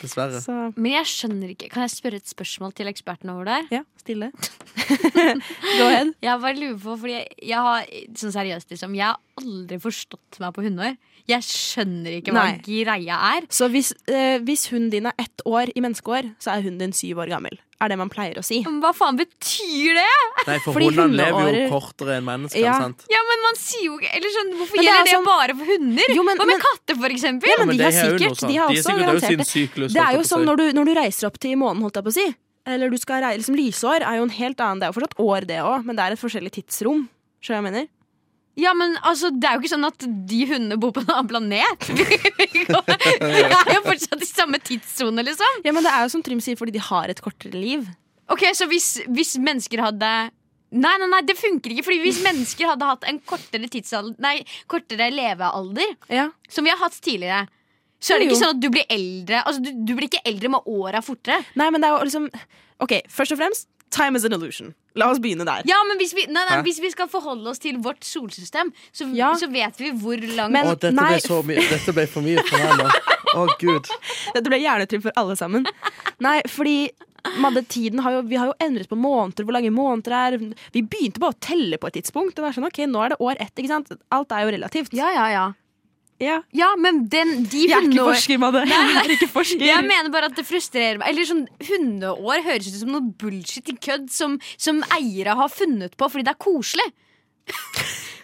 [SPEAKER 2] Dessverre.
[SPEAKER 5] Men jeg skjønner ikke. Kan jeg spørre et spørsmål til eksperten over der?
[SPEAKER 6] Ja, stille. <laughs> Go ahead.
[SPEAKER 5] Jeg bare lurer på, fordi jeg, jeg har sånn seriøst liksom, jeg har aldri forstått meg på hunder. Jeg skjønner ikke hva
[SPEAKER 6] Nei.
[SPEAKER 5] greia er.
[SPEAKER 6] Så hvis, eh, hvis hunden din er ett år i menneskeår, så er hunden din syv år gammel. Er det man pleier å si.
[SPEAKER 5] Men hva faen betyr det?
[SPEAKER 2] Nei, for
[SPEAKER 6] Fordi
[SPEAKER 2] hundene lever jo
[SPEAKER 6] hundeårer-
[SPEAKER 2] kortere enn mennesker.
[SPEAKER 6] Ja.
[SPEAKER 2] sant?
[SPEAKER 5] Ja, men man sier jo ikke Eller sånn, hvorfor
[SPEAKER 6] Men det er
[SPEAKER 5] gjelder det
[SPEAKER 6] sånn-
[SPEAKER 5] bare for hunder?
[SPEAKER 6] Jo, men-
[SPEAKER 5] hva med
[SPEAKER 6] men-
[SPEAKER 5] katter, for eksempel?
[SPEAKER 6] Ja, men,
[SPEAKER 2] men
[SPEAKER 6] de
[SPEAKER 2] det har
[SPEAKER 6] har
[SPEAKER 2] jo noe sånn-
[SPEAKER 6] sikkert
[SPEAKER 2] sant.
[SPEAKER 6] De har
[SPEAKER 2] De er
[SPEAKER 6] også
[SPEAKER 2] sikkert- det er jo
[SPEAKER 6] garantert
[SPEAKER 2] sin syklus,
[SPEAKER 6] Det
[SPEAKER 2] holdt
[SPEAKER 6] er
[SPEAKER 2] jeg
[SPEAKER 6] jo
[SPEAKER 2] på å
[SPEAKER 6] som
[SPEAKER 2] si.
[SPEAKER 6] når du, når du reiser opp til månen, holdt jeg på å si. Eller du skal rei- liksom Lysår er jo en helt annen Det er jo fortsatt år, det òg, men det er et forskjellig tidsrom. Skjønner du hva jeg mener?
[SPEAKER 5] Ja, men altså, Det er jo ikke sånn at de hundene bor på en annen <laughs> planet. Vi er jo fortsatt i samme tidssone, liksom.
[SPEAKER 6] Ja, men det er jo som Trym sier, fordi de har et kortere liv.
[SPEAKER 5] Ok, Så hvis, hvis mennesker hadde Nei, nei, nei, det funker ikke. Fordi hvis mennesker hadde hatt en kortere, tidsalder, nei, kortere levealder,
[SPEAKER 6] Ja.
[SPEAKER 5] som vi har hatt tidligere, så er det
[SPEAKER 6] Jo,
[SPEAKER 5] ikke
[SPEAKER 6] jo.
[SPEAKER 5] sånn at du blir eldre Altså, du, du blir ikke eldre med åra fortere.
[SPEAKER 6] Nei, men det er jo liksom OK, først og fremst, time is an illusion. La oss begynne der.
[SPEAKER 5] Ja, men hvis vi, nei, nei,
[SPEAKER 2] Hæ?
[SPEAKER 5] hvis vi skal forholde oss til vårt solsystem, så,
[SPEAKER 6] Ja.
[SPEAKER 5] så vet vi hvor lang
[SPEAKER 6] Men-
[SPEAKER 2] Å, dette,
[SPEAKER 6] Nei.
[SPEAKER 2] ble så mye- dette ble for mye for meg nå. Å, gud.
[SPEAKER 6] Dette ble hjernetripp for alle sammen. Nei, fordi Madde, tiden har jo, vi har jo endret på måneder, hvor lange måneder er. Vi begynte bare å telle på et tidspunkt. Og var sånn, ok, nå er det år ett, ikke sant? Alt er jo relativt.
[SPEAKER 5] Ja, ja, ja.
[SPEAKER 6] Ja.
[SPEAKER 5] Ja, men den, de
[SPEAKER 6] Jeg er ikke
[SPEAKER 5] hundeår-
[SPEAKER 6] forsker, Madde. Jeg er ikke forsker.
[SPEAKER 5] Jeg mener bare at det frustrerer meg. Eller sånn Hundeår høres ut som noe bullshit i kødd som, som eiere har funnet på fordi det er koselig. <laughs>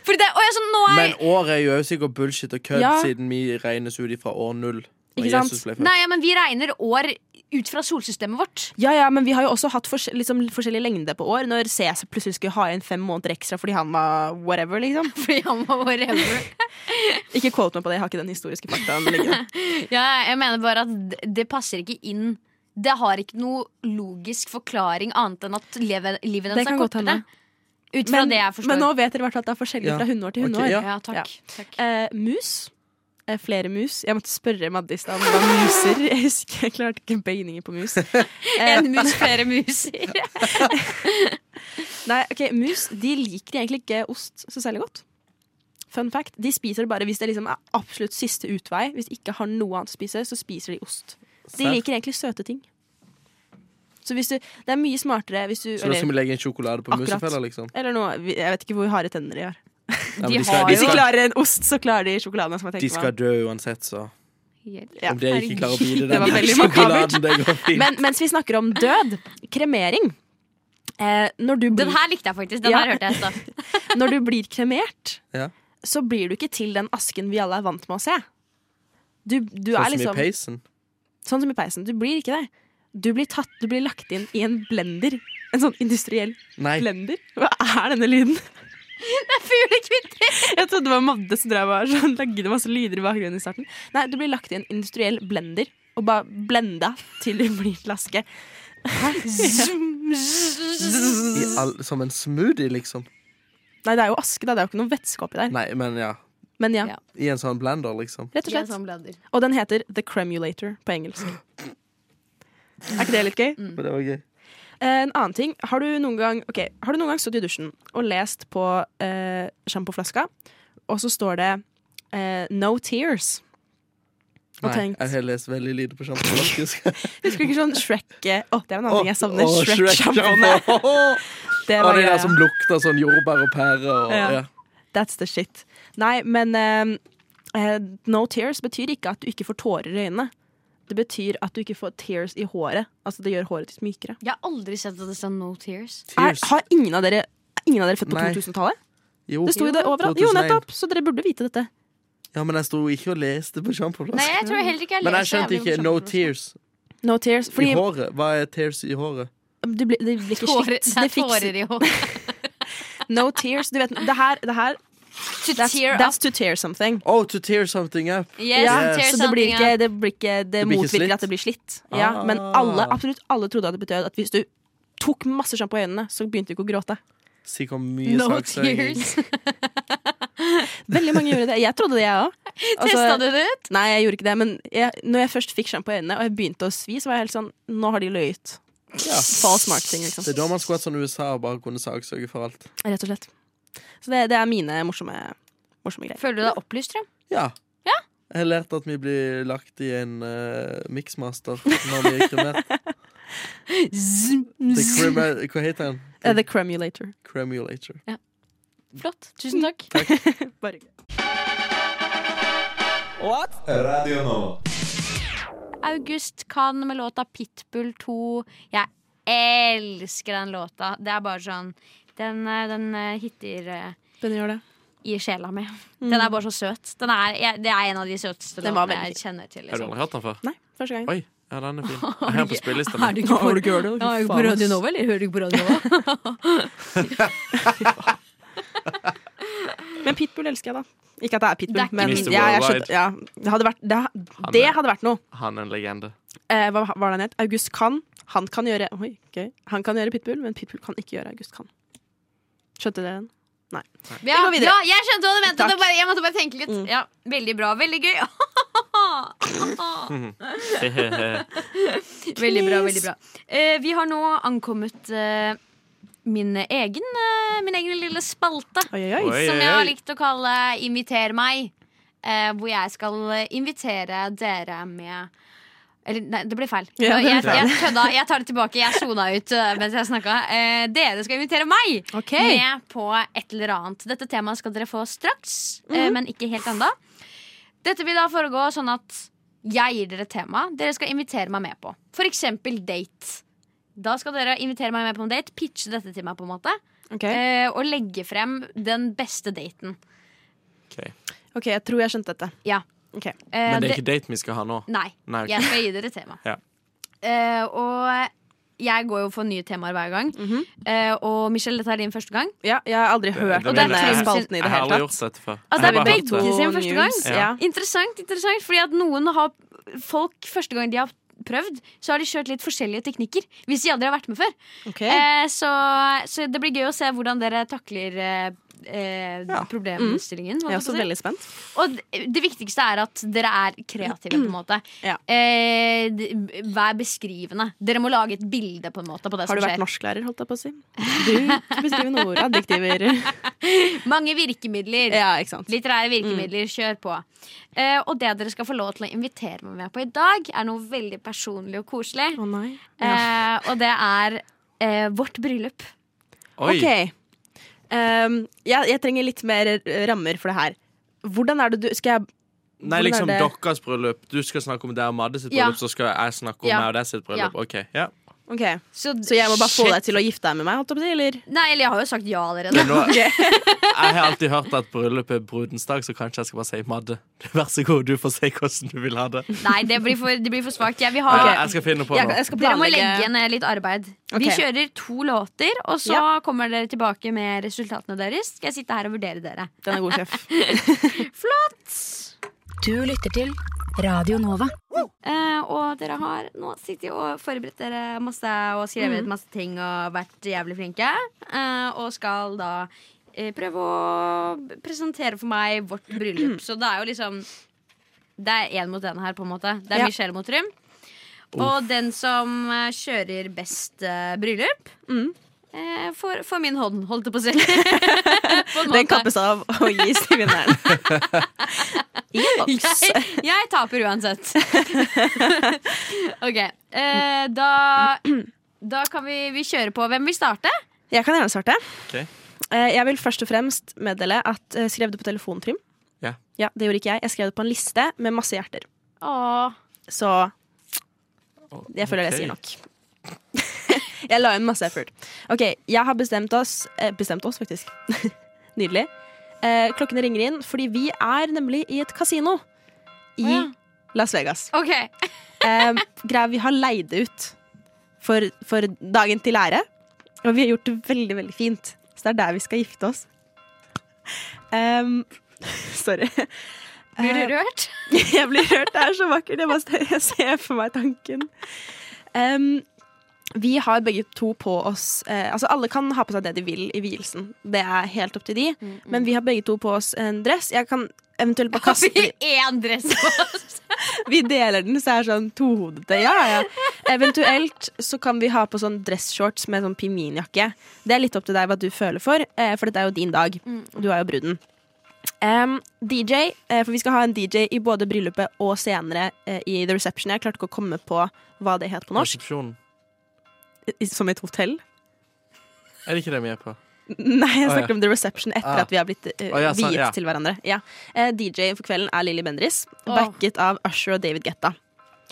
[SPEAKER 5] Fordi det, og jeg, er sånn, nå er,
[SPEAKER 2] Men året er jo også sikkert bullshit og kødd,
[SPEAKER 6] Ja.
[SPEAKER 2] siden vi regnes ut ifra år null. når
[SPEAKER 6] Ikke sant?
[SPEAKER 2] Jesus ble født.
[SPEAKER 5] nei, ja, men vi regner år ut fra solsystemet vårt.
[SPEAKER 6] Ja, ja, men vi har jo også hatt forskj- liksom, forskjellig lengde på år. Når CS plutselig skulle ha inn fem måneder ekstra fordi han var whatever, liksom.
[SPEAKER 5] Fordi han var whatever.
[SPEAKER 6] Ikke quote meg på det, jeg har ikke den historiske faktaen. liggende.
[SPEAKER 5] Ja, jeg mener bare at det- det passer ikke inn. Det har ikke noe logisk forklaring annet enn at livet, livet
[SPEAKER 6] Det
[SPEAKER 5] deres er
[SPEAKER 6] kan godt
[SPEAKER 5] kortere.
[SPEAKER 6] hende.
[SPEAKER 5] Ut fra
[SPEAKER 6] Men,
[SPEAKER 5] det jeg forstår.
[SPEAKER 6] men nå vet dere i hvert fall at det er forskjellig
[SPEAKER 2] Ja.
[SPEAKER 6] fra hundeår til
[SPEAKER 2] Ok,
[SPEAKER 6] hundeår.
[SPEAKER 2] ja.
[SPEAKER 5] ja, takk, takk.
[SPEAKER 6] Eh, mus. Eh, flere mus. Jeg måtte spørre Maddis da om hva muser <laughs> Jeg husker jeg klarte ikke bøyninger på mus. Eh,
[SPEAKER 5] En mus, flere muser.
[SPEAKER 6] nei, ok, Mus de liker egentlig ikke ost så særlig godt. Fun fact, De spiser det bare hvis det liksom er absolutt siste utvei. Hvis de ikke har noe annet å spise, så spiser de ost. <laughs> De
[SPEAKER 2] Serr?
[SPEAKER 6] liker egentlig søte ting. Så hvis du, Det er mye smartere hvis du
[SPEAKER 2] Så da skal vi
[SPEAKER 6] eller,
[SPEAKER 2] legge inn sjokolade på
[SPEAKER 6] Akkurat.
[SPEAKER 2] musefeller, liksom?
[SPEAKER 6] eller noe, Jeg vet ikke hvor harde tenner de har.
[SPEAKER 2] Nei, men
[SPEAKER 5] De har
[SPEAKER 2] de
[SPEAKER 6] Hvis de
[SPEAKER 2] skal,
[SPEAKER 6] klarer en ost, så klarer de sjokoladen. Som jeg
[SPEAKER 2] de
[SPEAKER 6] tenker
[SPEAKER 2] skal
[SPEAKER 6] meg.
[SPEAKER 2] dø uansett, så
[SPEAKER 5] Hjelp.
[SPEAKER 6] <laughs> Ja.
[SPEAKER 2] om det ikke klarer å bite
[SPEAKER 6] <laughs> Det var
[SPEAKER 2] den
[SPEAKER 6] veldig
[SPEAKER 2] sjokoladen, det går fint.
[SPEAKER 6] Men mens vi snakker om død, kremering eh, Når du blir
[SPEAKER 5] Den her likte jeg faktisk. Den
[SPEAKER 6] Ja.
[SPEAKER 5] her hørte jeg i <laughs> stad.
[SPEAKER 6] Når du blir kremert,
[SPEAKER 2] Ja.
[SPEAKER 6] så blir du ikke til den asken vi alle er vant med å se. Du, du
[SPEAKER 2] Sånn
[SPEAKER 6] er
[SPEAKER 2] som i
[SPEAKER 6] liksom
[SPEAKER 2] peisen.
[SPEAKER 6] Sånn som i peisen. Du blir ikke det. Du blir, tatt, du blir lagt inn i en blender. En sånn industriell
[SPEAKER 2] Nei.
[SPEAKER 6] blender. Hva er denne lyden?
[SPEAKER 5] Fuglekvitter!
[SPEAKER 6] Jeg trodde det var Madde som drev og sånn, lagde masse lyder i bakgrunnen i starten. Nei, du blir lagt i en industriell blender og bare blenda til du blir til aske.
[SPEAKER 2] I all, som en smoothie, liksom.
[SPEAKER 6] Nei, det er jo aske, da. Det er jo ikke noe vætske oppi der.
[SPEAKER 2] Nei, men ja.
[SPEAKER 6] Men ja,
[SPEAKER 5] Ja. sånn.
[SPEAKER 2] I en sånn blender, liksom.
[SPEAKER 6] rett og slett. Og den heter The Cremulator på engelsk. Er ikke det litt gøy?
[SPEAKER 2] Men det var gøy.
[SPEAKER 6] Eh, En annen ting. Har du noen gang, ok, har du noen gang stått i dusjen og lest på eh, sjampoflaska, og så står det eh, 'No tears'? Og
[SPEAKER 2] Nei,
[SPEAKER 6] tenkt
[SPEAKER 2] jeg har lest veldig lite på sjampo. faktisk.
[SPEAKER 6] Husker du ikke sånn Shrek eh, Å, det er en annen
[SPEAKER 2] Å,
[SPEAKER 6] ting jeg savner.
[SPEAKER 2] å,
[SPEAKER 6] Shrek-sjampoene.
[SPEAKER 2] Shrek-sjampo.
[SPEAKER 6] det
[SPEAKER 2] Og
[SPEAKER 6] var
[SPEAKER 2] det der
[SPEAKER 6] greia.
[SPEAKER 2] som lukter sånn jordbær og pære og
[SPEAKER 6] Ja.
[SPEAKER 2] ja.
[SPEAKER 6] That's the shit. Nei, men eh, eh, 'no tears' betyr ikke at du ikke får tårer i øynene. Det betyr at du ikke får tears i håret. Altså Det gjør håret ditt mykere.
[SPEAKER 5] Jeg har aldri sett at det står No Tears.
[SPEAKER 6] Er,
[SPEAKER 2] Tears.
[SPEAKER 6] har ingen av dere er ingen av dere født på
[SPEAKER 2] Nei.
[SPEAKER 6] 2000-tallet?
[SPEAKER 2] Jo.
[SPEAKER 6] Det sto jo det overalt. Jo,
[SPEAKER 2] 2001.
[SPEAKER 6] nettopp! Så dere burde vite dette.
[SPEAKER 2] Ja, men jeg sto ikke og leste på
[SPEAKER 5] Nei,
[SPEAKER 2] sjampoflaske.
[SPEAKER 5] jeg tror heller ikke jeg
[SPEAKER 2] Men jeg
[SPEAKER 5] leser
[SPEAKER 2] skjønte
[SPEAKER 5] jævlig
[SPEAKER 2] ikke
[SPEAKER 5] mye
[SPEAKER 2] no
[SPEAKER 5] sjampo.
[SPEAKER 2] tears
[SPEAKER 6] No tears. Fordi
[SPEAKER 2] i håret. Hva er tears i håret?
[SPEAKER 6] du blir, det blir ikke
[SPEAKER 5] Tårer,
[SPEAKER 6] slitt.
[SPEAKER 5] det
[SPEAKER 6] Det
[SPEAKER 5] er
[SPEAKER 6] fikser
[SPEAKER 5] tårer i håret.
[SPEAKER 6] No tears. Du vet, det her, det her
[SPEAKER 5] To
[SPEAKER 6] that's,
[SPEAKER 5] tear up.
[SPEAKER 6] that's to tear something.
[SPEAKER 2] Oh, to tear something up.
[SPEAKER 5] Yes,
[SPEAKER 6] Ja,
[SPEAKER 5] tear
[SPEAKER 6] Så det
[SPEAKER 5] something
[SPEAKER 6] blir ikke,
[SPEAKER 5] up.
[SPEAKER 6] det blir ikke Det,
[SPEAKER 2] blir ikke
[SPEAKER 6] motvirker
[SPEAKER 2] slitt.
[SPEAKER 6] at det blir slitt. Ja,
[SPEAKER 2] Ah.
[SPEAKER 6] men alle, absolutt alle trodde at det betød at hvis du tok masse sjampo i øynene, så begynte du ikke å gråte.
[SPEAKER 2] Sikkert mye
[SPEAKER 5] No
[SPEAKER 2] saksøking.
[SPEAKER 5] <laughs> tears.
[SPEAKER 6] Veldig mange gjorde det. Jeg trodde det, jeg òg.
[SPEAKER 5] Testa du det ut?
[SPEAKER 6] Nei, jeg gjorde ikke det, men jeg, når jeg først fikk sjampo i øynene, og jeg begynte å svi, så var jeg helt sånn Nå har de løyet.
[SPEAKER 2] Ja.
[SPEAKER 6] False marketing, liksom.
[SPEAKER 2] Det er da man skulle hatt sånn USA og bare kunne saksøke for alt.
[SPEAKER 6] Rett og slett. Så det, det er mine morsomme, morsomme greier.
[SPEAKER 5] Føler du deg opplyst, Trym?
[SPEAKER 2] Ja. Jeg har lært at vi blir lagt i en uh, mixmaster når vi er kremert. The crema, hva heter den?
[SPEAKER 6] Eh, the Cremulator.
[SPEAKER 2] Cremulator.
[SPEAKER 5] Flott. Tusen takk.
[SPEAKER 6] Bare gøy.
[SPEAKER 7] Radio Nova.
[SPEAKER 5] August Khan med låta Pitbull 2. Jeg elsker den låta. Det er bare sånn Den, eh, den eh, hitter eh,
[SPEAKER 6] Den gjør det.
[SPEAKER 5] i sjela mi. Den er bare så søt. Den er, jeg, det er en av de søteste
[SPEAKER 6] Den var
[SPEAKER 5] låtene
[SPEAKER 6] veldig
[SPEAKER 5] jeg kjenner til.
[SPEAKER 2] Har du
[SPEAKER 5] Liksom.
[SPEAKER 2] aldri hørt den før?
[SPEAKER 6] Nei, første gang.
[SPEAKER 2] Oi, ja, den
[SPEAKER 5] <laughs>
[SPEAKER 2] er fin. Jeg har den på spillelista
[SPEAKER 5] Er
[SPEAKER 2] mi.
[SPEAKER 5] du ikke på,
[SPEAKER 6] Har du ikke hørt det?
[SPEAKER 5] Ja, er du
[SPEAKER 6] Faen,
[SPEAKER 5] på Radio
[SPEAKER 6] ass.
[SPEAKER 5] Nova, eller hører du ikke på Radio <laughs> Nova?
[SPEAKER 6] Men Pitbull elsker jeg, da. Ikke at det er Pitbull,
[SPEAKER 5] Det er ikke
[SPEAKER 6] men
[SPEAKER 2] Pitbull.
[SPEAKER 6] ja, jeg
[SPEAKER 2] Mr.
[SPEAKER 6] skjønner, ja, det, hadde vært, det,
[SPEAKER 2] Han
[SPEAKER 6] det
[SPEAKER 2] er-
[SPEAKER 6] hadde vært noe.
[SPEAKER 2] Han er en legende.
[SPEAKER 6] Eh, hva hva var det han het? August Kahn. Han kan gjøre Oi, gøy. Han kan gjøre Pitbull, men Pitbull kan ikke gjøre August Kahn. Skjønte dere den?
[SPEAKER 5] Ja,
[SPEAKER 6] går videre.
[SPEAKER 5] ja, jeg skjønte hva du mente.
[SPEAKER 6] Takk.
[SPEAKER 5] Det bare, jeg måtte bare tenke litt. Ja, veldig bra. Veldig gøy. <laughs> Eh, Veldig bra, veldig bra. Eh, vi har nå ankommet eh, min, egen, eh, min egen lille spalte.
[SPEAKER 6] Oi, oi, oi.
[SPEAKER 2] Oi,
[SPEAKER 5] som
[SPEAKER 2] oi,
[SPEAKER 5] jeg har
[SPEAKER 2] oi.
[SPEAKER 5] likt å kalle Inviter meg. eh, hvor jeg skal invitere dere med Eller, nei, det ble feil.
[SPEAKER 6] Ja, det ble
[SPEAKER 5] jeg, jeg kødda. Jeg tar det tilbake. Jeg sona ut eh, mens jeg snakka. Eh, dere skal invitere meg med på et eller annet. Dette temaet skal dere få straks,
[SPEAKER 6] Mhm.
[SPEAKER 5] eh, men ikke helt ennå. Dette vil da foregå sånn at jeg gir dere tema dere skal invitere meg med på. For eksempel date. Da skal dere invitere meg med på en date. Pitche dette til meg, på en måte.
[SPEAKER 6] Ok.
[SPEAKER 5] Eh, og legge frem den beste daten.
[SPEAKER 6] OK, jeg tror jeg skjønte dette.
[SPEAKER 5] Ja.
[SPEAKER 6] Ok.
[SPEAKER 5] Eh,
[SPEAKER 2] Men det er
[SPEAKER 5] det-
[SPEAKER 2] ikke date vi skal ha nå.
[SPEAKER 5] Nei.
[SPEAKER 2] Nei, ok.
[SPEAKER 5] Jeg skal gi dere tema.
[SPEAKER 2] Ja.
[SPEAKER 5] Eh, og jeg går jo for nye temaer hver gang. eh, og Michelle, dette er din første gang.
[SPEAKER 6] Ja, jeg har aldri hørt
[SPEAKER 2] det
[SPEAKER 6] om
[SPEAKER 2] mener
[SPEAKER 6] denne
[SPEAKER 2] jeg.
[SPEAKER 6] spalten i
[SPEAKER 2] Jeg
[SPEAKER 6] det
[SPEAKER 2] har
[SPEAKER 6] hele
[SPEAKER 2] aldri
[SPEAKER 6] tatt.
[SPEAKER 2] gjort dette før.
[SPEAKER 5] Altså,
[SPEAKER 2] Jeg
[SPEAKER 5] det er
[SPEAKER 2] har bare hørt det.
[SPEAKER 5] begge sin første gang.
[SPEAKER 6] News,
[SPEAKER 2] Ja.
[SPEAKER 6] Ja.
[SPEAKER 5] Interessant, interessant, fordi at noen har Folk første gang de har prøvd, så har de kjørt litt forskjellige teknikker. Hvis de aldri har vært med før.
[SPEAKER 6] Ok.
[SPEAKER 5] Eh, så, så det blir gøy å se hvordan dere takler eh, eh, problemstillingen. holdt jeg på å
[SPEAKER 6] Jeg er også
[SPEAKER 5] si.
[SPEAKER 6] veldig spent.
[SPEAKER 5] Og d- det viktigste er at dere er kreative, på en måte.
[SPEAKER 6] Ja.
[SPEAKER 5] Eh, d- vær beskrivende. Dere må lage et bilde på en måte på det
[SPEAKER 6] Har du
[SPEAKER 5] som
[SPEAKER 6] vært
[SPEAKER 5] skjer.
[SPEAKER 6] norsklærer, holdt jeg på å si? Bruk beskrivende ord,
[SPEAKER 5] <laughs>
[SPEAKER 6] adjektiver
[SPEAKER 5] Mange virkemidler.
[SPEAKER 6] Ja, Mm. ikke sant.
[SPEAKER 5] Litterære virkemidler. Kjør på. Eh, og det dere skal få lov til å invitere meg med på i dag, er noe veldig personlig og koselig.
[SPEAKER 6] Å nei. Ja.
[SPEAKER 5] Eh, og det er eh, vårt bryllup.
[SPEAKER 2] Oi,
[SPEAKER 6] Ok. Ehm, jeg, jeg trenger litt mer eh, rammer for det her. Hvordan er det du Skal jeg
[SPEAKER 2] Nei,
[SPEAKER 6] Hvordan er
[SPEAKER 2] liksom
[SPEAKER 6] det?
[SPEAKER 2] deres bryllup. Du skal snakke om deg og Madde sitt
[SPEAKER 5] Ja.
[SPEAKER 2] bryllup, så skal jeg snakke om
[SPEAKER 5] Ja.
[SPEAKER 2] meg og deg sitt bryllup. Ok, ja
[SPEAKER 6] Ok,
[SPEAKER 5] Så,
[SPEAKER 6] Så jeg må bare få deg til å gifte deg med meg? Holdt jeg på å si, eller?
[SPEAKER 5] Nei, eller jeg har jo sagt ja allerede.
[SPEAKER 2] Men nå, <laughs> jeg har alltid hørt at bryllup er brudens dag, så kanskje jeg skal bare si Madde. <laughs> Vær så god, du får si hvordan du vil ha det.
[SPEAKER 5] Nei, det blir for, det blir for svakt. Jeg vil ha
[SPEAKER 2] Ja, jeg skal finne på
[SPEAKER 6] Jeg,
[SPEAKER 2] noe.
[SPEAKER 6] jeg skal
[SPEAKER 5] Dere må
[SPEAKER 6] planlegge
[SPEAKER 5] legge ned litt arbeid. Vi
[SPEAKER 6] Ok.
[SPEAKER 5] kjører to låter, og så
[SPEAKER 6] Ja.
[SPEAKER 5] kommer dere tilbake med resultatene deres. Skal jeg sitte her og vurdere dere.
[SPEAKER 6] Den er
[SPEAKER 5] <laughs>
[SPEAKER 6] god, sjef.
[SPEAKER 8] Du lytter til Radio Nova.
[SPEAKER 5] Eh, og dere har nå sittet og forberedt dere masse og skrevet
[SPEAKER 6] Mm.
[SPEAKER 5] masse ting og vært jævlig flinke. eh, og skal da eh, prøve å presentere for meg vårt
[SPEAKER 6] Mm.
[SPEAKER 5] bryllup. Så det er jo liksom Det er én mot én her, på en måte. Det er
[SPEAKER 6] Ja.
[SPEAKER 5] Michelle mot Trym. Og den som eh, kjører best eh, bryllup,
[SPEAKER 6] Mm.
[SPEAKER 5] eh, får, får min hånd, holdt jeg på å si. <laughs> På en
[SPEAKER 6] Den
[SPEAKER 5] måte.
[SPEAKER 6] kappes av og gis til vinneren.
[SPEAKER 5] <laughs>
[SPEAKER 6] I en <laughs> boks.
[SPEAKER 5] Jeg, jeg taper
[SPEAKER 6] <laughs>
[SPEAKER 5] uansett. OK. Eh, da, da kan vi, vi kjøre på. Hvem vil starte?
[SPEAKER 6] Jeg kan gjerne starte.
[SPEAKER 2] Ok.
[SPEAKER 6] Eh, Jeg vil først og fremst meddele at eh, skrev du på telefon, Trym?
[SPEAKER 2] Ja.
[SPEAKER 6] ja. Det gjorde ikke jeg. Jeg skrev det på en liste med masse hjerter.
[SPEAKER 5] Åh,
[SPEAKER 6] Så jeg føler
[SPEAKER 2] Ok.
[SPEAKER 6] det sier nok. <laughs> jeg la inn masse effort. Ok, jeg har bestemt oss eh, Bestemt oss, faktisk. <laughs> Nydelig. Eh, klokkene ringer inn, fordi vi er nemlig i et kasino i
[SPEAKER 5] Å ja.
[SPEAKER 6] Las Vegas.
[SPEAKER 5] OK.
[SPEAKER 6] Eh, greia vi har leid ut for, for dagen til ære. Og vi har gjort det veldig, veldig fint. Så det er der vi skal gifte oss. Em, <laughs> sorry.
[SPEAKER 5] Blir
[SPEAKER 6] Eh,
[SPEAKER 5] du
[SPEAKER 6] <laughs>
[SPEAKER 5] rørt?
[SPEAKER 6] jeg blir rørt. Det er så vakkert. Jeg, bare, jeg ser for meg tanken. Em, vi har begge to på oss eh, Altså Alle kan ha på seg det de vil i vielsen. Det er helt opp til
[SPEAKER 5] Mm,
[SPEAKER 6] de. Men vi har begge to på oss en dress. Jeg kan
[SPEAKER 5] <laughs>
[SPEAKER 6] eventuelt bare
[SPEAKER 5] Har
[SPEAKER 6] kaste
[SPEAKER 5] vi én dress på
[SPEAKER 6] <laughs>
[SPEAKER 5] oss?
[SPEAKER 6] vi deler den, så er det sånn tohodete. Ja, ja. Eventuelt så kan vi ha på sånn dressshorts med sånn pingvinjakke. Det er litt opp til deg hva du føler for, eh, for dette er jo din dag. Du er jo bruden. Em, DJ, eh, for vi skal ha en DJ i både bryllupet og senere eh, i The Reception. Jeg klarte ikke å komme på hva det het på norsk.
[SPEAKER 2] Resepsjonen.
[SPEAKER 6] I- Som et hotell? <laughs>
[SPEAKER 2] Er det ikke det vi er på?
[SPEAKER 6] Nei,
[SPEAKER 2] Å,
[SPEAKER 6] jeg
[SPEAKER 2] ja.
[SPEAKER 6] snakker om The Reception
[SPEAKER 2] Ah.
[SPEAKER 6] etter at vi har blitt eh,
[SPEAKER 2] Å, ja, sånn,
[SPEAKER 6] viet
[SPEAKER 2] ja.
[SPEAKER 6] til hverandre. Ja. Eh, DJ for kvelden er Lilly Bendriss,
[SPEAKER 5] Åh.
[SPEAKER 6] backet av Usher og David Getta.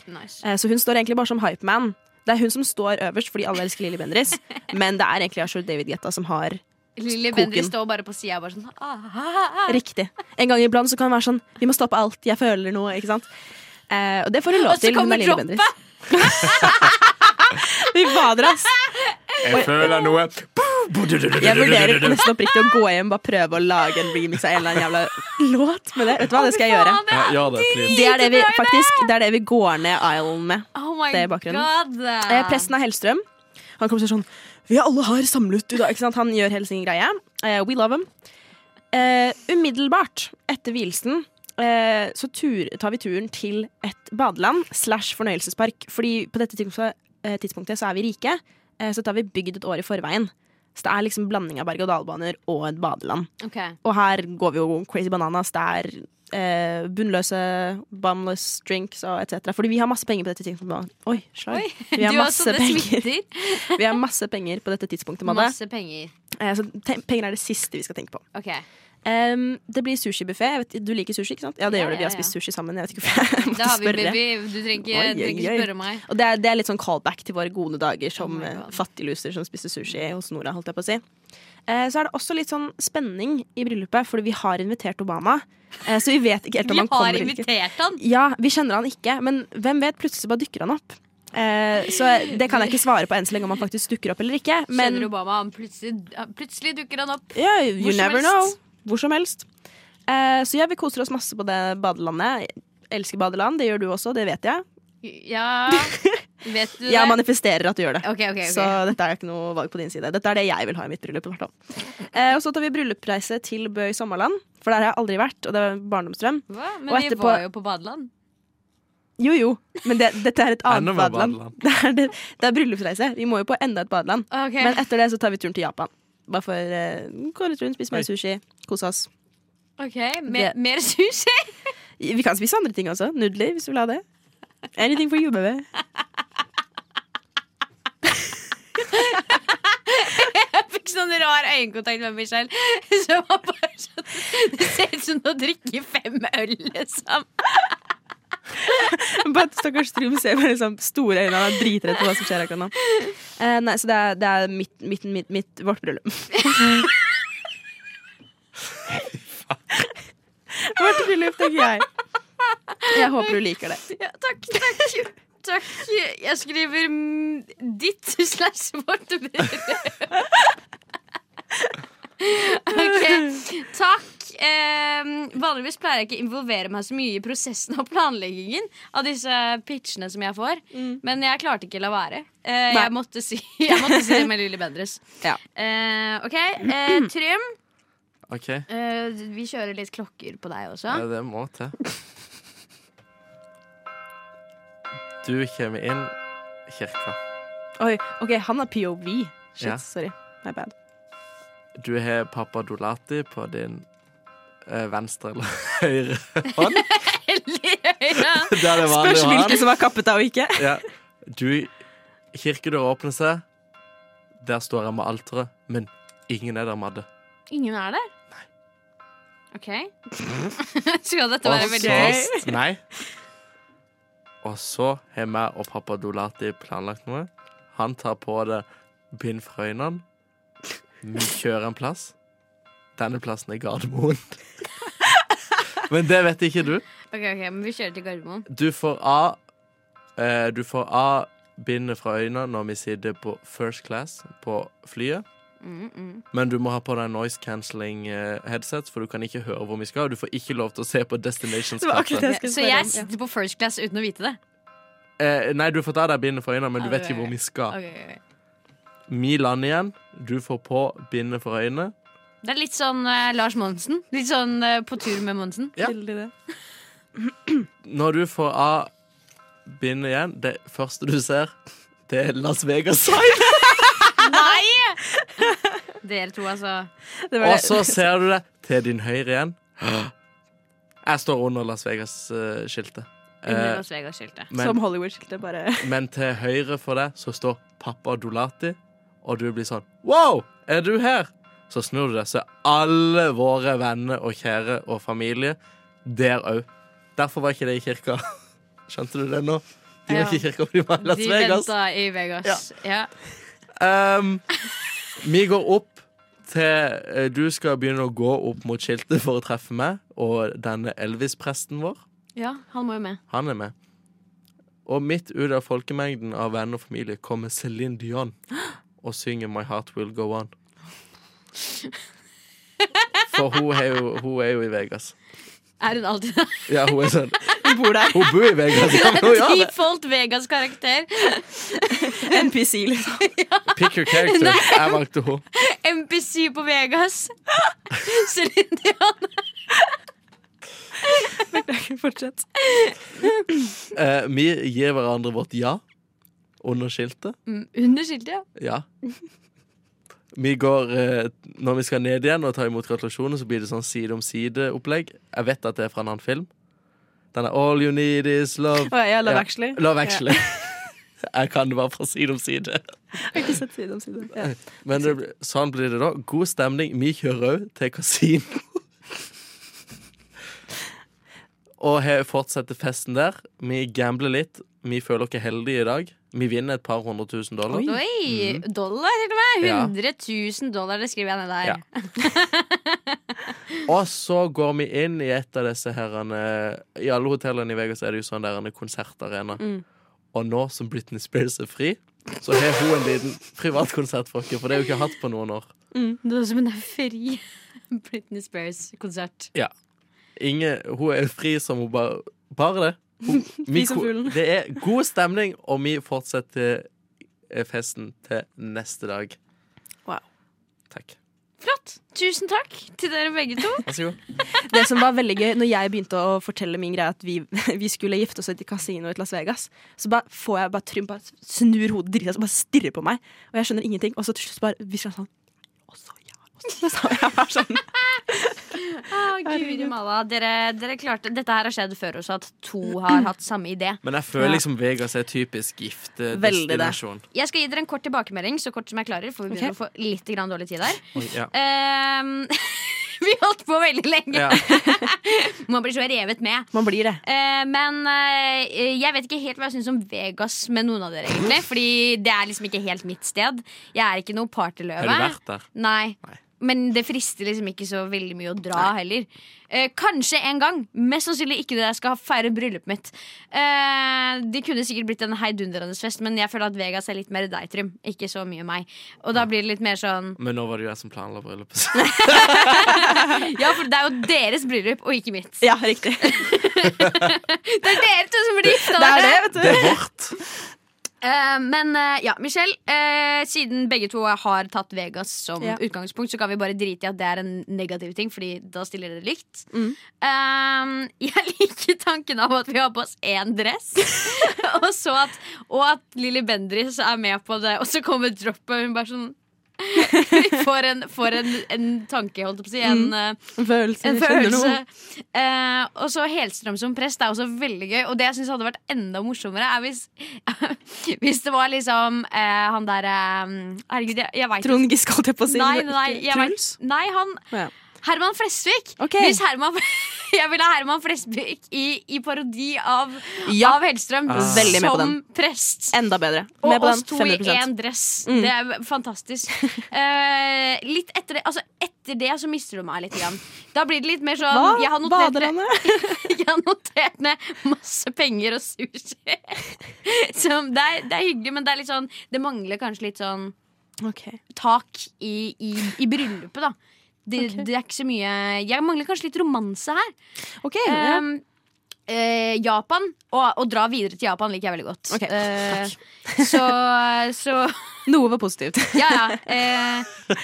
[SPEAKER 5] Nice.
[SPEAKER 6] Eh, Så hun står egentlig bare som hypeman. Det er hun som står øverst fordi alle elsker Lilly
[SPEAKER 5] <laughs>
[SPEAKER 6] Bendriss, men det er egentlig Usher og David Getta som har
[SPEAKER 5] Lilly
[SPEAKER 6] Koken.
[SPEAKER 5] Bendriss står bare på sida bare sånn ah, ah, ah.
[SPEAKER 6] riktig. En gang iblant så kan hun være sånn Vi må stoppe alt, jeg føler noe, ikke sant. Eh, og det får hun lov
[SPEAKER 5] Og så
[SPEAKER 6] til. Hun
[SPEAKER 5] kommer
[SPEAKER 6] er Lilly
[SPEAKER 5] droppet.
[SPEAKER 6] Bendriss. Fy fader, ass.
[SPEAKER 1] Jeg føler noe
[SPEAKER 6] Jeg vurderer nesten oppriktig å gå hjem og bare prøve å lage en remix av en eller annen jævla låt. Men det, vet du hva, det skal jeg gjøre.
[SPEAKER 5] Faen, det
[SPEAKER 2] Ja,
[SPEAKER 5] er-
[SPEAKER 2] gjør det, please.
[SPEAKER 6] Det er det vi, faktisk, det er det vi går ned island med.
[SPEAKER 5] Oh my
[SPEAKER 6] Det er bakgrunnen.
[SPEAKER 5] god.
[SPEAKER 6] Eh, presten av Hellstrøm. Han kommer og sier sånn Vi er alle her samlet i dag. Ikke sant? Han gjør hele sin greie. Eh, we love him. Eh, umiddelbart etter vielsen eh, så tur, tar vi turen til et badeland slash fornøyelsespark. Fordi på dette tidspunktet, eh, tidspunktet så er vi rike, eh, så tar vi bygd et år i forveien. Så det er liksom blanding av berg-og-dal-baner og et badeland.
[SPEAKER 5] Ok.
[SPEAKER 6] Og her går vi jo crazy bananas. Det er eh, bunnløse, bumless drinks og etc. Fordi vi har masse penger på dette tidspunktet. Oi, slag.
[SPEAKER 5] Oi,
[SPEAKER 6] Vi har
[SPEAKER 5] du
[SPEAKER 6] masse
[SPEAKER 5] også, det
[SPEAKER 6] penger. <laughs>
[SPEAKER 5] smitter.
[SPEAKER 6] Vi har masse penger på dette tidspunktet. Madde.
[SPEAKER 5] Masse penger.
[SPEAKER 6] Eh, så te penger er det siste vi skal tenke på.
[SPEAKER 5] Ok.
[SPEAKER 6] Em, det blir sushibuffé. Du liker sushi, ikke sant? Ja, det
[SPEAKER 5] Ja,
[SPEAKER 6] gjør det. Vi
[SPEAKER 5] ja,
[SPEAKER 6] har spist
[SPEAKER 5] ja.
[SPEAKER 6] sushi sammen. Jeg vet ikke hvorfor jeg
[SPEAKER 5] Da
[SPEAKER 6] måtte
[SPEAKER 5] har vi
[SPEAKER 6] spørre.
[SPEAKER 5] baby. Du trenger ikke,
[SPEAKER 6] Oi,
[SPEAKER 5] trenger
[SPEAKER 6] oi,
[SPEAKER 5] ikke
[SPEAKER 6] oi.
[SPEAKER 5] spørre meg.
[SPEAKER 6] Og det er, det er litt sånn callback til våre gode dager som
[SPEAKER 5] Oh my
[SPEAKER 6] eh,
[SPEAKER 5] God.
[SPEAKER 6] fattigluser som spiste sushi hos Nora, holdt jeg på å si. Eh, så er det også litt sånn spenning i bryllupet, fordi vi har invitert Obama. Eh, så vi vet ikke helt om
[SPEAKER 5] Vi
[SPEAKER 6] han
[SPEAKER 5] har
[SPEAKER 6] kommer eller ikke.
[SPEAKER 5] invitert han.
[SPEAKER 6] Ja, vi kjenner han ikke, men hvem vet, plutselig bare dukker han opp. Eh, så det kan jeg ikke svare på enn så lenge om han faktisk dukker opp eller ikke. Men
[SPEAKER 5] Kjenner Obama han plutselig, han- plutselig dukker han opp.
[SPEAKER 6] ja, you
[SPEAKER 5] Hvor som
[SPEAKER 6] never
[SPEAKER 5] helst.
[SPEAKER 6] know. Hvor som helst. Eh, så ja, vi koser oss masse på det badelandet. Jeg elsker badeland, det gjør du også, det vet jeg. <laughs>
[SPEAKER 5] Ja Vet du
[SPEAKER 6] Jeg
[SPEAKER 5] det?
[SPEAKER 6] manifesterer at du gjør det.
[SPEAKER 5] Ok, ok, ok.
[SPEAKER 6] Så dette er ikke noe valg på din side. Dette er det jeg vil ha i mitt bryllup. i hvert fall. Eh, og så tar vi bryllupsreise til Bø i sommerland, for der har jeg aldri vært. Og det var en barndomsdrøm.
[SPEAKER 5] Hva? Men
[SPEAKER 6] Og
[SPEAKER 5] vi
[SPEAKER 6] etterpå-
[SPEAKER 5] var jo på badeland.
[SPEAKER 6] Jo jo, men det, dette er et
[SPEAKER 2] Enda
[SPEAKER 6] annet
[SPEAKER 2] mer
[SPEAKER 6] badeland.
[SPEAKER 2] badeland.
[SPEAKER 6] <laughs> Det er, det, det er bryllupsreise. Vi må jo på enda et badeland.
[SPEAKER 5] Ok.
[SPEAKER 6] Men etter det så tar vi turen til Japan. Bare for eh, gå litt rundt, spise
[SPEAKER 2] Oi.
[SPEAKER 6] mer sushi, kose oss.
[SPEAKER 5] Ok, Mer, mer sushi? <laughs>
[SPEAKER 6] Vi kan spise andre ting også. Nudler, hvis du vil ha det. Anything for you, baby.
[SPEAKER 5] Jeg fikk sånn rar øyekontakt med <laughs> Michelle. Som var bare sånn Det ser ut som å drikke fem øl, liksom.
[SPEAKER 6] Bare at Stakkars Trym ser med liksom store øyne. Han er dritredd for hva som skjer akkurat nå. Eh, nei, så det er, det er mitt, mitt, mitt, mitt, vårt bryllup. <laughs> vårt bryllup, tenker jeg. Jeg håper du liker det.
[SPEAKER 5] Ja, takk, takk. Takk. Jeg skriver mm, ditt slash vårt brød. Ok, takk. Eh, vanligvis pleier jeg ikke involvere meg så mye i prosessen og planleggingen av disse pitchene som jeg får, men jeg klarte ikke la være. Eh,
[SPEAKER 6] Mm. Nei.
[SPEAKER 5] jeg, måtte si, jeg måtte si det med Lilly Bendriss.
[SPEAKER 6] Ja.
[SPEAKER 5] Eh, OK, eh, Trym.
[SPEAKER 2] OK, ja,
[SPEAKER 5] eh, vi kjører litt klokker på deg også.
[SPEAKER 2] det må til. Du kommer inn i kirka.
[SPEAKER 6] Oi, ok, han er POV. Shit,
[SPEAKER 2] Ja.
[SPEAKER 6] sorry. My bad.
[SPEAKER 2] Du har pappa Dolati på din eh, venstre eller <laughs> høyre hånd.
[SPEAKER 5] <laughs> Eller-
[SPEAKER 2] Der det er vanlig
[SPEAKER 6] Spørs
[SPEAKER 2] å ha han.
[SPEAKER 6] hvilke som er kappet av og ikke.
[SPEAKER 2] Ja. Du, kirkedøra åpner seg. Der står jeg med alteret, men ingen er der, Madde.
[SPEAKER 5] Ingen er der? OK. <laughs> Skal dette
[SPEAKER 2] Og
[SPEAKER 5] være veldig trist?
[SPEAKER 2] så Nei. Og så har jeg og pappa Dolati planlagt noe. Han tar på det bind fra øynene. Vi kjører en plass. Denne plassen er Gardermoen. <laughs> Men det vet ikke du.
[SPEAKER 5] Ok, ok, men vi kjører til Gardermoen.
[SPEAKER 2] Du får A eh, Du får A bindet fra øynene når vi sitter på first class på flyet.
[SPEAKER 5] Mm, mm.
[SPEAKER 2] Men du må ha på deg noise cancelling eh, headsets, for du kan ikke høre hvor vi skal. Og du får ikke lov til å se på
[SPEAKER 6] Det var akkurat
[SPEAKER 2] Destinations-kartet.
[SPEAKER 6] det jeg skulle
[SPEAKER 5] Så
[SPEAKER 6] spørre
[SPEAKER 5] jeg
[SPEAKER 6] om. Ja.
[SPEAKER 5] sitter på first class uten å vite det?
[SPEAKER 2] Eh, nei, du får ta deg bindet for øynene, men du vet ikke hvor vi skal.
[SPEAKER 5] Ok, ok, ok.
[SPEAKER 2] Vi lander igjen. Du får på bindet for øynene.
[SPEAKER 5] Det er litt sånn eh, Lars Monsen. Litt sånn eh, på tur med Monsen.
[SPEAKER 2] Ja.
[SPEAKER 6] Veldig det.
[SPEAKER 2] Når du får av bindet igjen, det første du ser, det er Las Vegas.
[SPEAKER 5] <laughs>
[SPEAKER 2] Og
[SPEAKER 5] Dere to, altså.
[SPEAKER 6] Det var det.
[SPEAKER 2] så ser du det til din høyre igjen. Jeg står under Las Vegas-skiltet. Eh,
[SPEAKER 5] Under Las Vegas-skiltet.
[SPEAKER 2] men-
[SPEAKER 6] Som Hollywood-skiltet, bare.
[SPEAKER 2] Men til høyre for deg så står pappa Dolati, og du blir sånn Wow, er du her? Så snur du deg, så er alle våre venner og kjære og familie der òg. Derfor var ikke det i kirka. <laughs> Skjønte du det nå? De var
[SPEAKER 5] Ja.
[SPEAKER 2] ikke i kirka, de var i Las
[SPEAKER 5] De
[SPEAKER 2] Vegas.
[SPEAKER 5] venta i Vegas. Ja.
[SPEAKER 2] Um, vi går opp til eh, Du skal begynne å gå opp mot skiltet for å treffe meg og denne Elvis-presten vår.
[SPEAKER 5] ja, han må jo med.
[SPEAKER 2] Han er med. Og midt ut av folkemengden av venner og familie kommer Céline Dion og synger 'My Heart Will Go On'. For hun er jo, hun er jo i Vegas.
[SPEAKER 5] Er hun
[SPEAKER 2] <laughs>
[SPEAKER 5] alltid der?
[SPEAKER 2] Ja, hun er sånn
[SPEAKER 6] Hun bor <laughs> der.
[SPEAKER 2] Hun bor i Vegas! Ja, men hun gjør det.
[SPEAKER 5] Default Vegas-karakter.
[SPEAKER 6] NPC, liksom.
[SPEAKER 2] Pick your character. Jeg valgte hun
[SPEAKER 5] MPC på
[SPEAKER 2] <laughs>
[SPEAKER 5] Vegas. <laughs> Celine Dion.
[SPEAKER 6] <laughs> Fortsett.
[SPEAKER 2] Eh, vi gir hverandre vårt ja under skiltet.
[SPEAKER 5] Mm, Under skiltet, ja.
[SPEAKER 2] Ja. Vi går, eh, når vi skal ned igjen og ta imot gratulasjoner, så blir det sånn side om side-opplegg. Jeg vet at det er fra en annen film. Den er 'All you need is love'.
[SPEAKER 6] Å, jeg love
[SPEAKER 2] Ja.
[SPEAKER 6] actually.
[SPEAKER 2] Love Actually. <laughs> Jeg kan det bare fra side om side.
[SPEAKER 6] Jeg har ikke sett side om side. Ja.
[SPEAKER 2] Men det, blir- sånn blir det da. God stemning. Vi kjører òg til kasino. <laughs> Og he- fortsetter festen der. Vi gambler litt. Vi føler oss heldige i dag. Vi vinner et par hundre tusen dollar.
[SPEAKER 6] Oi.
[SPEAKER 5] Oi! Dollar, til og
[SPEAKER 2] mm.
[SPEAKER 5] med.
[SPEAKER 2] Ja.
[SPEAKER 5] 100 000 dollar, det skriver jeg ned der.
[SPEAKER 2] Ja. Og så går vi inn i et av disse herrene I alle hotellene i Vegas er det jo sånn der en konsertarena.
[SPEAKER 6] Mm.
[SPEAKER 2] Og nå som Britney Spears er fri, så har hun en liten privatkonsert for oss. For det har hun ikke hatt på noen år.
[SPEAKER 5] Det er som en fri <laughs> Britney Spears-konsert.
[SPEAKER 2] Inge, hun er fri som hun bare Bare det.
[SPEAKER 6] <laughs>
[SPEAKER 2] Hun,
[SPEAKER 6] Fri som
[SPEAKER 2] ko-
[SPEAKER 6] fuglen.
[SPEAKER 2] Det er god stemning, og vi fortsetter eh, festen til neste dag.
[SPEAKER 6] Wow.
[SPEAKER 2] Takk.
[SPEAKER 5] Flott! Tusen takk til dere begge <laughs> to.
[SPEAKER 2] Vær så god.
[SPEAKER 6] Det som var veldig gøy Når jeg begynte å fortelle min greie at vi, <laughs> vi skulle gifte oss i et kasino i Las Vegas, så bare får jeg bare Trym bare snur hodet drita og bare stirrer på meg, og jeg skjønner ingenting. Og så til slutt bare hvisker han sånn Og så ja. Og så sa <laughs> jeg bare sånn.
[SPEAKER 5] Å, Guri malla. Dere, dere klarte Dette her har skjedd før også, at to har hatt samme idé.
[SPEAKER 2] Men jeg føler
[SPEAKER 6] Ja.
[SPEAKER 2] liksom Vegas er typisk
[SPEAKER 6] Veldig det.
[SPEAKER 2] giftedestinasjon.
[SPEAKER 5] Jeg skal gi dere en kort tilbakemelding, så kort som jeg klarer, for vi begynner å få litt grann dårlig tid der.
[SPEAKER 2] Oi,
[SPEAKER 6] <laughs>
[SPEAKER 2] Ja.
[SPEAKER 5] Ehm, <laughs> vi holdt på veldig lenge.
[SPEAKER 2] Ja.
[SPEAKER 5] Man blir så revet med.
[SPEAKER 6] Man blir det.
[SPEAKER 5] Eh, men eh, jeg vet ikke helt hva jeg syns om Vegas med noen av dere. egentlig Fordi det er liksom ikke helt mitt sted. Jeg er ikke noe partyløve.
[SPEAKER 2] Har du vært der?
[SPEAKER 5] Nei.
[SPEAKER 2] Nei.
[SPEAKER 5] Men det frister liksom ikke så veldig mye å dra heller. Eh, kanskje en gang. Mest sannsynlig ikke da jeg skal feire bryllupet mitt. Eh, det kunne sikkert blitt en heidundrende fest, men jeg føler at Vegas er litt mer deg, Trym. Ikke så mye meg. Og da blir det litt mer sånn
[SPEAKER 2] Men nå var det jo jeg som planla bryllupet. så-
[SPEAKER 5] Ja, for det er jo deres bryllup, og ikke mitt.
[SPEAKER 6] Ja, <laughs> riktig.
[SPEAKER 5] Det er dere to som blir gifta!
[SPEAKER 6] Det
[SPEAKER 5] dere.
[SPEAKER 6] er det, vet
[SPEAKER 2] Det
[SPEAKER 6] du.
[SPEAKER 2] er
[SPEAKER 5] <laughs>
[SPEAKER 2] vårt.
[SPEAKER 5] Eh, men eh, ja, Michelle, eh, siden begge to har tatt Vegas som
[SPEAKER 6] Ja.
[SPEAKER 5] utgangspunkt, så kan vi bare drite i at det er en negativ ting, Fordi da stiller dere likt.
[SPEAKER 6] Mm.
[SPEAKER 5] Eh, jeg liker tanken av at vi har på oss én dress, <laughs> og, så at, og at Lilly Bendriss er med på det, og så kommer droppet, og hun bare sånn <laughs> vi får en, får en, en tanke, holdt jeg på å si. En,
[SPEAKER 6] Mm.
[SPEAKER 5] eh,
[SPEAKER 6] En følelse.
[SPEAKER 5] en
[SPEAKER 6] jeg kjenner
[SPEAKER 5] følelse.
[SPEAKER 6] noe.
[SPEAKER 5] Eh, og så Helstrøm som prest er også veldig gøy. Og det jeg syns hadde vært enda morsommere, er hvis, <laughs> hvis det var liksom eh, han derre Herregud, jeg, jeg veit
[SPEAKER 6] Trond Giske, holdt jeg på å si.
[SPEAKER 5] Nei,
[SPEAKER 6] men
[SPEAKER 5] nei, nei,
[SPEAKER 6] ikke
[SPEAKER 5] jeg vet,
[SPEAKER 6] Truls.
[SPEAKER 5] nei, han
[SPEAKER 6] Å, ja.
[SPEAKER 5] Herman Flesvig.
[SPEAKER 6] Ok.
[SPEAKER 5] Hvis Herman, <laughs> jeg ville ha Herman Flesvig i, i parodi av,
[SPEAKER 6] Ja. Ah.
[SPEAKER 5] av Hellstrøm
[SPEAKER 6] Veldig med på
[SPEAKER 5] som
[SPEAKER 6] den.
[SPEAKER 5] prest.
[SPEAKER 6] Enda bedre.
[SPEAKER 5] Og
[SPEAKER 6] Med på
[SPEAKER 5] oss
[SPEAKER 6] den. Mm.
[SPEAKER 5] to i
[SPEAKER 6] 500
[SPEAKER 5] én dress. Det er
[SPEAKER 6] <laughs>
[SPEAKER 5] fantastisk. Eh, litt etter det, altså etter det så mister du meg litt. Grann. Da blir det litt mer sånn
[SPEAKER 6] Hva?
[SPEAKER 5] Jeg har notert ned-
[SPEAKER 6] Badelandet?
[SPEAKER 5] jeg har notert ned masse penger og sushi. <laughs> Som det, er, det er hyggelig, men det er litt sånn Det mangler kanskje litt sånn
[SPEAKER 6] Ok.
[SPEAKER 5] tak i, i, i bryllupet, da. Det,
[SPEAKER 6] Ok.
[SPEAKER 5] det er ikke så mye Jeg mangler kanskje litt romanse her.
[SPEAKER 6] Ok, ja.
[SPEAKER 5] Um, eh, Japan. Å, å dra videre til Japan liker jeg veldig godt.
[SPEAKER 6] Ok,
[SPEAKER 5] Eh, så, så
[SPEAKER 6] Noe var positivt.
[SPEAKER 5] Ja, ja. eh,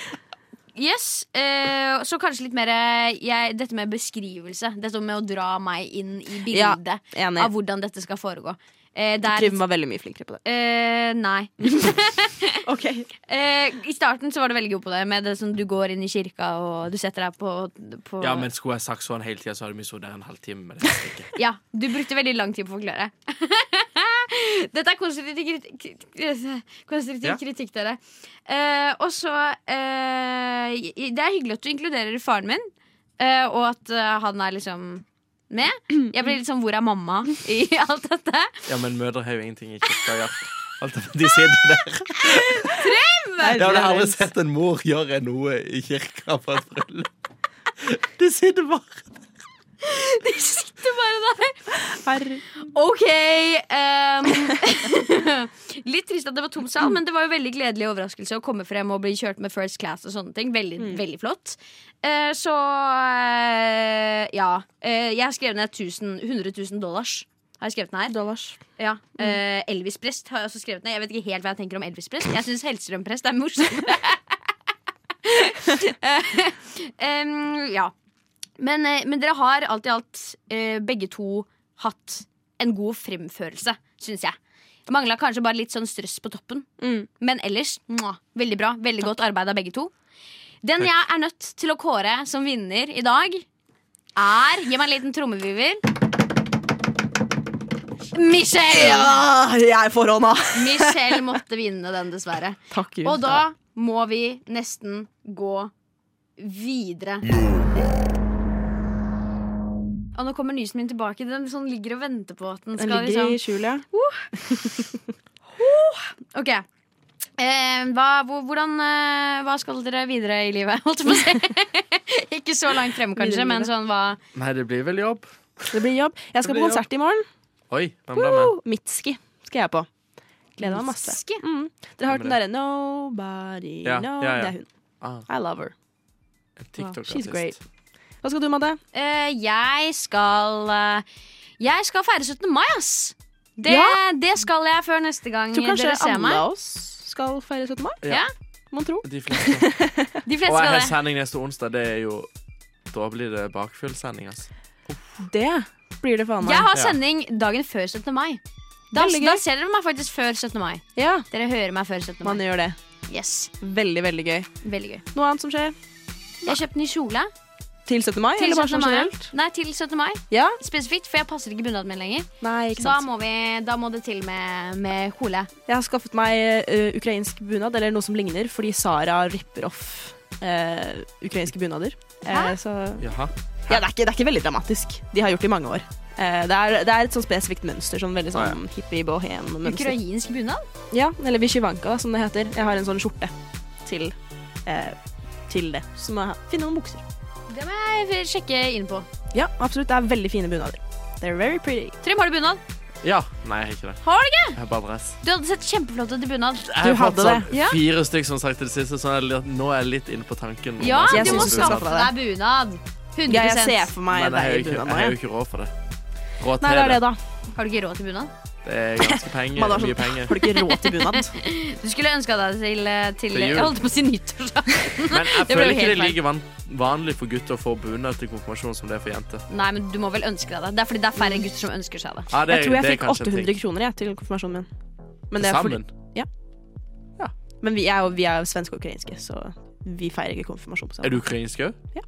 [SPEAKER 5] yes. eh, så kanskje litt mer eh, jeg, dette med beskrivelse. Dette med å dra meg inn i
[SPEAKER 6] Ja,
[SPEAKER 5] bildet
[SPEAKER 6] Enig.
[SPEAKER 5] av hvordan dette skal foregå. Eh, det er-
[SPEAKER 6] <laughs> Trym var veldig mye flinkere på det.
[SPEAKER 5] Eh, nei.
[SPEAKER 6] Ok.
[SPEAKER 5] Eh, I starten så var du veldig god på det, med det som du går inn i kirka og du setter deg på, på
[SPEAKER 2] Ja, men skulle jeg sagt sånn hele tida, så hadde vi sittet der en halvtime med det stikket.
[SPEAKER 5] Ja, du brukte veldig lang tid på å forklare. <laughs> Dette er konstruktiv kritikk, konstruktiv
[SPEAKER 2] Ja.
[SPEAKER 5] kritikk dere. Eh, og så eh, Det er hyggelig at du inkluderer faren min, eh, og at eh, han er liksom med. Jeg blir litt sånn 'hvor er mamma' i <laughs> alt dette.
[SPEAKER 2] Ja, men mødre har jo ingenting i kirka å gjøre. Alt det-
[SPEAKER 5] <laughs>
[SPEAKER 2] De sitter der. Jeg hadde aldri sett en mor gjøre noe i kirka på et bryllup. De sitter bare
[SPEAKER 5] De sitter bare der.
[SPEAKER 6] Herre-
[SPEAKER 5] OK. ehm, <laughs> litt trist at det var tom sal, men det var jo veldig gledelig overraskelse å komme frem og bli kjørt med first class og sånne ting. Veldig, veldig flott. Eh, så eh, ja. Eh, jeg har skrevet ned 1000 100 000 dollars. Har jeg skrevet ned her?
[SPEAKER 6] Dollars.
[SPEAKER 5] Ja. Eh, Elvis Prest har jeg også skrevet ned. Jeg vet ikke helt hva jeg tenker om Elvis Prest. Jeg syns Hellstrøm Prest er morsom. Em, ja. Men, eh, men dere har alt i alt eh, begge to hatt en god fremførelse, syns jeg. Mangla kanskje bare litt sånn strøss på toppen.
[SPEAKER 6] Mm.
[SPEAKER 5] Men ellers mwah, veldig bra. Veldig godt arbeid av begge to. Den jeg er nødt til å kåre som vinner i dag, er Gi meg en liten trommeviver. Michelle!
[SPEAKER 6] Ja, jeg er forhånda!
[SPEAKER 5] Michelle måtte vinne den, dessverre.
[SPEAKER 6] Takk, Gud.
[SPEAKER 5] Og da må vi nesten gå videre. Og nå kommer nysen min tilbake. Den sånn ligger og venter på at den
[SPEAKER 6] Den
[SPEAKER 5] skal
[SPEAKER 6] ligger
[SPEAKER 5] liksom
[SPEAKER 6] i skjulet.
[SPEAKER 5] Ok. Eh, hva, hvor- hvordan, eh, hva skal dere videre i livet, holdt jeg på å si? <laughs> Ikke så langt fremme,
[SPEAKER 6] Videre
[SPEAKER 5] kanskje,
[SPEAKER 6] i
[SPEAKER 5] men
[SPEAKER 6] livet.
[SPEAKER 5] sånn hva
[SPEAKER 2] Nei, det blir vel jobb.
[SPEAKER 6] Det blir jobb. Jeg skal
[SPEAKER 2] Det
[SPEAKER 6] på
[SPEAKER 2] blir
[SPEAKER 6] konsert i morgen.
[SPEAKER 2] Oi, hvem blir med?
[SPEAKER 6] Mitski skal jeg på. Gleder meg masse.
[SPEAKER 5] Ski.
[SPEAKER 6] Mm. Dere har hørt den
[SPEAKER 2] Hvem er
[SPEAKER 6] derre Nobody
[SPEAKER 2] Ja,
[SPEAKER 6] Know
[SPEAKER 2] ja, ja.
[SPEAKER 6] Det er hun.
[SPEAKER 2] Ah,
[SPEAKER 6] I love her.
[SPEAKER 2] en TikTok-artist.
[SPEAKER 6] She's great. Hva skal du, Madde?
[SPEAKER 5] Eh, jeg skal eh, Jeg skal feire 17. mai, ass! Det,
[SPEAKER 6] Ja.
[SPEAKER 5] det skal jeg før neste gang
[SPEAKER 6] Tror kanskje
[SPEAKER 5] dere ser
[SPEAKER 6] alle
[SPEAKER 5] meg.
[SPEAKER 6] av oss skal feire 17. mai.
[SPEAKER 2] Ja.
[SPEAKER 6] Mon tro.
[SPEAKER 2] De
[SPEAKER 5] <laughs>
[SPEAKER 2] fleste.
[SPEAKER 5] De
[SPEAKER 2] Og jeg
[SPEAKER 5] fleste skal
[SPEAKER 2] har
[SPEAKER 5] det.
[SPEAKER 2] sending neste onsdag. Det er jo Da blir det bakfullsending, altså.
[SPEAKER 6] Det blir det faen meg.
[SPEAKER 5] Jeg har
[SPEAKER 2] Ja.
[SPEAKER 5] sending dagen før 17. mai. Da,
[SPEAKER 6] Veldig gøy.
[SPEAKER 5] da ser dere meg faktisk før 17. mai.
[SPEAKER 6] Ja,
[SPEAKER 5] Dere hører meg før 17.
[SPEAKER 6] man
[SPEAKER 5] mai.
[SPEAKER 6] gjør det.
[SPEAKER 5] Yes,
[SPEAKER 6] Veldig, veldig gøy.
[SPEAKER 5] Veldig gøy.
[SPEAKER 6] Noe annet som skjer
[SPEAKER 5] Jeg kjøpte ny kjole
[SPEAKER 6] til 17. mai?
[SPEAKER 5] til
[SPEAKER 6] eller
[SPEAKER 5] 17.
[SPEAKER 6] bare sånn
[SPEAKER 5] mai.
[SPEAKER 6] generelt?
[SPEAKER 5] Nei, til 17. mai
[SPEAKER 6] Ja?
[SPEAKER 5] spesifikt, for jeg passer ikke bunaden min lenger.
[SPEAKER 6] Nei,
[SPEAKER 5] Så
[SPEAKER 6] ikke
[SPEAKER 5] da
[SPEAKER 6] sant.
[SPEAKER 5] må, vi, da må det til med, med kjole.
[SPEAKER 6] Jeg har skaffet meg eh, ukrainsk bunad, eller noe som ligner, fordi Sara ripper off eh, ukrainske bunader. Eh, så
[SPEAKER 2] Jaha.
[SPEAKER 6] Ja, det er, ikke, det er ikke veldig dramatisk. De har gjort det i mange år. Eh, det, er, det er et sånn spesifikt mønster. Sånn veldig sånn hippie bohem-mønster.
[SPEAKER 5] Ukrainsk bunad?
[SPEAKER 6] Ja, eller vishivanka, da, som det heter. Jeg har en sånn skjorte til, eh, til det. Så må jeg ha- finne noen bukser.
[SPEAKER 5] Det må jeg sjekke inn på.
[SPEAKER 6] Ja, absolutt. Det er veldig fine bunader. They're very pretty.
[SPEAKER 5] Trym, har du bunad?
[SPEAKER 2] Ja. Nei, jeg har ikke det.
[SPEAKER 5] Har du ikke?
[SPEAKER 2] Jeg har bare dress.
[SPEAKER 5] Du hadde sett kjempeflott ut i bunad.
[SPEAKER 2] Jeg har
[SPEAKER 6] hadde
[SPEAKER 2] fått sånn
[SPEAKER 5] Ja.
[SPEAKER 2] fire stykk som sagt til det siste, så jeg, er litt- nå er jeg litt inne på tanken. om
[SPEAKER 5] Ja,
[SPEAKER 2] jeg
[SPEAKER 6] Jeg
[SPEAKER 5] du
[SPEAKER 2] skal
[SPEAKER 5] må
[SPEAKER 6] synes
[SPEAKER 2] skaffe
[SPEAKER 6] skal
[SPEAKER 5] skaffe
[SPEAKER 2] bunad.
[SPEAKER 5] deg bunad. 100
[SPEAKER 6] Ja, jeg ser for meg
[SPEAKER 2] Men jeg har
[SPEAKER 6] deg i
[SPEAKER 2] jo ikke, jeg har
[SPEAKER 6] bunad nå.
[SPEAKER 2] jo
[SPEAKER 6] jeg.
[SPEAKER 2] ikke råd for det. Råd til
[SPEAKER 6] Nei, det
[SPEAKER 2] <laughs>
[SPEAKER 6] er det, da.
[SPEAKER 5] Har du ikke råd til bunad?
[SPEAKER 2] Det er ganske penger,
[SPEAKER 6] Man har
[SPEAKER 2] mye
[SPEAKER 6] sånn, <laughs>
[SPEAKER 2] penger.
[SPEAKER 6] har du ikke råd til bunad?
[SPEAKER 5] Du skulle ønska deg til,
[SPEAKER 6] eh,
[SPEAKER 2] Til
[SPEAKER 5] til
[SPEAKER 2] jul.
[SPEAKER 5] Jeg holdt på å si nyttårsaften.
[SPEAKER 2] Men jeg
[SPEAKER 5] Det ble
[SPEAKER 2] føler
[SPEAKER 5] jo
[SPEAKER 2] ikke det
[SPEAKER 5] helt
[SPEAKER 2] er like van vanlig for gutter å få bunad til konfirmasjon som det er for jenter.
[SPEAKER 5] Nei, men du må vel ønske deg det. Det er fordi det er færre gutter som ønsker seg det.
[SPEAKER 2] Ja, det,
[SPEAKER 6] Jeg tror jeg
[SPEAKER 2] det er
[SPEAKER 6] fikk
[SPEAKER 2] kanskje en ting.
[SPEAKER 6] 800 kroner jeg, til konfirmasjonen min. Men, det er fordi,
[SPEAKER 2] Sammen?
[SPEAKER 6] men vi er jo, vi er jo svenske og ukrainske, så vi feirer ikke konfirmasjon på
[SPEAKER 2] Er
[SPEAKER 6] samme
[SPEAKER 2] du ukrainsk òg?
[SPEAKER 6] Ja.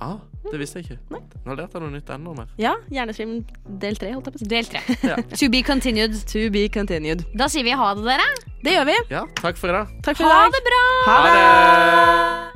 [SPEAKER 2] Ah, det visste jeg ikke.
[SPEAKER 6] Nei.
[SPEAKER 2] Nå lærte jeg noe nytt enda mer.
[SPEAKER 6] Ja, Hjernestream del tre, holdt jeg på å si.
[SPEAKER 5] Del tre.
[SPEAKER 2] Ja.
[SPEAKER 5] To be continued.
[SPEAKER 6] To be continued.
[SPEAKER 5] Da sier vi ha det, dere.
[SPEAKER 6] Det gjør vi.
[SPEAKER 2] Ja, takk for i dag.
[SPEAKER 6] Takk for i
[SPEAKER 5] Ha
[SPEAKER 6] dag.
[SPEAKER 5] det bra!
[SPEAKER 6] Ha det!
[SPEAKER 2] det!